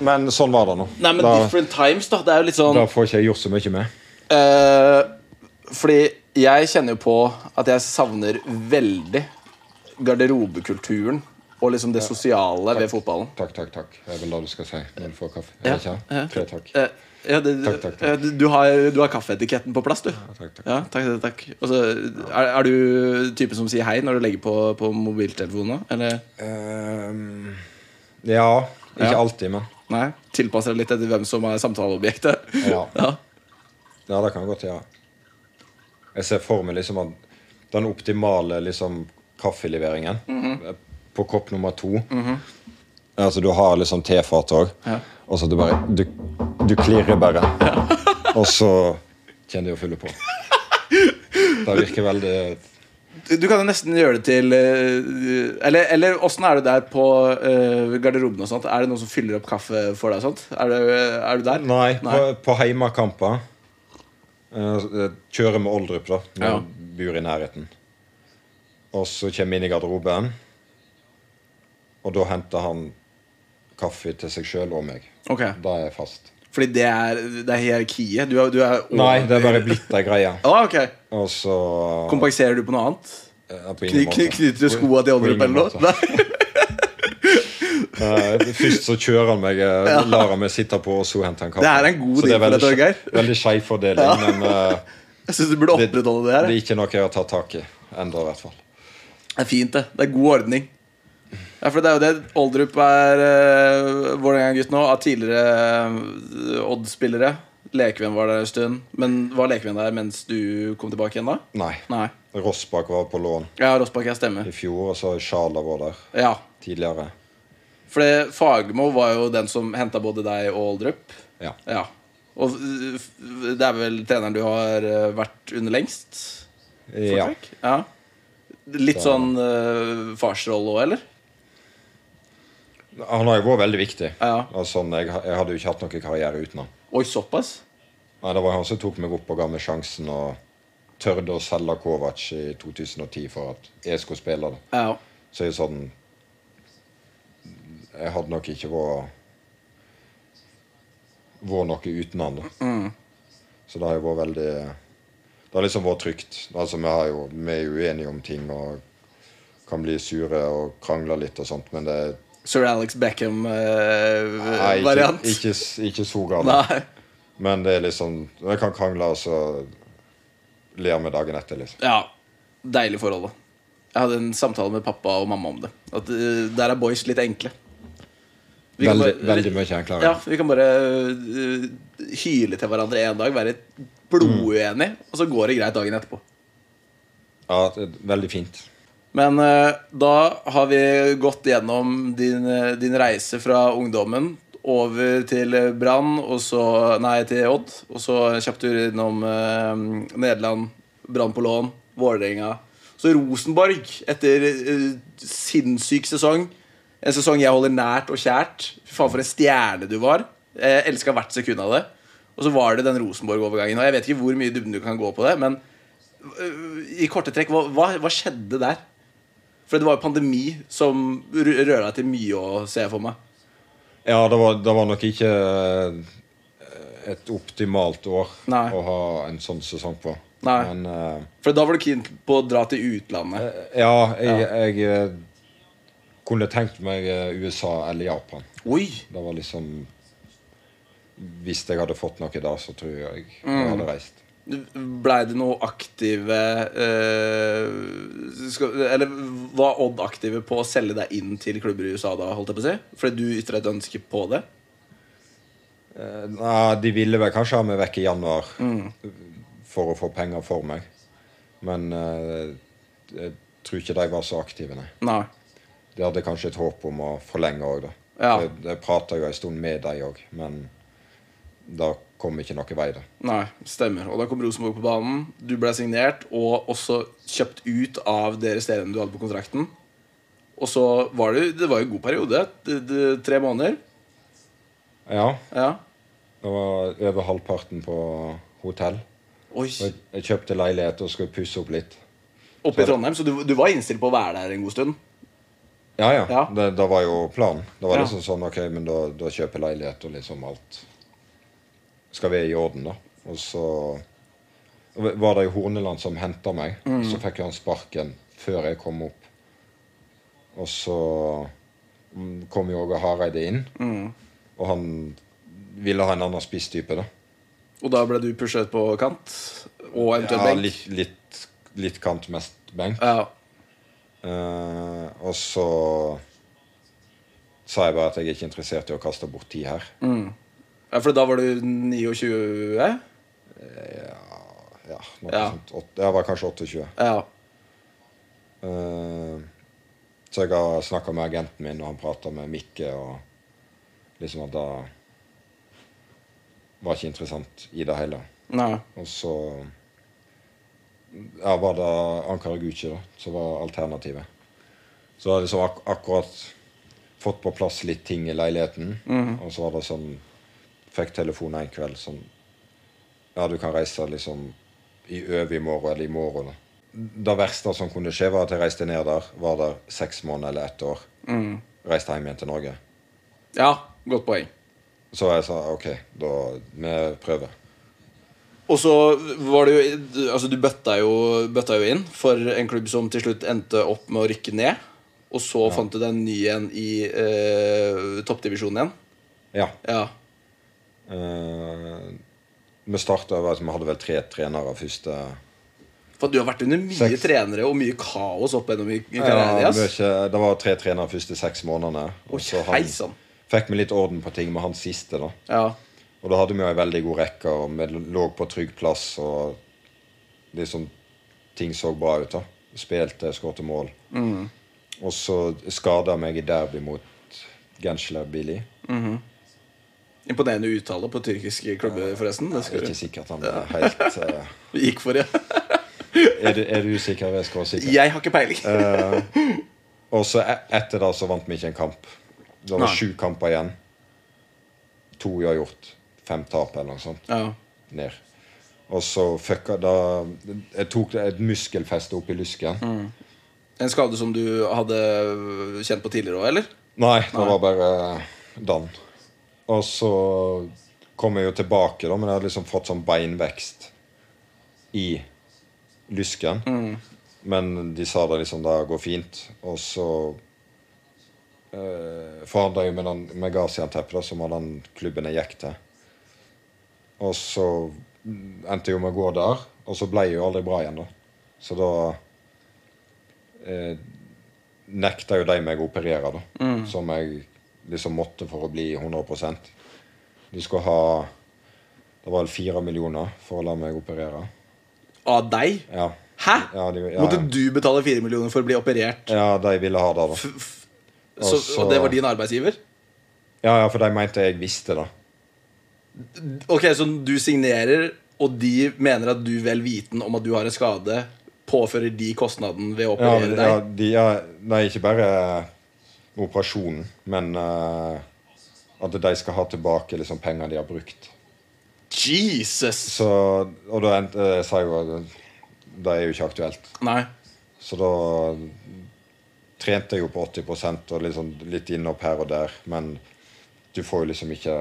[SPEAKER 3] Men sånn var det nå.
[SPEAKER 2] Nei, men
[SPEAKER 3] da,
[SPEAKER 2] Different Times, da. Det er jo litt sånn
[SPEAKER 3] da får ikke jeg gjort så mye med.
[SPEAKER 2] eh, Fordi jeg kjenner jo på at jeg savner veldig garderobekulturen og liksom det sosiale ved fotballen.
[SPEAKER 3] Takk, takk, takk. Jeg vil la du skal si når du får kaffe.
[SPEAKER 2] Ja,
[SPEAKER 3] Er det ikke?
[SPEAKER 2] ja.
[SPEAKER 3] Tre takk.
[SPEAKER 2] Eh, ja, det,
[SPEAKER 3] Takk, takk, takk.
[SPEAKER 2] eh, Du, du har, du har kaffeetiketten på plass, du.
[SPEAKER 3] takk, takk.
[SPEAKER 2] Ja, takk, takk, takk. Og så, er, er du typen som sier hei når du legger på, på mobiltelefonen? nå, Eller
[SPEAKER 3] Ehm, ja. Ikke
[SPEAKER 2] Ja.
[SPEAKER 3] alltid, men
[SPEAKER 2] nei? Tilpasser deg litt etter hvem som er samtaleobjektet?
[SPEAKER 3] Ja.
[SPEAKER 2] ja.
[SPEAKER 3] Ja, det kan jeg godt gjøre. Jeg ser for meg liksom at den optimale liksom, kaffeleveringen
[SPEAKER 2] Mhm.
[SPEAKER 3] på kopp nummer to Altså, du har liksom tefat òg, og så Altså, du bare Du, du klirrer bare. og så kjenner du å fylle på. Det virker veldig
[SPEAKER 2] Du du kan jo nesten gjøre det til eh, Eller, eller åssen er du der på eh, garderoben og sånt? Er det noen som fyller opp kaffe for deg og sånt? Er du, er du der?
[SPEAKER 3] Nei, på, på heimekamper eh, kjører med Oldrup, da. Når
[SPEAKER 2] Ja.
[SPEAKER 3] jeg bor i nærheten. Og så kommer jeg inn i garderoben, og da henter han kaffe til seg sjøl og meg.
[SPEAKER 2] Ok,
[SPEAKER 3] Da er jeg fast.
[SPEAKER 2] Fordi det er, det er hierarkiet? Du er, du er
[SPEAKER 3] Nei, det er bare blitt ei greie.
[SPEAKER 2] Ah, ok.
[SPEAKER 3] Og så
[SPEAKER 2] Kompenserer du på noe annet?
[SPEAKER 3] Ja, på ingen
[SPEAKER 2] Kny, kny,
[SPEAKER 3] måte.
[SPEAKER 2] knyter du skoa til
[SPEAKER 3] På
[SPEAKER 2] Oldrup
[SPEAKER 3] ingen
[SPEAKER 2] eller
[SPEAKER 3] måte.
[SPEAKER 2] noe? Nei.
[SPEAKER 3] Eh, Først så kjører han meg, eh, lar han meg sitte på, og så henter han kaffe.
[SPEAKER 2] Det er en god
[SPEAKER 3] Så det er
[SPEAKER 2] deal for
[SPEAKER 3] veldig
[SPEAKER 2] deg,
[SPEAKER 3] skje-
[SPEAKER 2] Torgeir.
[SPEAKER 3] Veldig skeiv fordeling, men eh,
[SPEAKER 2] Jeg syns du burde
[SPEAKER 3] det, det
[SPEAKER 2] opprettholde det
[SPEAKER 3] er
[SPEAKER 2] her.
[SPEAKER 3] ikke noe jeg har tatt tak i ennå, i hvert fall.
[SPEAKER 2] Det er fint, det. Det er god ordning. Ja, for det er jo det Oldrup er uh, Vålerenga-gutt nå, av tidligere eh, Odd-spillere. Lekevenn var der en stund. Men var Lekevenn der mens du kom tilbake igjen, da?
[SPEAKER 3] Nei.
[SPEAKER 2] Nei.
[SPEAKER 3] Rossbakk var på lån
[SPEAKER 2] Ja, Rossbakk, jeg stemmer.
[SPEAKER 3] i fjor, og så har Sjala vært der
[SPEAKER 2] Ja.
[SPEAKER 3] tidligere.
[SPEAKER 2] For det- Fagermo var jo den som henta både deg og Oldrup.
[SPEAKER 3] Ja.
[SPEAKER 2] Ja. Og eh, f- det er vel treneren du har eh, vært under lengst?
[SPEAKER 3] ja.
[SPEAKER 2] Takk. ja. Litt sånn eh, farsrolle òg, eller?
[SPEAKER 3] Han har jo vært veldig viktig.
[SPEAKER 2] Ja.
[SPEAKER 3] Og sånn, jeg, jeg hadde jo ikke hatt noen karriere uten han.
[SPEAKER 2] Oi, såpass?
[SPEAKER 3] Nei, Det var han som tok meg opp og ga meg sjansen og tørde å selge Kovac i 2010 for at jeg skulle spille. Da.
[SPEAKER 2] Ja.
[SPEAKER 3] Så jeg sånn Jeg hadde nok ikke vært Vært noe uten han, da.
[SPEAKER 2] Mm.
[SPEAKER 3] Så det har jo vært veldig Det har liksom vært trygt. Altså, vi, har jo, vi er jo uenige om ting og kan bli sure og krangle litt og sånt, men det er
[SPEAKER 2] Sir Alex eh,
[SPEAKER 3] nei, ikke,
[SPEAKER 2] Beckham-variant.
[SPEAKER 3] ikke, ikke så galt.
[SPEAKER 2] Nei.
[SPEAKER 3] Men det er liksom Jeg kan krangle, og så ler vi dagen etter, liksom.
[SPEAKER 2] Ja. Deilig forhold, da. Jeg hadde en samtale med pappa og mamma om det. At eh, Der er boys litt enkle. Vi kan
[SPEAKER 3] Veldig,
[SPEAKER 2] bare-
[SPEAKER 3] veldig mye enklere.
[SPEAKER 2] Ja, Vi kan bare eh, hyle til hverandre en dag, være
[SPEAKER 3] Mm.
[SPEAKER 2] bloduenige, og så går det greit dagen etterpå.
[SPEAKER 3] Ja, det er veldig fint.
[SPEAKER 2] Men eh, da har vi gått gjennom din, eh, din reise fra ungdommen over til eh, Brann, og så Nei, til Odd. Og så kjapp tur innom eh, Nederland, Brann på lån, Vålerenga. Så Rosenborg, etter eh, sinnssyk sesong. En sesong jeg holder nært og kjært. Fy faen, for en stjerne du var. Jeg elska hvert sekund av det. Og så var det den Rosenborg-overgangen. Og jeg vet ikke hvor mye dybden du kan gå på det, men øh, i korte trekk, hva, hva, hva skjedde der? For det var jo pandemi som røra til mye å se for meg.
[SPEAKER 3] Ja, det var, det var nok ikke eh, et optimalt år
[SPEAKER 2] Nei.
[SPEAKER 3] å ha en sånn sesong på.
[SPEAKER 2] Nei.
[SPEAKER 3] Men eh,
[SPEAKER 2] For da var du keen på å dra til utlandet.
[SPEAKER 3] ja, jeg, jeg eh, kunne tenkt meg eh, USA eller Japan.
[SPEAKER 2] Oi!
[SPEAKER 3] Det var liksom Hvis jeg hadde fått noe da, så tror jeg
[SPEAKER 2] Mm.
[SPEAKER 3] jeg hadde reist.
[SPEAKER 2] Blei det noe aktive eh, skal, Eller var Odd aktive på å selge deg inn til klubber i USA da? holdt jeg på å si? Fordi du ytra et ønske på det?
[SPEAKER 3] Eh, Nei, de ville vel kanskje ha meg vekk i januar
[SPEAKER 2] Mm.
[SPEAKER 3] for å få penger for meg. Men eh, jeg tror ikke de var så aktive, nei.
[SPEAKER 2] Nei.
[SPEAKER 3] De hadde kanskje et håp om å forlenge òg, da.
[SPEAKER 2] Ja.
[SPEAKER 3] Jeg, jeg prata jo en stund med de òg, men da kom ikke noe vei, da.
[SPEAKER 2] Nei, Stemmer. Og da kom Rosenborg på banen. Du ble signert og også kjøpt ut av det resterende du hadde på kontrakten. Og så var det, det var jo en god periode. Det- det- Tre måneder.
[SPEAKER 3] Ja,
[SPEAKER 2] Ja.
[SPEAKER 3] det var over halvparten på hotell.
[SPEAKER 2] Oi,
[SPEAKER 3] Og Jeg, jeg kjøpte leilighet og skulle pusse opp litt.
[SPEAKER 2] Oppe i Trondheim. Så du, du var innstilt på å være der en god stund?
[SPEAKER 3] Ja, ja.
[SPEAKER 2] Ja.
[SPEAKER 3] Det, det var jo planen. Det var
[SPEAKER 2] Ja.
[SPEAKER 3] liksom sånn OK, men da, da kjøper jeg leilighet og liksom alt skal være i orden, da. Og så var det jo Horneland som henta meg.
[SPEAKER 2] Mm.
[SPEAKER 3] Så fikk jo han sparken før jeg kom opp. Og så mm, kom jo Åge Hareide inn,
[SPEAKER 2] Mm.
[SPEAKER 3] og han ville ha en annen spisstype, da.
[SPEAKER 2] Og da ble du pushet på kant? Og eventuelt
[SPEAKER 3] Ja,
[SPEAKER 2] benk?
[SPEAKER 3] litt, litt, litt kant, mest benk.
[SPEAKER 2] Ja.
[SPEAKER 3] Eh, og så sa jeg bare at jeg er ikke interessert i å kaste bort tid her.
[SPEAKER 2] Mm. ja, for da var du 29? Ja.
[SPEAKER 3] Ja, noe
[SPEAKER 2] Ja.
[SPEAKER 3] sånt. Åt- Jeg var kanskje 28. Eh, så jeg har snakka med agenten min, og han prata med Mikke, og liksom at det var ikke interessant i det hele.
[SPEAKER 2] Nei.
[SPEAKER 3] Og så ja, var det Ankara Gucci da, som var alternativet. Så jeg hadde liksom ak akkurat fått på plass litt ting i leiligheten. Og så var det sånn Fikk telefon en kveld sånn Ja, du kan reise liksom i overmorgen eller i morgen. da. Det verste som kunne skje, var at jeg reiste ned der, var der seks måneder eller ett år. Reiste hjem igjen til Norge.
[SPEAKER 2] Mm. Ja, godt poeng.
[SPEAKER 3] Så jeg sa OK, da vi prøver.
[SPEAKER 2] Og så var det jo Altså, du bøtta jo, bøtta jo inn for en klubb som til slutt endte opp med å rykke ned. Og så fant du deg en ny en i eh, toppdivisjonen igjen.
[SPEAKER 3] Ja.
[SPEAKER 2] Ja.
[SPEAKER 3] Eh, vi starta over at vi hadde vel tre trenere første
[SPEAKER 2] For at du har vært under mye
[SPEAKER 3] Seks.
[SPEAKER 2] trenere og mye kaos opp gjennom i, i karrieren din.
[SPEAKER 3] ja,
[SPEAKER 2] ass.
[SPEAKER 3] mye, Det var tre trenere første seks månedene.
[SPEAKER 2] Oi,
[SPEAKER 3] Og så
[SPEAKER 2] heisann.
[SPEAKER 3] han, fikk vi litt orden på ting med han siste. da
[SPEAKER 2] Ja.
[SPEAKER 3] Og da hadde vi jo en veldig god rekke, og vi lå på trygg plass. Og liksom ting så bra ut. da Spilte, skåret mål.
[SPEAKER 2] Mm.
[SPEAKER 3] Og så skada meg i derby mot Genschler Billy.
[SPEAKER 2] Imponerende uttale på tyrkiske klubber, forresten. Det
[SPEAKER 3] Det er
[SPEAKER 2] skal
[SPEAKER 3] ikke sikkert han er helt eh,
[SPEAKER 2] du gikk for, ja.
[SPEAKER 3] Er du, er du sikker? Jeg skal være sikker.
[SPEAKER 2] Jeg har ikke peiling.
[SPEAKER 3] Eh. Og så e- etter det så vant vi ikke en kamp. Det var
[SPEAKER 2] Nei.
[SPEAKER 3] sju kamper igjen. To uavgjort. Fem tap eller noe sånt.
[SPEAKER 2] Ja.
[SPEAKER 3] Ned. Og så fucka da Jeg tok et muskelfeste opp i lysken.
[SPEAKER 2] En skade som du hadde kjent på tidligere òg, eller?
[SPEAKER 3] Nei, det var bare dann. Og så kom jeg jo tilbake, da, men jeg hadde liksom fått sånn beinvekst i lysken.
[SPEAKER 2] Mm.
[SPEAKER 3] Men de sa det liksom det går fint. Og så eh, forhandla jeg med, den, med Gaziantep, da, som var den klubben jeg gikk til. Og så mm, endte jeg jo med å gå der, og så ble jeg jo aldri bra igjen, da. Så da eh, nekta jo de meg å operere, da. Som jeg liksom måtte for å bli 100 De skulle ha Det var vel fire millioner for å la meg operere.
[SPEAKER 2] Av deg?
[SPEAKER 3] Ja.
[SPEAKER 2] Hæ?
[SPEAKER 3] Ja, de, ja,
[SPEAKER 2] Måtte du betale fire millioner for å bli operert?
[SPEAKER 3] ja, de ville ha det, da.
[SPEAKER 2] F- f- Så,
[SPEAKER 3] Altså-
[SPEAKER 2] og det var din arbeidsgiver?
[SPEAKER 3] Ja, ja, for de mente jeg visste det.
[SPEAKER 2] Ok, Så du signerer, og de mener at du vel viten om at du har en skade, påfører de kostnaden ved å
[SPEAKER 3] Ja,
[SPEAKER 2] operere
[SPEAKER 3] men-
[SPEAKER 2] deg?
[SPEAKER 3] Eh, ja, de, ja, nei, ikke bare eh, operasjonen, men eh, at de skal ha tilbake liksom, penger de har brukt.
[SPEAKER 2] Jesus!
[SPEAKER 3] Så, og da endte jeg sa jo at eh, det er jo ikke aktuelt.
[SPEAKER 2] Nei.
[SPEAKER 3] Så da eh, trente jeg jo på 80 og liksom litt innopp her og der. Men Du får jo liksom ikke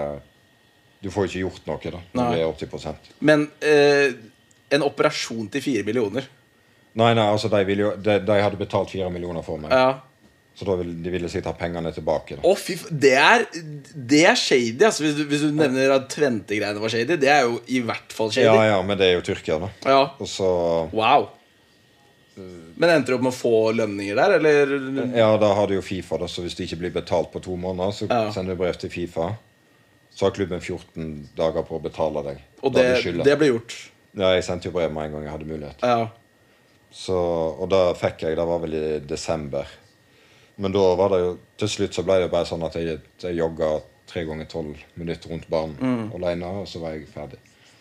[SPEAKER 3] Du får jo ikke gjort noe da når
[SPEAKER 2] Nei.
[SPEAKER 3] du er 80
[SPEAKER 2] Men eh, en operasjon til fire millioner
[SPEAKER 3] Nei, nei, altså de, ville jo, de, de hadde betalt fire millioner for meg,
[SPEAKER 2] Ja.
[SPEAKER 3] så da ville de ville sikkert ha pengene tilbake. da
[SPEAKER 2] Å, fy f- Det er, det er shady, altså. Hvis du, hvis du nevner at Tvente-greiene var shady, det er jo i hvert fall shady.
[SPEAKER 3] Ja, ja, men det er jo Tyrkia, da.
[SPEAKER 2] Ja.
[SPEAKER 3] Og så
[SPEAKER 2] Wow. Men endte du opp med å få lønninger der, eller?
[SPEAKER 3] Ja, da har du jo Fifa, da, så hvis du ikke blir betalt på to måneder, så
[SPEAKER 2] Ja.
[SPEAKER 3] sender du brev til Fifa. Så har klubben 14 dager på å betale deg.
[SPEAKER 2] Og
[SPEAKER 3] da
[SPEAKER 2] det,
[SPEAKER 3] du skylder.
[SPEAKER 2] det ble gjort.
[SPEAKER 3] Ja, jeg sendte jo brev med en gang jeg hadde mulighet.
[SPEAKER 2] Ja.
[SPEAKER 3] Så, og da fikk jeg Det var vel i desember. Men da var det jo Til slutt så ble det bare sånn at jeg, jeg jogga tre ganger tolv minutter rundt banen
[SPEAKER 2] Mm.
[SPEAKER 3] alene, og så var jeg ferdig.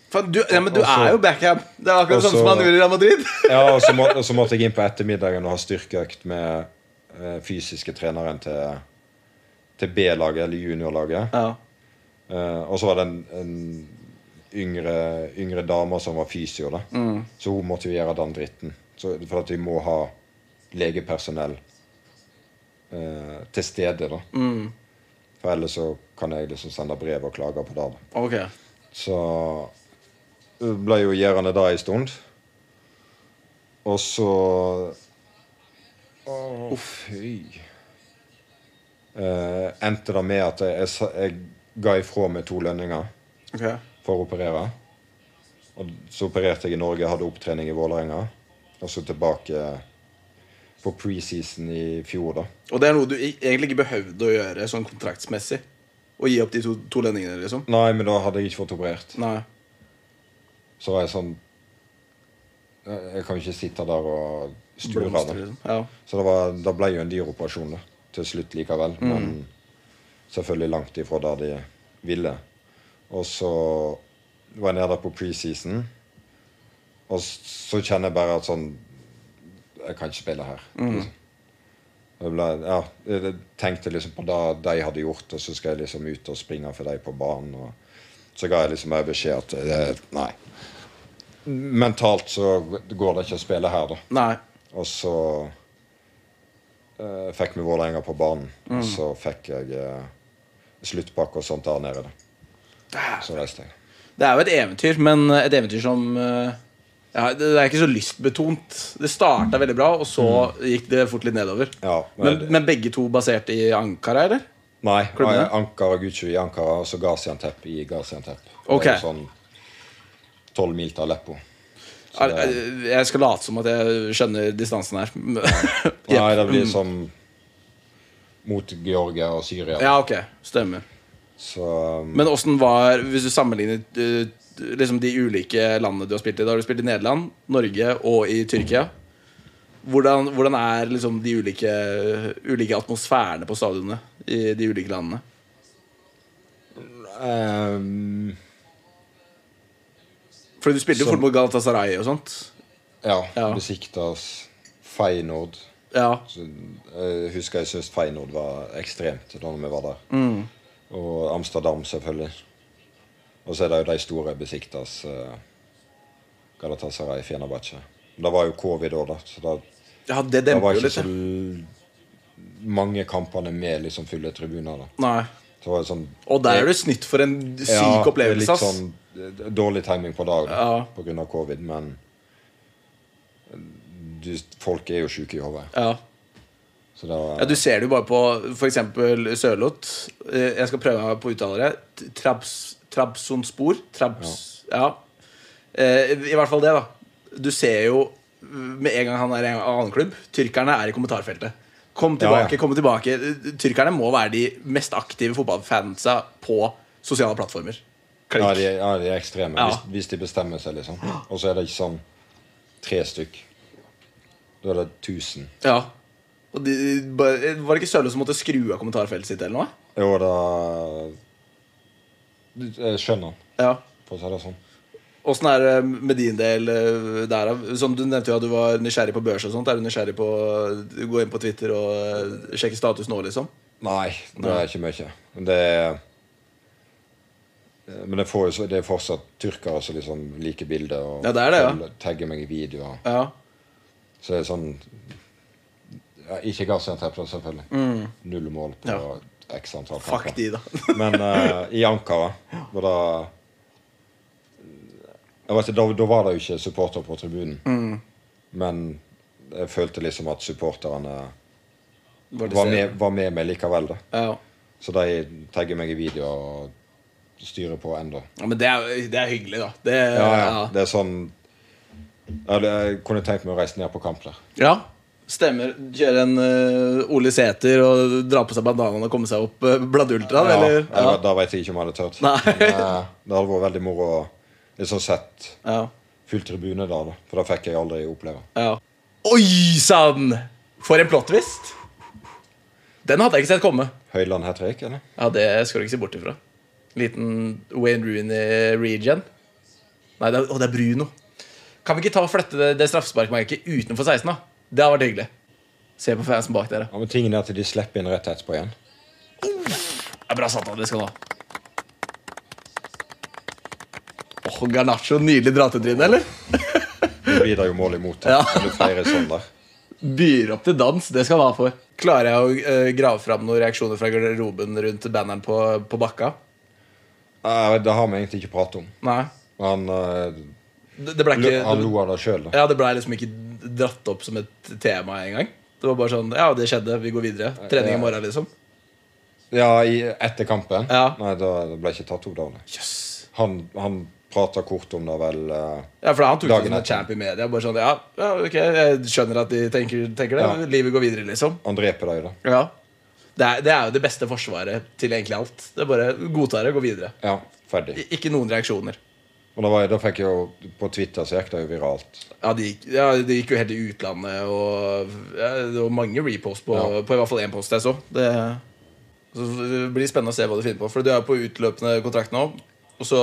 [SPEAKER 2] Faen, du, ja, men du
[SPEAKER 3] Og så-
[SPEAKER 2] er jo backham. Det er akkurat det samme
[SPEAKER 3] Og så-
[SPEAKER 2] som han gjorde i Real Madrid.
[SPEAKER 3] Ja, og så, må, og så måtte jeg inn på ettermiddagen og ha styrkeøkt med eh, fysiske treneren til, til B-laget, eller juniorlaget.
[SPEAKER 2] Ja.
[SPEAKER 3] Eh, og så var det en, en yngre, yngre dame som var fysio, da.
[SPEAKER 2] Mm,
[SPEAKER 3] så hun måtte jo gjøre den dritten. Så, for at vi må ha legepersonell eh, til stede, da.
[SPEAKER 2] mm.
[SPEAKER 3] For ellers så kan jeg liksom sende brev og klage på det. da.
[SPEAKER 2] Ok.
[SPEAKER 3] Så det ble jo gjørende da en stund. Og så Å, fy. Eh, endte det med at jeg, jeg, sa- jeg ga ifra meg to lønninger
[SPEAKER 2] Ok.
[SPEAKER 3] for å operere. Og så opererte jeg i Norge, hadde opptrening i Vålerenga. Og så tilbake på preseason i fjor, da.
[SPEAKER 2] Og det er noe du i- egentlig ikke behøvde å gjøre sånn kontraktsmessig. Å gi opp de to, to lønningene, liksom.
[SPEAKER 3] Nei, men da hadde jeg ikke fått operert.
[SPEAKER 2] Nei.
[SPEAKER 3] Så var jeg sånn Jeg jeg kan jo ikke sitte der og sture.
[SPEAKER 2] Blomster,
[SPEAKER 3] da.
[SPEAKER 2] liksom. Ja.
[SPEAKER 3] Så det, var, det ble jo en dyr operasjon da, til slutt likevel. Men selvfølgelig langt ifra der de ville. Og så var jeg nede på preseason, og s- så kjenner jeg bare at sånn Jeg kan ikke spille her. Liksom. Jeg, ble, ja, jeg tenkte liksom på det de hadde gjort, og så skal jeg liksom ut og springe for dem på banen. Og så ga jeg liksom bare beskjed at eh, nei. Mentalt så går det ikke å spille her, da.
[SPEAKER 2] Nei.
[SPEAKER 3] Og så eh, fikk vi Vålerenga på banen.
[SPEAKER 2] Mm.
[SPEAKER 3] Og så fikk jeg eh, sluttpakke og sånt der nede. da. Så reiste jeg.
[SPEAKER 2] Det er jo et eventyr, men et eventyr som eh, ja, Det det er ikke så lystbetont. Det starta veldig bra, og så gikk det fort litt nedover.
[SPEAKER 3] Mm. Ja,
[SPEAKER 2] men,
[SPEAKER 3] men-
[SPEAKER 2] men begge to basert i Ankara, eller?
[SPEAKER 3] Nei,
[SPEAKER 2] Klubben, ja?
[SPEAKER 3] Ankara Gucci i Ankara og så Gaziantep i Gaziantep.
[SPEAKER 2] Ok.
[SPEAKER 3] Det er Sånn tolv mil til Aleppo. Så
[SPEAKER 2] Er-
[SPEAKER 3] det,
[SPEAKER 2] er- Jeg skal late som at jeg skjønner distansen her.
[SPEAKER 3] nei,
[SPEAKER 2] Jep.
[SPEAKER 3] det blir sånn. som mot Georgia og Syria.
[SPEAKER 2] Ja, ok. Stemmer.
[SPEAKER 3] Så um,
[SPEAKER 2] Men åssen var Hvis du sammenligner eh, liksom de ulike landene du har spilt i Da har du spilt i Nederland, Norge og i Tyrkia. Hvordan, hvordan er liksom de ulike, ulike atmosfærene på stadionene i de ulike landene?
[SPEAKER 3] ehm,
[SPEAKER 2] Fordi du spilte jo
[SPEAKER 3] Som-
[SPEAKER 2] fort mot Galatasaray og sånt.
[SPEAKER 3] Ja.
[SPEAKER 2] Ja.
[SPEAKER 3] Besiktas Feyenoord.
[SPEAKER 2] Ja.
[SPEAKER 3] Så jeg husker jeg syntes Feyenoord var ekstremt da vi var der.
[SPEAKER 2] Mm.
[SPEAKER 3] Og Amsterdam, selvfølgelig. Og så er det jo de store besiktas eh, Galatasaray, Fenerbahçe. Men Det var jo covid òg, da, så det,
[SPEAKER 2] ja det
[SPEAKER 3] det
[SPEAKER 2] demper
[SPEAKER 3] var
[SPEAKER 2] jo
[SPEAKER 3] ikke
[SPEAKER 2] litt.
[SPEAKER 3] så
[SPEAKER 2] ja.
[SPEAKER 3] l- mange kampene med liksom fulle tribuner. da.
[SPEAKER 2] Nei.
[SPEAKER 3] Så det var jo sånn
[SPEAKER 2] Og der er du snytt for en syk
[SPEAKER 3] Ja,
[SPEAKER 2] opplevelse,
[SPEAKER 3] Litt
[SPEAKER 2] ass.
[SPEAKER 3] sånn eh, dårlig timing på dag da,
[SPEAKER 2] Ja.
[SPEAKER 3] på grunn av covid, men du, folk er jo sjuke i hodet.
[SPEAKER 2] Ja.
[SPEAKER 3] Så det var
[SPEAKER 2] ja, Du ser det jo bare på f.eks. Sørloth. Eh, Jeg skal prøve meg på uttaler her. Trabs, Trabzonspor. Trabs, ja. Eh, I hvert fall det, da. Du ser jo eh, med en gang han er i en annen klubb Tyrkerne er i kommentarfeltet. Kom
[SPEAKER 3] Ja, ja.
[SPEAKER 2] tilbake, kom tilbake. Eh, Tyrkerne må være de mest aktive fotballfansa på sosiale plattformer. Klikk.
[SPEAKER 3] Ja, de, er- ja, de er ekstreme.
[SPEAKER 2] Ja.
[SPEAKER 3] Hvis, hvis de bestemmer seg, liksom. Og så er det ikke sånn tre stykk. Da er det 1000.
[SPEAKER 2] Ja. Og de, ba- var det ikke Sørloth som måtte skru av kommentarfeltet sitt? eller noe?
[SPEAKER 3] Jo, da Du- Jeg skjønner den,
[SPEAKER 2] Ja.
[SPEAKER 3] for å si det sånn.
[SPEAKER 2] Åssen er det med din del eh, der? da? Som Du nevnte jo at du var nysgjerrig på børs. og sånt Er du nysgjerrig på å gå inn på Twitter og eh, sjekke status nå, liksom?
[SPEAKER 3] Nei, det er ikke mye. Men det er men det, får jo, så- det er fortsatt tyrkere som liksom liker bildet og
[SPEAKER 2] Ja, det er det, ja.
[SPEAKER 3] følger- tagger meg i videoer.
[SPEAKER 2] Ja.
[SPEAKER 3] Så det er sånn ja, Ikke gassenterpla, selvfølgelig. Null mål
[SPEAKER 2] Mm.
[SPEAKER 3] på
[SPEAKER 2] Ja.
[SPEAKER 3] x antall
[SPEAKER 2] Fuck
[SPEAKER 3] kamper.
[SPEAKER 2] de, da.
[SPEAKER 3] Men eh, i Ankara var det jeg vet, ikke, da, da var det jo ikke supporter på tribunen. Men jeg følte liksom at supporterne
[SPEAKER 2] Var til
[SPEAKER 3] var
[SPEAKER 2] stede.
[SPEAKER 3] med, var med meg likevel. da
[SPEAKER 2] Ja, ja.
[SPEAKER 3] Så de tagger meg i videoer og styrer på ennå.
[SPEAKER 2] Ja, men det er, jo- det er hyggelig, da. Det,
[SPEAKER 3] Ja, ja.
[SPEAKER 2] ja.
[SPEAKER 3] Det er sånn ja, det- Jeg kunne tenkt meg å reise ned på kamp der.
[SPEAKER 2] Ja, stemmer. Kjøre en eh, Ole Sæter og dra på seg bandanaen og komme seg opp uh, Bladultra,
[SPEAKER 3] Ja,
[SPEAKER 2] eller?
[SPEAKER 3] jeg-
[SPEAKER 2] Ja.
[SPEAKER 3] Da vet jeg ikke om jeg hadde tørt.
[SPEAKER 2] Nei.
[SPEAKER 3] Men, eh, det hadde vært veldig moro å liksom sett
[SPEAKER 2] Ja.
[SPEAKER 3] full tribune der, da. For det fikk jeg aldri oppleve.
[SPEAKER 2] ja. Oi sann! For en plottvist! Den hadde jeg ikke sett komme.
[SPEAKER 3] Høyland hat trick, eller?
[SPEAKER 2] Ja, det skal du ikke se bort ifra. Liten Wayne Rooney-regen. Nei, det er, å, det er Bruno. Kan vi ikke ta og flytte det, det straffesparkmerket utenfor 16, da? Det hadde vært hyggelig. Se på fansen bak der, ja.
[SPEAKER 3] Ja, men tingen er at de slipper inn rett etterpå igjen.
[SPEAKER 2] Det er bra satt av, det skal du ha. Åh, Garnaccio, nydelig dratetryne, eller?
[SPEAKER 3] Da blir det jo mål imot. Da.
[SPEAKER 2] Ja.
[SPEAKER 3] Når du feirer sånn der.
[SPEAKER 2] Byr opp til dans, det skal han ha for. Klarer jeg å eh, grave fram noen reaksjoner fra garderoben rundt banneren på, på bakka?
[SPEAKER 3] Nei, det har vi egentlig ikke pratet om.
[SPEAKER 2] Nei.
[SPEAKER 3] Han, eh,
[SPEAKER 2] Det, det ble
[SPEAKER 3] lo-
[SPEAKER 2] ikke
[SPEAKER 3] han
[SPEAKER 2] det,
[SPEAKER 3] lo av det sjøl, da.
[SPEAKER 2] Ja, det ble liksom ikke dratt opp som et tema engang. Det var bare sånn Ja, det skjedde, vi går videre. Trening i morgen, liksom.
[SPEAKER 3] Ja, i, etter kampen.
[SPEAKER 2] Ja.
[SPEAKER 3] Nei, da, det ble ikke tatt opp da. nei.
[SPEAKER 2] Yes.
[SPEAKER 3] Han, han prata kort om det vel eh,
[SPEAKER 2] Ja, for han tok det
[SPEAKER 3] Dagen
[SPEAKER 2] som en
[SPEAKER 3] etter.
[SPEAKER 2] champ i media. Bare sånn Ja, ja ok, jeg skjønner at de tenker, tenker det.
[SPEAKER 3] Ja.
[SPEAKER 2] men Livet går videre, liksom.
[SPEAKER 3] Han dreper deg, da.
[SPEAKER 2] Ja. Det er, det er jo det beste forsvaret til egentlig alt. Det er bare godta det, gå videre.
[SPEAKER 3] Ja, ferdig.
[SPEAKER 2] I- Ikke noen reaksjoner.
[SPEAKER 3] Og da, var, jeg- da fikk jeg jo På Twitter så gikk det jo viralt.
[SPEAKER 2] Ja, det gikk, ja, det gikk jo helt i utlandet, og ja, det var mange reposts på,
[SPEAKER 3] Ja.
[SPEAKER 2] på i hvert fall én post jeg så. Det, så det blir spennende å se hva du finner på. For du er jo på utløpende kontrakt nå, og så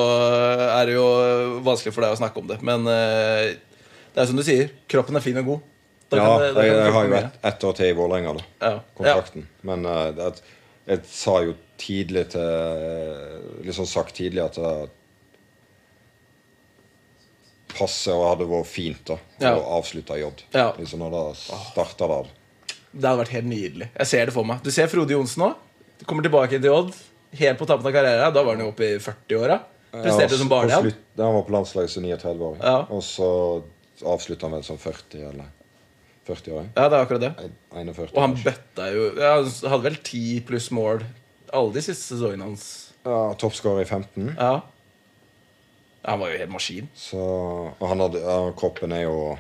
[SPEAKER 2] er det jo vanskelig for deg å snakke om det. Men eh, det er som du sier, kroppen er fin og god. Da
[SPEAKER 3] Ja,
[SPEAKER 2] kan det-
[SPEAKER 3] jeg,
[SPEAKER 2] da kan det
[SPEAKER 3] jeg har jo
[SPEAKER 2] fungere.
[SPEAKER 3] ett ett år til i Vålerenga, da.
[SPEAKER 2] ja. ja.
[SPEAKER 3] kontrakten. Men eh, det, at- jeg sa jo tidlig til Liksom sagt tidlig at det passer og hadde vært fint da
[SPEAKER 2] Ja.
[SPEAKER 3] å avslutte i Odd.
[SPEAKER 2] Ja.
[SPEAKER 3] Liksom når det starta der.
[SPEAKER 2] Det hadde vært helt nydelig. Jeg ser det for meg. Du ser Frode Johnsen nå. Kommer tilbake til Odd. Helt på tappen av karrieren. Da var han jo oppe i 40-åra. Presterte som
[SPEAKER 3] Ja, og
[SPEAKER 2] barnehjem.
[SPEAKER 3] slutt- Han var på landslaget som 39-åring,
[SPEAKER 2] Ja.
[SPEAKER 3] og så avslutta han vel som 40 eller 40-åring.
[SPEAKER 2] Ja, det er akkurat det.
[SPEAKER 3] En- 41.
[SPEAKER 2] Og han bøtta jo ja, Han hadde vel ti pluss mål alle de siste sesongene hans.
[SPEAKER 3] ja, Toppskårer i 15.
[SPEAKER 2] Ja. Ja, Han var jo helt maskin.
[SPEAKER 3] Så, og han hadde, ja, kroppen er jo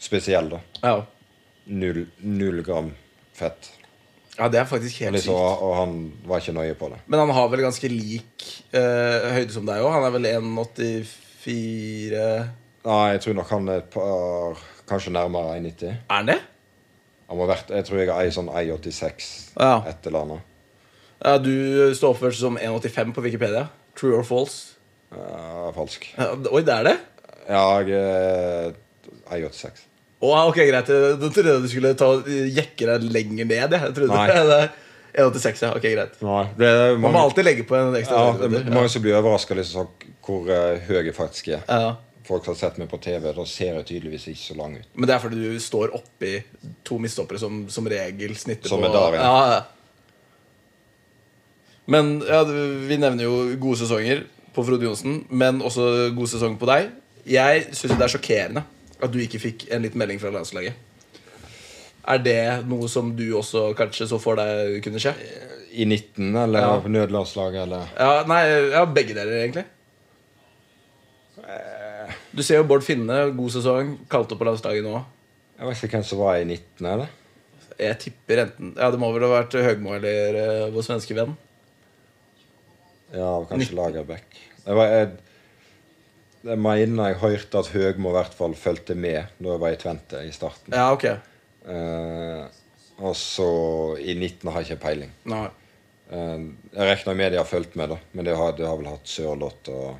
[SPEAKER 3] spesiell, da.
[SPEAKER 2] Ja,
[SPEAKER 3] Null, null gram fett.
[SPEAKER 2] ja det er faktisk helt sykt.
[SPEAKER 3] Liksom, og, og han var ikke nøye på det.
[SPEAKER 2] Men han har vel ganske lik eh, høyde som deg òg. Han er vel 1,84 Er
[SPEAKER 3] Nei, jeg tror nok han er et par Kanskje nærmere 1,90.
[SPEAKER 2] han det?
[SPEAKER 3] Han må ha vært, Jeg tror jeg er ei sånn 1,86
[SPEAKER 2] Ja.
[SPEAKER 3] et eller annet.
[SPEAKER 2] Ja, du står oppført som 1,85 på Wikipedia. True or false?
[SPEAKER 3] Ja, Eh, falsk.
[SPEAKER 2] Ja, oi, det er det?
[SPEAKER 3] Ja, jeg er 1,86.
[SPEAKER 2] Å, ja, ok, greit. Da trodde jeg du skulle ta, jekke deg lenger ned. Jeg, jeg trodde
[SPEAKER 3] Nei.
[SPEAKER 2] det er 1,86, ja. Ok, greit.
[SPEAKER 3] Nei, det er
[SPEAKER 2] Man må
[SPEAKER 3] mange,
[SPEAKER 2] alltid legge på en ekstra
[SPEAKER 3] ja, det er
[SPEAKER 2] centimeter.
[SPEAKER 3] mange som blir overraska liksom, sånn, hvor eh, høy jeg faktisk er.
[SPEAKER 2] ja.
[SPEAKER 3] Folk har sett meg på TV, da ser jeg tydeligvis ikke så lang ut.
[SPEAKER 2] Men det er fordi du står oppi to midtstoppere som som regel snitter
[SPEAKER 3] Som
[SPEAKER 2] på
[SPEAKER 3] er der, ja.
[SPEAKER 2] ja. ja. Men ja, du- vi nevner jo gode sesonger på Frode Johnsen, men også god sesong på deg. Jeg syns det er sjokkerende at du ikke fikk en liten melding fra landslaget. Er det noe som du også kanskje så for deg kunne skje?
[SPEAKER 3] I 19, eller
[SPEAKER 2] Ja.
[SPEAKER 3] på nødlandslaget, eller
[SPEAKER 2] Ja, nei, ja, begge deler egentlig
[SPEAKER 3] Eh.
[SPEAKER 2] Du ser jo Bård Finne, god sesong Kalt opp på landslaget nå
[SPEAKER 3] Jeg vet ikke hvem som var i 19, eller?
[SPEAKER 2] Jeg tipper enten Ja, det må vel ha vært Høgmo eller eh, vår svenske venn
[SPEAKER 3] Ja, og kanskje Lagerbäck. Jeg, var- jeg, jeg mener jeg hørte at Høgmo i hvert fall fulgte med da jeg var i Tvente i starten.
[SPEAKER 2] Ja, ok
[SPEAKER 3] Eh, og så i 19 har jeg ikke peiling.
[SPEAKER 2] Nei
[SPEAKER 3] Eh, jeg regner med de har fulgt med, da. Men de har, de har vel hatt Sørloth og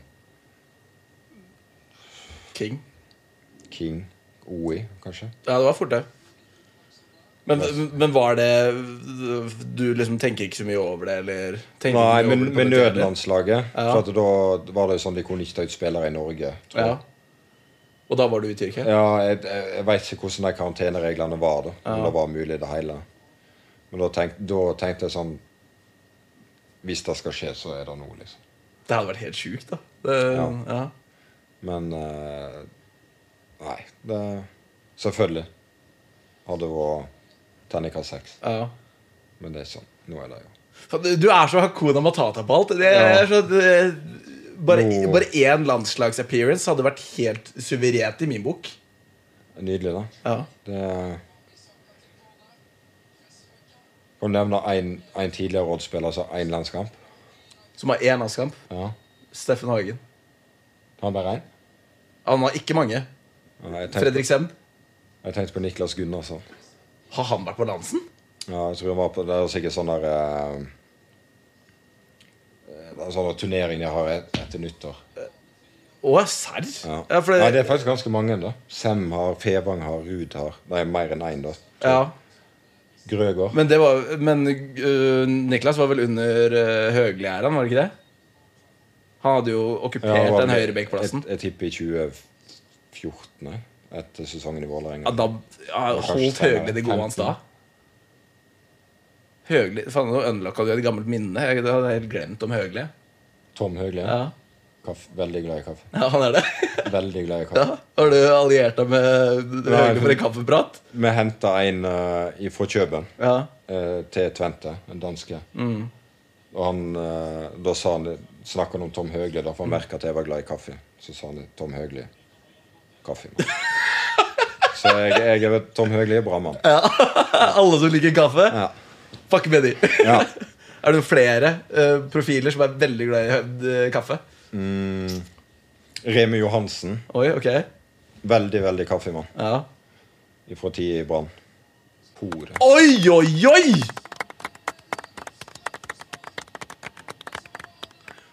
[SPEAKER 2] King
[SPEAKER 3] King. OI, kanskje.
[SPEAKER 2] Ja, det var fort det men, men var det Du liksom tenker ikke så mye over det Eller tenker ikke
[SPEAKER 3] Nei,
[SPEAKER 2] mye over det
[SPEAKER 3] men
[SPEAKER 2] på
[SPEAKER 3] med
[SPEAKER 2] det hele?
[SPEAKER 3] nødlandslaget.
[SPEAKER 2] Ja.
[SPEAKER 3] For at da var det jo sånn de kunne ikke ta ut spillere i Norge. Tror
[SPEAKER 2] Ja
[SPEAKER 3] jeg.
[SPEAKER 2] Og da var du i Tyrkia
[SPEAKER 3] Ja, jeg, jeg, jeg veit ikke hvordan de karantenereglene var. da Om det var mulig i det hele. Men da, tenk, da tenkte jeg sånn Hvis det skal skje, så er det nå, liksom.
[SPEAKER 2] Det hadde vært helt sjukt, da. Det, ja.
[SPEAKER 3] Ja. Men eh, Nei. Det Selvfølgelig hadde vært terningkast seks.
[SPEAKER 2] Ja.
[SPEAKER 3] Men det er sånn. Nå er det jo
[SPEAKER 2] Faen, Du du er så Hakuna Matata på alt. Det
[SPEAKER 3] Ja.
[SPEAKER 2] er så, det, bare,
[SPEAKER 3] Nå-
[SPEAKER 2] bare én landslagsappearance hadde vært helt suverent i min bok.
[SPEAKER 3] nydelig, da.
[SPEAKER 2] Ja.
[SPEAKER 3] Det Kan du nevne én tidligere rådspiller som har én landskamp?
[SPEAKER 2] Som har én landskamp.
[SPEAKER 3] Ja.
[SPEAKER 2] Steffen Hagen.
[SPEAKER 3] Han bare én?
[SPEAKER 2] Han har ikke mange.
[SPEAKER 3] Ja, Jeg tenkte,
[SPEAKER 2] Fredrik Sem.
[SPEAKER 3] jeg tenkte på Niklas Gunnarsson.
[SPEAKER 2] Har han vært på dansen?
[SPEAKER 3] Ja, jeg tror han var på Det er sikkert sånn der eh, Det er sånn turnering jeg har et, etter nyttår.
[SPEAKER 2] Å, serr?
[SPEAKER 3] Ja.
[SPEAKER 2] Ja, for det-
[SPEAKER 3] Nei, det er faktisk ganske mange, da. Sem har, Fevang har, Ruud har Nei, mer enn én, da.
[SPEAKER 2] ja.
[SPEAKER 3] Grøgaard.
[SPEAKER 2] Men, det var, men øh, Niklas var vel under uh, Høgli-æraen, var det ikke det? Han hadde jo
[SPEAKER 3] Ja,
[SPEAKER 2] okkupert
[SPEAKER 3] han var
[SPEAKER 2] den
[SPEAKER 3] med-
[SPEAKER 2] høyrebekkplassen.
[SPEAKER 3] Jeg, jeg tipper i 2014, nei, etter sesongen i
[SPEAKER 2] Ja,
[SPEAKER 3] Vålerenga.
[SPEAKER 2] da ja,
[SPEAKER 3] var kanskje
[SPEAKER 2] holdt
[SPEAKER 3] senere,
[SPEAKER 2] Høgli det gode hans da.
[SPEAKER 3] 15.
[SPEAKER 2] Høgli Faen, nå unlocka du et gammelt minne. Jeg det hadde jeg helt glemt om Høgli.
[SPEAKER 3] Tom Høgli.
[SPEAKER 2] Ja.
[SPEAKER 3] Kaffe, veldig glad i kaffe.
[SPEAKER 2] ja, han er det.
[SPEAKER 3] Veldig glad i kaffe.
[SPEAKER 2] Ja. Har du alliert deg med Høgli for en kaffeprat?
[SPEAKER 3] Vi henta en eh, fra Kjøben
[SPEAKER 2] Ja.
[SPEAKER 3] eh, til Tvente, en danske. Og han, eh, da sa han snakka han om Tom Høgli, da, for han merka at jeg var glad i kaffe. Så sa han Tom Høgli kaffe. Så jeg, jeg er vel- Tom Høgli er bra mann.
[SPEAKER 2] Alle som liker kaffe?
[SPEAKER 3] Ja.
[SPEAKER 2] Fuck med de.
[SPEAKER 3] Ja.
[SPEAKER 2] Er det flere øh, profiler som er veldig glad i øh, kaffe?
[SPEAKER 3] Mm. Remi Johansen,
[SPEAKER 2] Oi, ok.
[SPEAKER 3] veldig, veldig kaffemann.
[SPEAKER 2] Ja.
[SPEAKER 3] Fra tida i Brann. Hore.
[SPEAKER 2] Oi, oi, oi!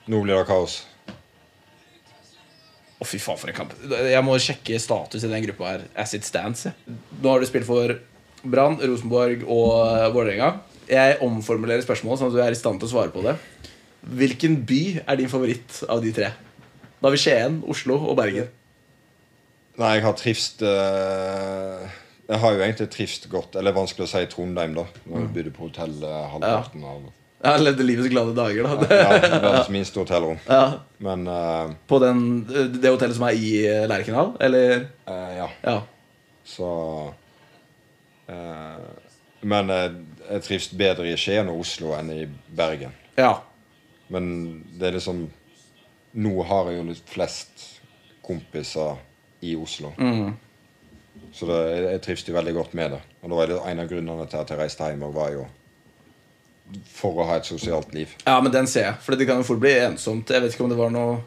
[SPEAKER 3] Nå blir det kaos.
[SPEAKER 2] Å, fy faen, for en kamp. Jeg må sjekke status i den gruppa her. As it stands. jeg. Nå har du spilt for Brann, Rosenborg og eh, Vålerenga. Jeg omformulerer spørsmålet sånn at du er i stand til å svare på det. Hvilken by er din favoritt av de tre? Da har vi Skien, Oslo og Bergen.
[SPEAKER 3] Nei, jeg har trivst eh, Jeg har jo egentlig trivst godt. Eller vanskelig å si Trondheim, da. Når du bodde på hotell eh, halvparten av
[SPEAKER 2] Jeg har levd livets glade dager, da.
[SPEAKER 3] Ja, verdens minste hotellrom.
[SPEAKER 2] Ja,
[SPEAKER 3] Men eh,
[SPEAKER 2] på den, det hotellet som er i eh, Lerkendal, eller?
[SPEAKER 3] eh, ja,
[SPEAKER 2] Ja.
[SPEAKER 3] så eh, Men eh, jeg trives bedre i Skien og Oslo enn i Bergen.
[SPEAKER 2] ja.
[SPEAKER 3] Men det er liksom Nå har jeg jo litt flest kompiser i Oslo.
[SPEAKER 2] Mm.
[SPEAKER 3] Så det, jeg, jeg trives jo veldig godt med det. Og det var det en av grunnene til at jeg reiste hjem, og var jo for å ha et sosialt liv.
[SPEAKER 2] Ja, men den ser jeg. For det kan jo fort bli ensomt. Jeg vet ikke om det var noe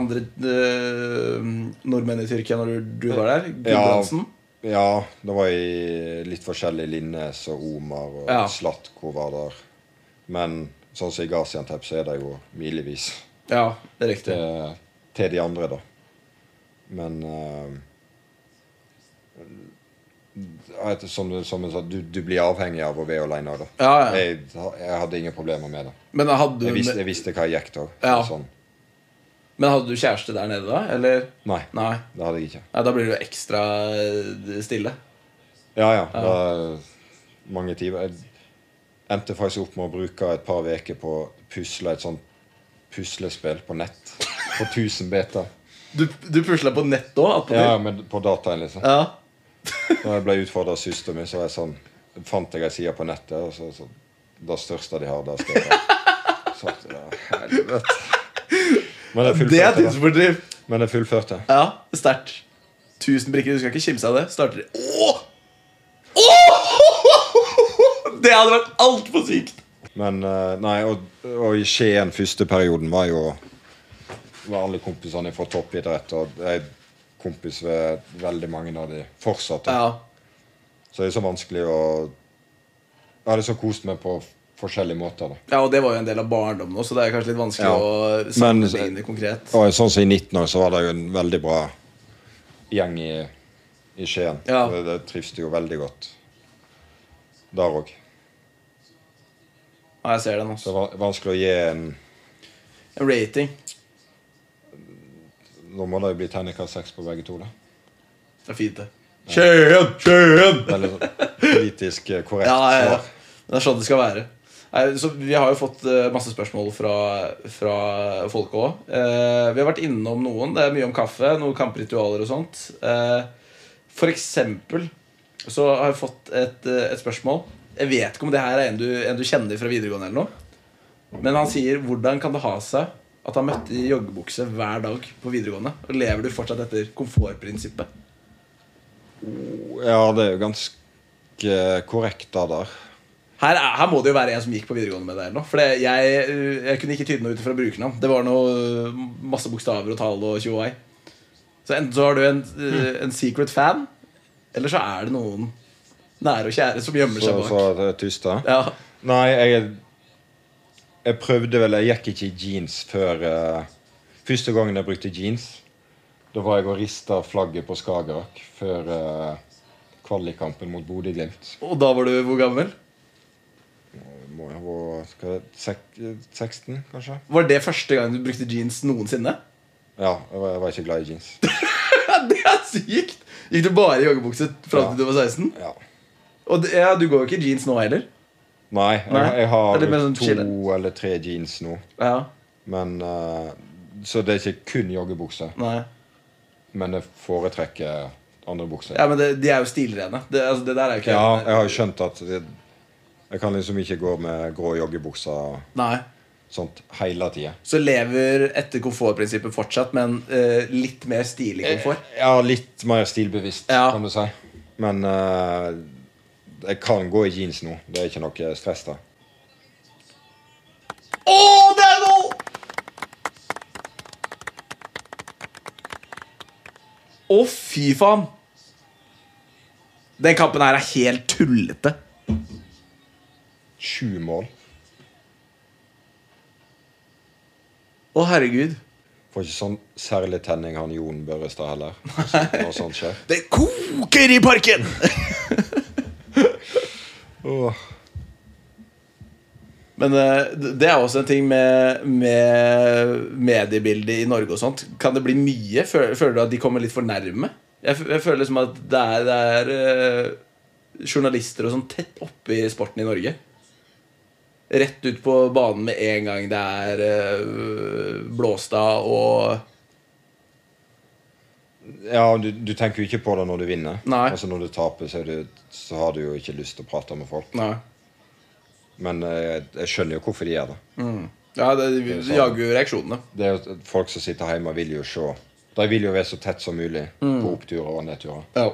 [SPEAKER 2] andre eh, nordmenn i Tyrkia når du, du var der? Gudbrandsen?
[SPEAKER 3] Ja, det var i litt forskjellig Linnes og Omar og
[SPEAKER 2] Ja.
[SPEAKER 3] Slatko var der. Men sånn som i Gaziantep, så er det jo milevis
[SPEAKER 2] Ja. det er riktig.
[SPEAKER 3] til, til de andre, da. Men eh, jeg vet, som, du- som jeg sa, du, du blir avhengig av å være alene. Da.
[SPEAKER 2] Ja, ja.
[SPEAKER 3] Jeg, jeg hadde ingen problemer med det.
[SPEAKER 2] Men hadde,
[SPEAKER 3] Jeg visste,
[SPEAKER 2] du,
[SPEAKER 3] jeg visste hva jeg gikk til.
[SPEAKER 2] Ja.
[SPEAKER 3] Sånn.
[SPEAKER 2] men hadde du kjæreste der nede da, eller?
[SPEAKER 3] Nei,
[SPEAKER 2] Nei.
[SPEAKER 3] det hadde jeg ikke.
[SPEAKER 2] Ja, da blir du ekstra eh, stille.
[SPEAKER 3] Ja, ja. Det er mange timer. Jeg endte faktisk opp med å bruke et par uker på å pusle et sånt puslespill på nett. På 1000 beta.
[SPEAKER 2] Du, du pusla på nett òg? attpåtil?
[SPEAKER 3] Ja, men på dataen, liksom.
[SPEAKER 2] Ja.
[SPEAKER 3] Da jeg ble utfordra av søsteren min, så var jeg sånn, fant jeg ei side på nettet. Og så, så, det største de har, det skal jeg ta. Så, ja, helvete. Men jeg
[SPEAKER 2] Det er
[SPEAKER 3] fullførte. da.
[SPEAKER 2] tidsfordriv.
[SPEAKER 3] Men jeg fullførte.
[SPEAKER 2] Ja, sterkt. Tusen brikker. Du skal ikke kimse av det. Starter Åh! Åh! Det hadde vært altfor sykt!
[SPEAKER 3] Men eh, nei, og, og i Skien første perioden var jo var alle kompisene fra toppidrett, og jeg er kompis ved veldig mange av de fortsatt. da.
[SPEAKER 2] Ja.
[SPEAKER 3] Så det er så vanskelig å Jeg hadde så kost meg på forskjellige måter, da.
[SPEAKER 2] Ja, og det var jo en del av barndommen også, så det er kanskje litt vanskelig
[SPEAKER 3] Ja.
[SPEAKER 2] å
[SPEAKER 3] Men-
[SPEAKER 2] sammenligne konkret.
[SPEAKER 3] Og sånn som i 19 år, så var det jo en veldig bra gjeng i, i Skien.
[SPEAKER 2] Ja.
[SPEAKER 3] Det, det trives jo veldig godt der òg.
[SPEAKER 2] Ja, jeg ser den også.
[SPEAKER 3] Så det var vanskelig å gi en
[SPEAKER 2] En rating.
[SPEAKER 3] Nå må det jo bli terningkast seks på begge to, da.
[SPEAKER 2] Det er fint, det. Skien! Skien!
[SPEAKER 3] Det er litt sånn politisk eh, korrekt
[SPEAKER 2] Ja, ja, ja.
[SPEAKER 3] svar.
[SPEAKER 2] Det er sånn det skal være. Nei, Så vi har jo fått eh, masse spørsmål fra, fra folk òg. Vi har vært innom noen. Det er mye om kaffe, noen kampritualer og sånt. Eh, For eksempel så har jeg fått et, eh, et spørsmål. Jeg vet ikke om det her er en du, en du kjenner fra videregående eller noe. Men han sier hvordan kan det ha seg at han møtte i joggebukse hver dag på videregående? Og lever du fortsatt etter komfortprinsippet?
[SPEAKER 3] Ja, det er jo ganske korrekt, da, der.
[SPEAKER 2] Her, er, her må det jo være en som gikk på videregående med deg. eller noe. For det- jeg, uh, jeg kunne ikke tyde noe ut fra brukernavn. Det var noe uh, masse bokstaver og tall og tjoei. Så enten så har du en, uh, en secret fan, eller så er det noen nære og kjære som gjemmer
[SPEAKER 3] Så,
[SPEAKER 2] seg bak.
[SPEAKER 3] så det er Tystad.
[SPEAKER 2] Ja,
[SPEAKER 3] Nei, jeg Jeg prøvde vel Jeg gikk ikke i jeans før eh, Første gangen jeg brukte jeans, da var jeg og rista flagget på Skagerrak før eh, kvalikkampen mot Bodø-Glimt.
[SPEAKER 2] Og da var du hvor gammel?
[SPEAKER 3] Må jeg være hva er det, sek- 16, kanskje?
[SPEAKER 2] Var det første gang du brukte jeans noensinne?
[SPEAKER 3] Ja, jeg var, jeg var ikke glad i jeans.
[SPEAKER 2] det er sykt! Gikk du bare i joggebukse fram til du
[SPEAKER 3] Ja.
[SPEAKER 2] var 16?
[SPEAKER 3] Ja.
[SPEAKER 2] Og det, ja, du går jo ikke i jeans nå heller.
[SPEAKER 3] Nei, jeg,
[SPEAKER 2] Nei,
[SPEAKER 3] jeg har
[SPEAKER 2] det er litt mer sånn
[SPEAKER 3] to
[SPEAKER 2] chille.
[SPEAKER 3] eller tre jeans nå.
[SPEAKER 2] Ja,
[SPEAKER 3] Men eh, Så det er ikke kun joggebukse.
[SPEAKER 2] nei
[SPEAKER 3] Men jeg foretrekker andre bukser.
[SPEAKER 2] Ja, men det, De er jo stilrene. Det, altså, det der er jo ikke
[SPEAKER 3] Ja, jeg har jo skjønt at det, jeg kan liksom ikke gå med grå joggebukser og
[SPEAKER 2] Nei.
[SPEAKER 3] sånt hele tida.
[SPEAKER 2] Så lever etter komfortprinsippet fortsatt, men eh, litt mer stilig komfort.
[SPEAKER 3] Ja, litt mer stilbevisst,
[SPEAKER 2] Ja.
[SPEAKER 3] kan du si. Men eh, jeg kan gå i jeans nå. Det er ikke noe stress da.
[SPEAKER 2] Å, Eh, det er goal! Å, fy faen! Den kampen her er helt tullete.
[SPEAKER 3] Sju mål.
[SPEAKER 2] Å, herregud.
[SPEAKER 3] Får ikke sånn særlig tenning han Jon Børrestad heller. Når når sånt skjer.
[SPEAKER 2] Det koker i parken!
[SPEAKER 3] Åh.
[SPEAKER 2] Men eh, det er også en ting med, med mediebildet i Norge og sånt. Kan det bli mye? Føler, føler du at de kommer litt for nærme? Jeg, f- jeg føler liksom at det er, det er eh, journalister og sånn tett oppe i sporten i Norge. Rett ut på banen med en gang det er eh, Blåstad og
[SPEAKER 3] Ja, du, du tenker jo ikke på det når du vinner.
[SPEAKER 2] Nei.
[SPEAKER 3] Altså Når du taper, så, er du, så har du jo ikke lyst til å prate med folk.
[SPEAKER 2] Nei.
[SPEAKER 3] Men eh, jeg, jeg skjønner jo hvorfor de gjør det.
[SPEAKER 2] Ja, det, de
[SPEAKER 3] sant.
[SPEAKER 2] jager jo reaksjonene.
[SPEAKER 3] det er jo folk som sitter hjemme og vil jo se. De vil jo være så tett som mulig
[SPEAKER 2] Mm.
[SPEAKER 3] på oppturer og nedturer.
[SPEAKER 2] Ja.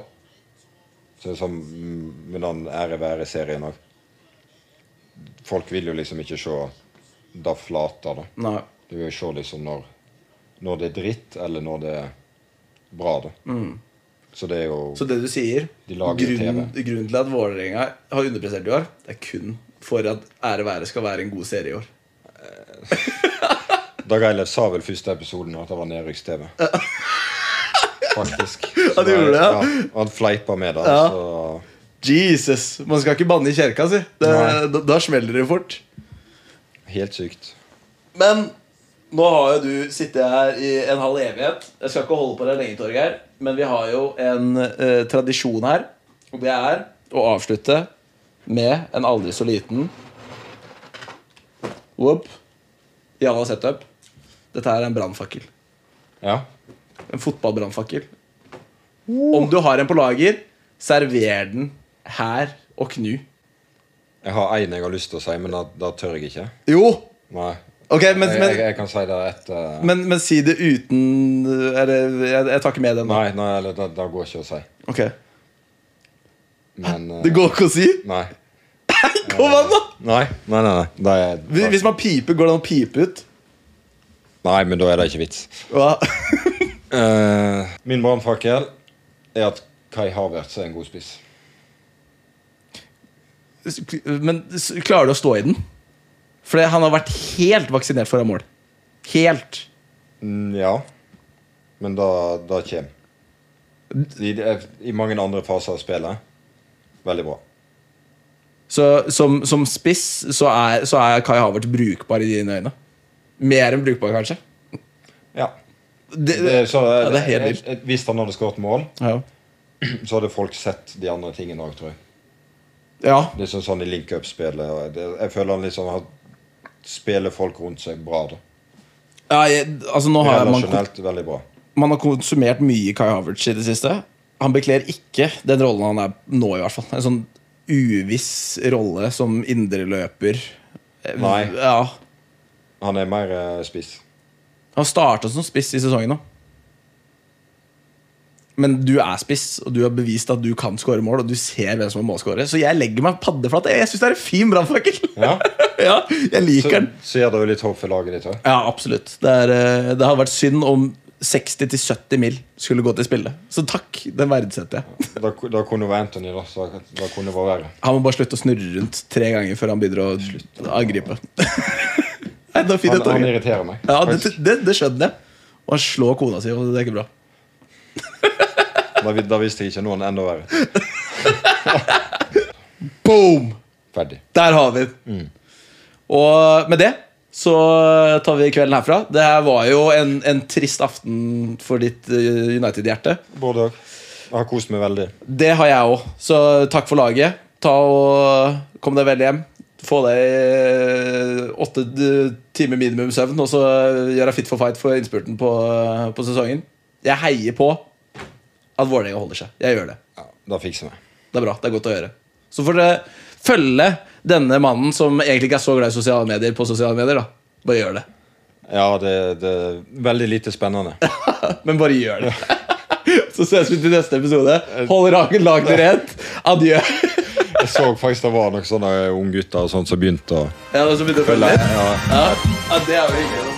[SPEAKER 3] Så det er sånn mm, med den ære være-serien òg. Folk vil jo liksom ikke se da flater, da.
[SPEAKER 2] Nei.
[SPEAKER 3] De vil jo se liksom når, når det er dritt, eller når det er bra, da. Så det er jo
[SPEAKER 2] Mm. Så det du sier,
[SPEAKER 3] De lager jo
[SPEAKER 2] grunnen, grunnen til at Vålerenga har underprestert i år, det er kun for at ære være skal være en god serie i år.
[SPEAKER 3] Dag Eilef sa vel første episoden at det var nedrykks-TV. Faktisk.
[SPEAKER 2] Ja, de gjorde det, ja.
[SPEAKER 3] han fleipa med det.
[SPEAKER 2] Ja.
[SPEAKER 3] Så
[SPEAKER 2] Jesus! Man skal ikke banne i kjerka si. Det,
[SPEAKER 3] Nei.
[SPEAKER 2] da, da smeller det fort.
[SPEAKER 3] helt sykt.
[SPEAKER 2] Men nå har jo du sittet her i en halv evighet. Jeg skal ikke holde på deg lenge, Torgeir, men vi har jo en eh, tradisjon her. Og det er å avslutte med en aldri så liten Whoop. Jalla setup. Dette er en brannfakkel.
[SPEAKER 3] Ja.
[SPEAKER 2] En fotballbrannfakkel. Om du har en på lager, server den her og knu.
[SPEAKER 3] Jeg har en jeg har lyst til å si, men da, da tør jeg ikke.
[SPEAKER 2] Jo!
[SPEAKER 3] Nei.
[SPEAKER 2] Ok, men,
[SPEAKER 3] jeg, jeg,
[SPEAKER 2] men,
[SPEAKER 3] jeg kan si det eh, etter
[SPEAKER 2] men, men si det uten Eller jeg, jeg tar ikke med den. nå.
[SPEAKER 3] Nei, nei eller, det, det går ikke å si.
[SPEAKER 2] Ok.
[SPEAKER 3] Men eh,
[SPEAKER 2] Det går ikke å si?
[SPEAKER 3] Nei.
[SPEAKER 2] Kom an, da!
[SPEAKER 3] Nei, nei, nei. nei. Det er,
[SPEAKER 2] Hvis- Hvis man piper, går det an å pipe ut?
[SPEAKER 3] nei, men da er det ikke vits.
[SPEAKER 2] Hva?
[SPEAKER 3] Eh, min brannfakkel er at Kai Havertz er en god spiss.
[SPEAKER 2] Men s- klarer du å stå i den? For det- han har vært helt vaksinert foran mål. Helt.
[SPEAKER 3] Mm, ja. Men da, da kommer. I, I mange andre faser av spillet. Veldig bra.
[SPEAKER 2] Så som, som spiss så er, så er Kai Havert brukbar i dine øyne. Mer enn brukbar, kanskje.
[SPEAKER 3] Ja.
[SPEAKER 2] Det,
[SPEAKER 3] Det, er- så, eh,
[SPEAKER 2] ja, det er helt vilt.
[SPEAKER 3] jeg- jeg- Hvis han hadde skåret mål,
[SPEAKER 2] Ja.
[SPEAKER 3] så hadde folk sett de andre tingene òg, tror jeg.
[SPEAKER 2] Ja.
[SPEAKER 3] Liksom sånn i link-up-spillet. og det- Jeg føler han liksom har spiller folk rundt seg bra. da
[SPEAKER 2] ja jeg, altså, nå har man, kon-
[SPEAKER 3] Relasjonelt veldig bra.
[SPEAKER 2] man har konsumert mye Kai Havertz i det siste. Han bekler ikke den rollen han er nå, i hvert fall. En sånn uviss rolle som indreløper.
[SPEAKER 3] Nei.
[SPEAKER 2] Ja.
[SPEAKER 3] Han er mer eh, spiss.
[SPEAKER 2] Han starta som spiss i sesongen nå. Men du er spiss, og du har bevist at du kan skåre mål. Og du ser hvem som er målskårer Så jeg legger meg paddeflat. Jeg syns det er en fin brannfakkel!
[SPEAKER 3] Ja.
[SPEAKER 2] ja, jeg
[SPEAKER 3] Så,
[SPEAKER 2] liker den.
[SPEAKER 3] så gir det jo litt håp for laget ditt òg.
[SPEAKER 2] Ja, absolutt. Det, er, eh, det hadde vært synd om 60-70 mil skulle gå til spille. Så takk, den verdsetter jeg.
[SPEAKER 3] Da, ku- da kunne det vært Anthony, da. Så da da kunne det vært verre.
[SPEAKER 2] Han må bare slutte å snurre rundt tre ganger før han begynner å angripe. Nei, det var fint jeg
[SPEAKER 3] Han,
[SPEAKER 2] tok
[SPEAKER 3] han
[SPEAKER 2] det.
[SPEAKER 3] irriterer meg.
[SPEAKER 2] Ja, det,
[SPEAKER 3] faktisk.
[SPEAKER 2] det, det skjønner jeg. Og han slår kona si, og det er ikke bra.
[SPEAKER 3] Da, vi- da visste jeg ikke noen enda verre.
[SPEAKER 2] Boom!
[SPEAKER 3] Ferdig.
[SPEAKER 2] Der har vi den.
[SPEAKER 3] Mm.
[SPEAKER 2] Og med det så tar vi kvelden herfra. Det her var jo en, en trist aften for ditt eh, United-hjerte.
[SPEAKER 3] Både òg. Jeg har kost meg veldig.
[SPEAKER 2] Det har jeg òg. Så takk for laget. Ta og Kom deg vel hjem. Få deg eh, åtte d- timer minimum søvn, og så gjør deg fit for fight for innspurten på, eh, på sesongen. Jeg heier på at Vålerenga holder seg. Jeg gjør det.
[SPEAKER 3] Ja, da fikser vi.
[SPEAKER 2] Det er bra. Det er godt å høre. Så får dere følge denne mannen som egentlig ikke er så glad i sosiale medier, på sosiale medier. da Bare gjør det.
[SPEAKER 3] Ja, det, det er veldig lite spennende.
[SPEAKER 2] Men bare gjør det. Så ses vi til neste episode. Hold ragen lagene rent. Adjø.
[SPEAKER 3] Jeg så faktisk det var noen sånne unggutter og sånt som begynte å
[SPEAKER 2] Ja, det er så begynte å
[SPEAKER 3] følge
[SPEAKER 2] følge.
[SPEAKER 3] ja.
[SPEAKER 2] Ja, ja det er jo hyggelig. da.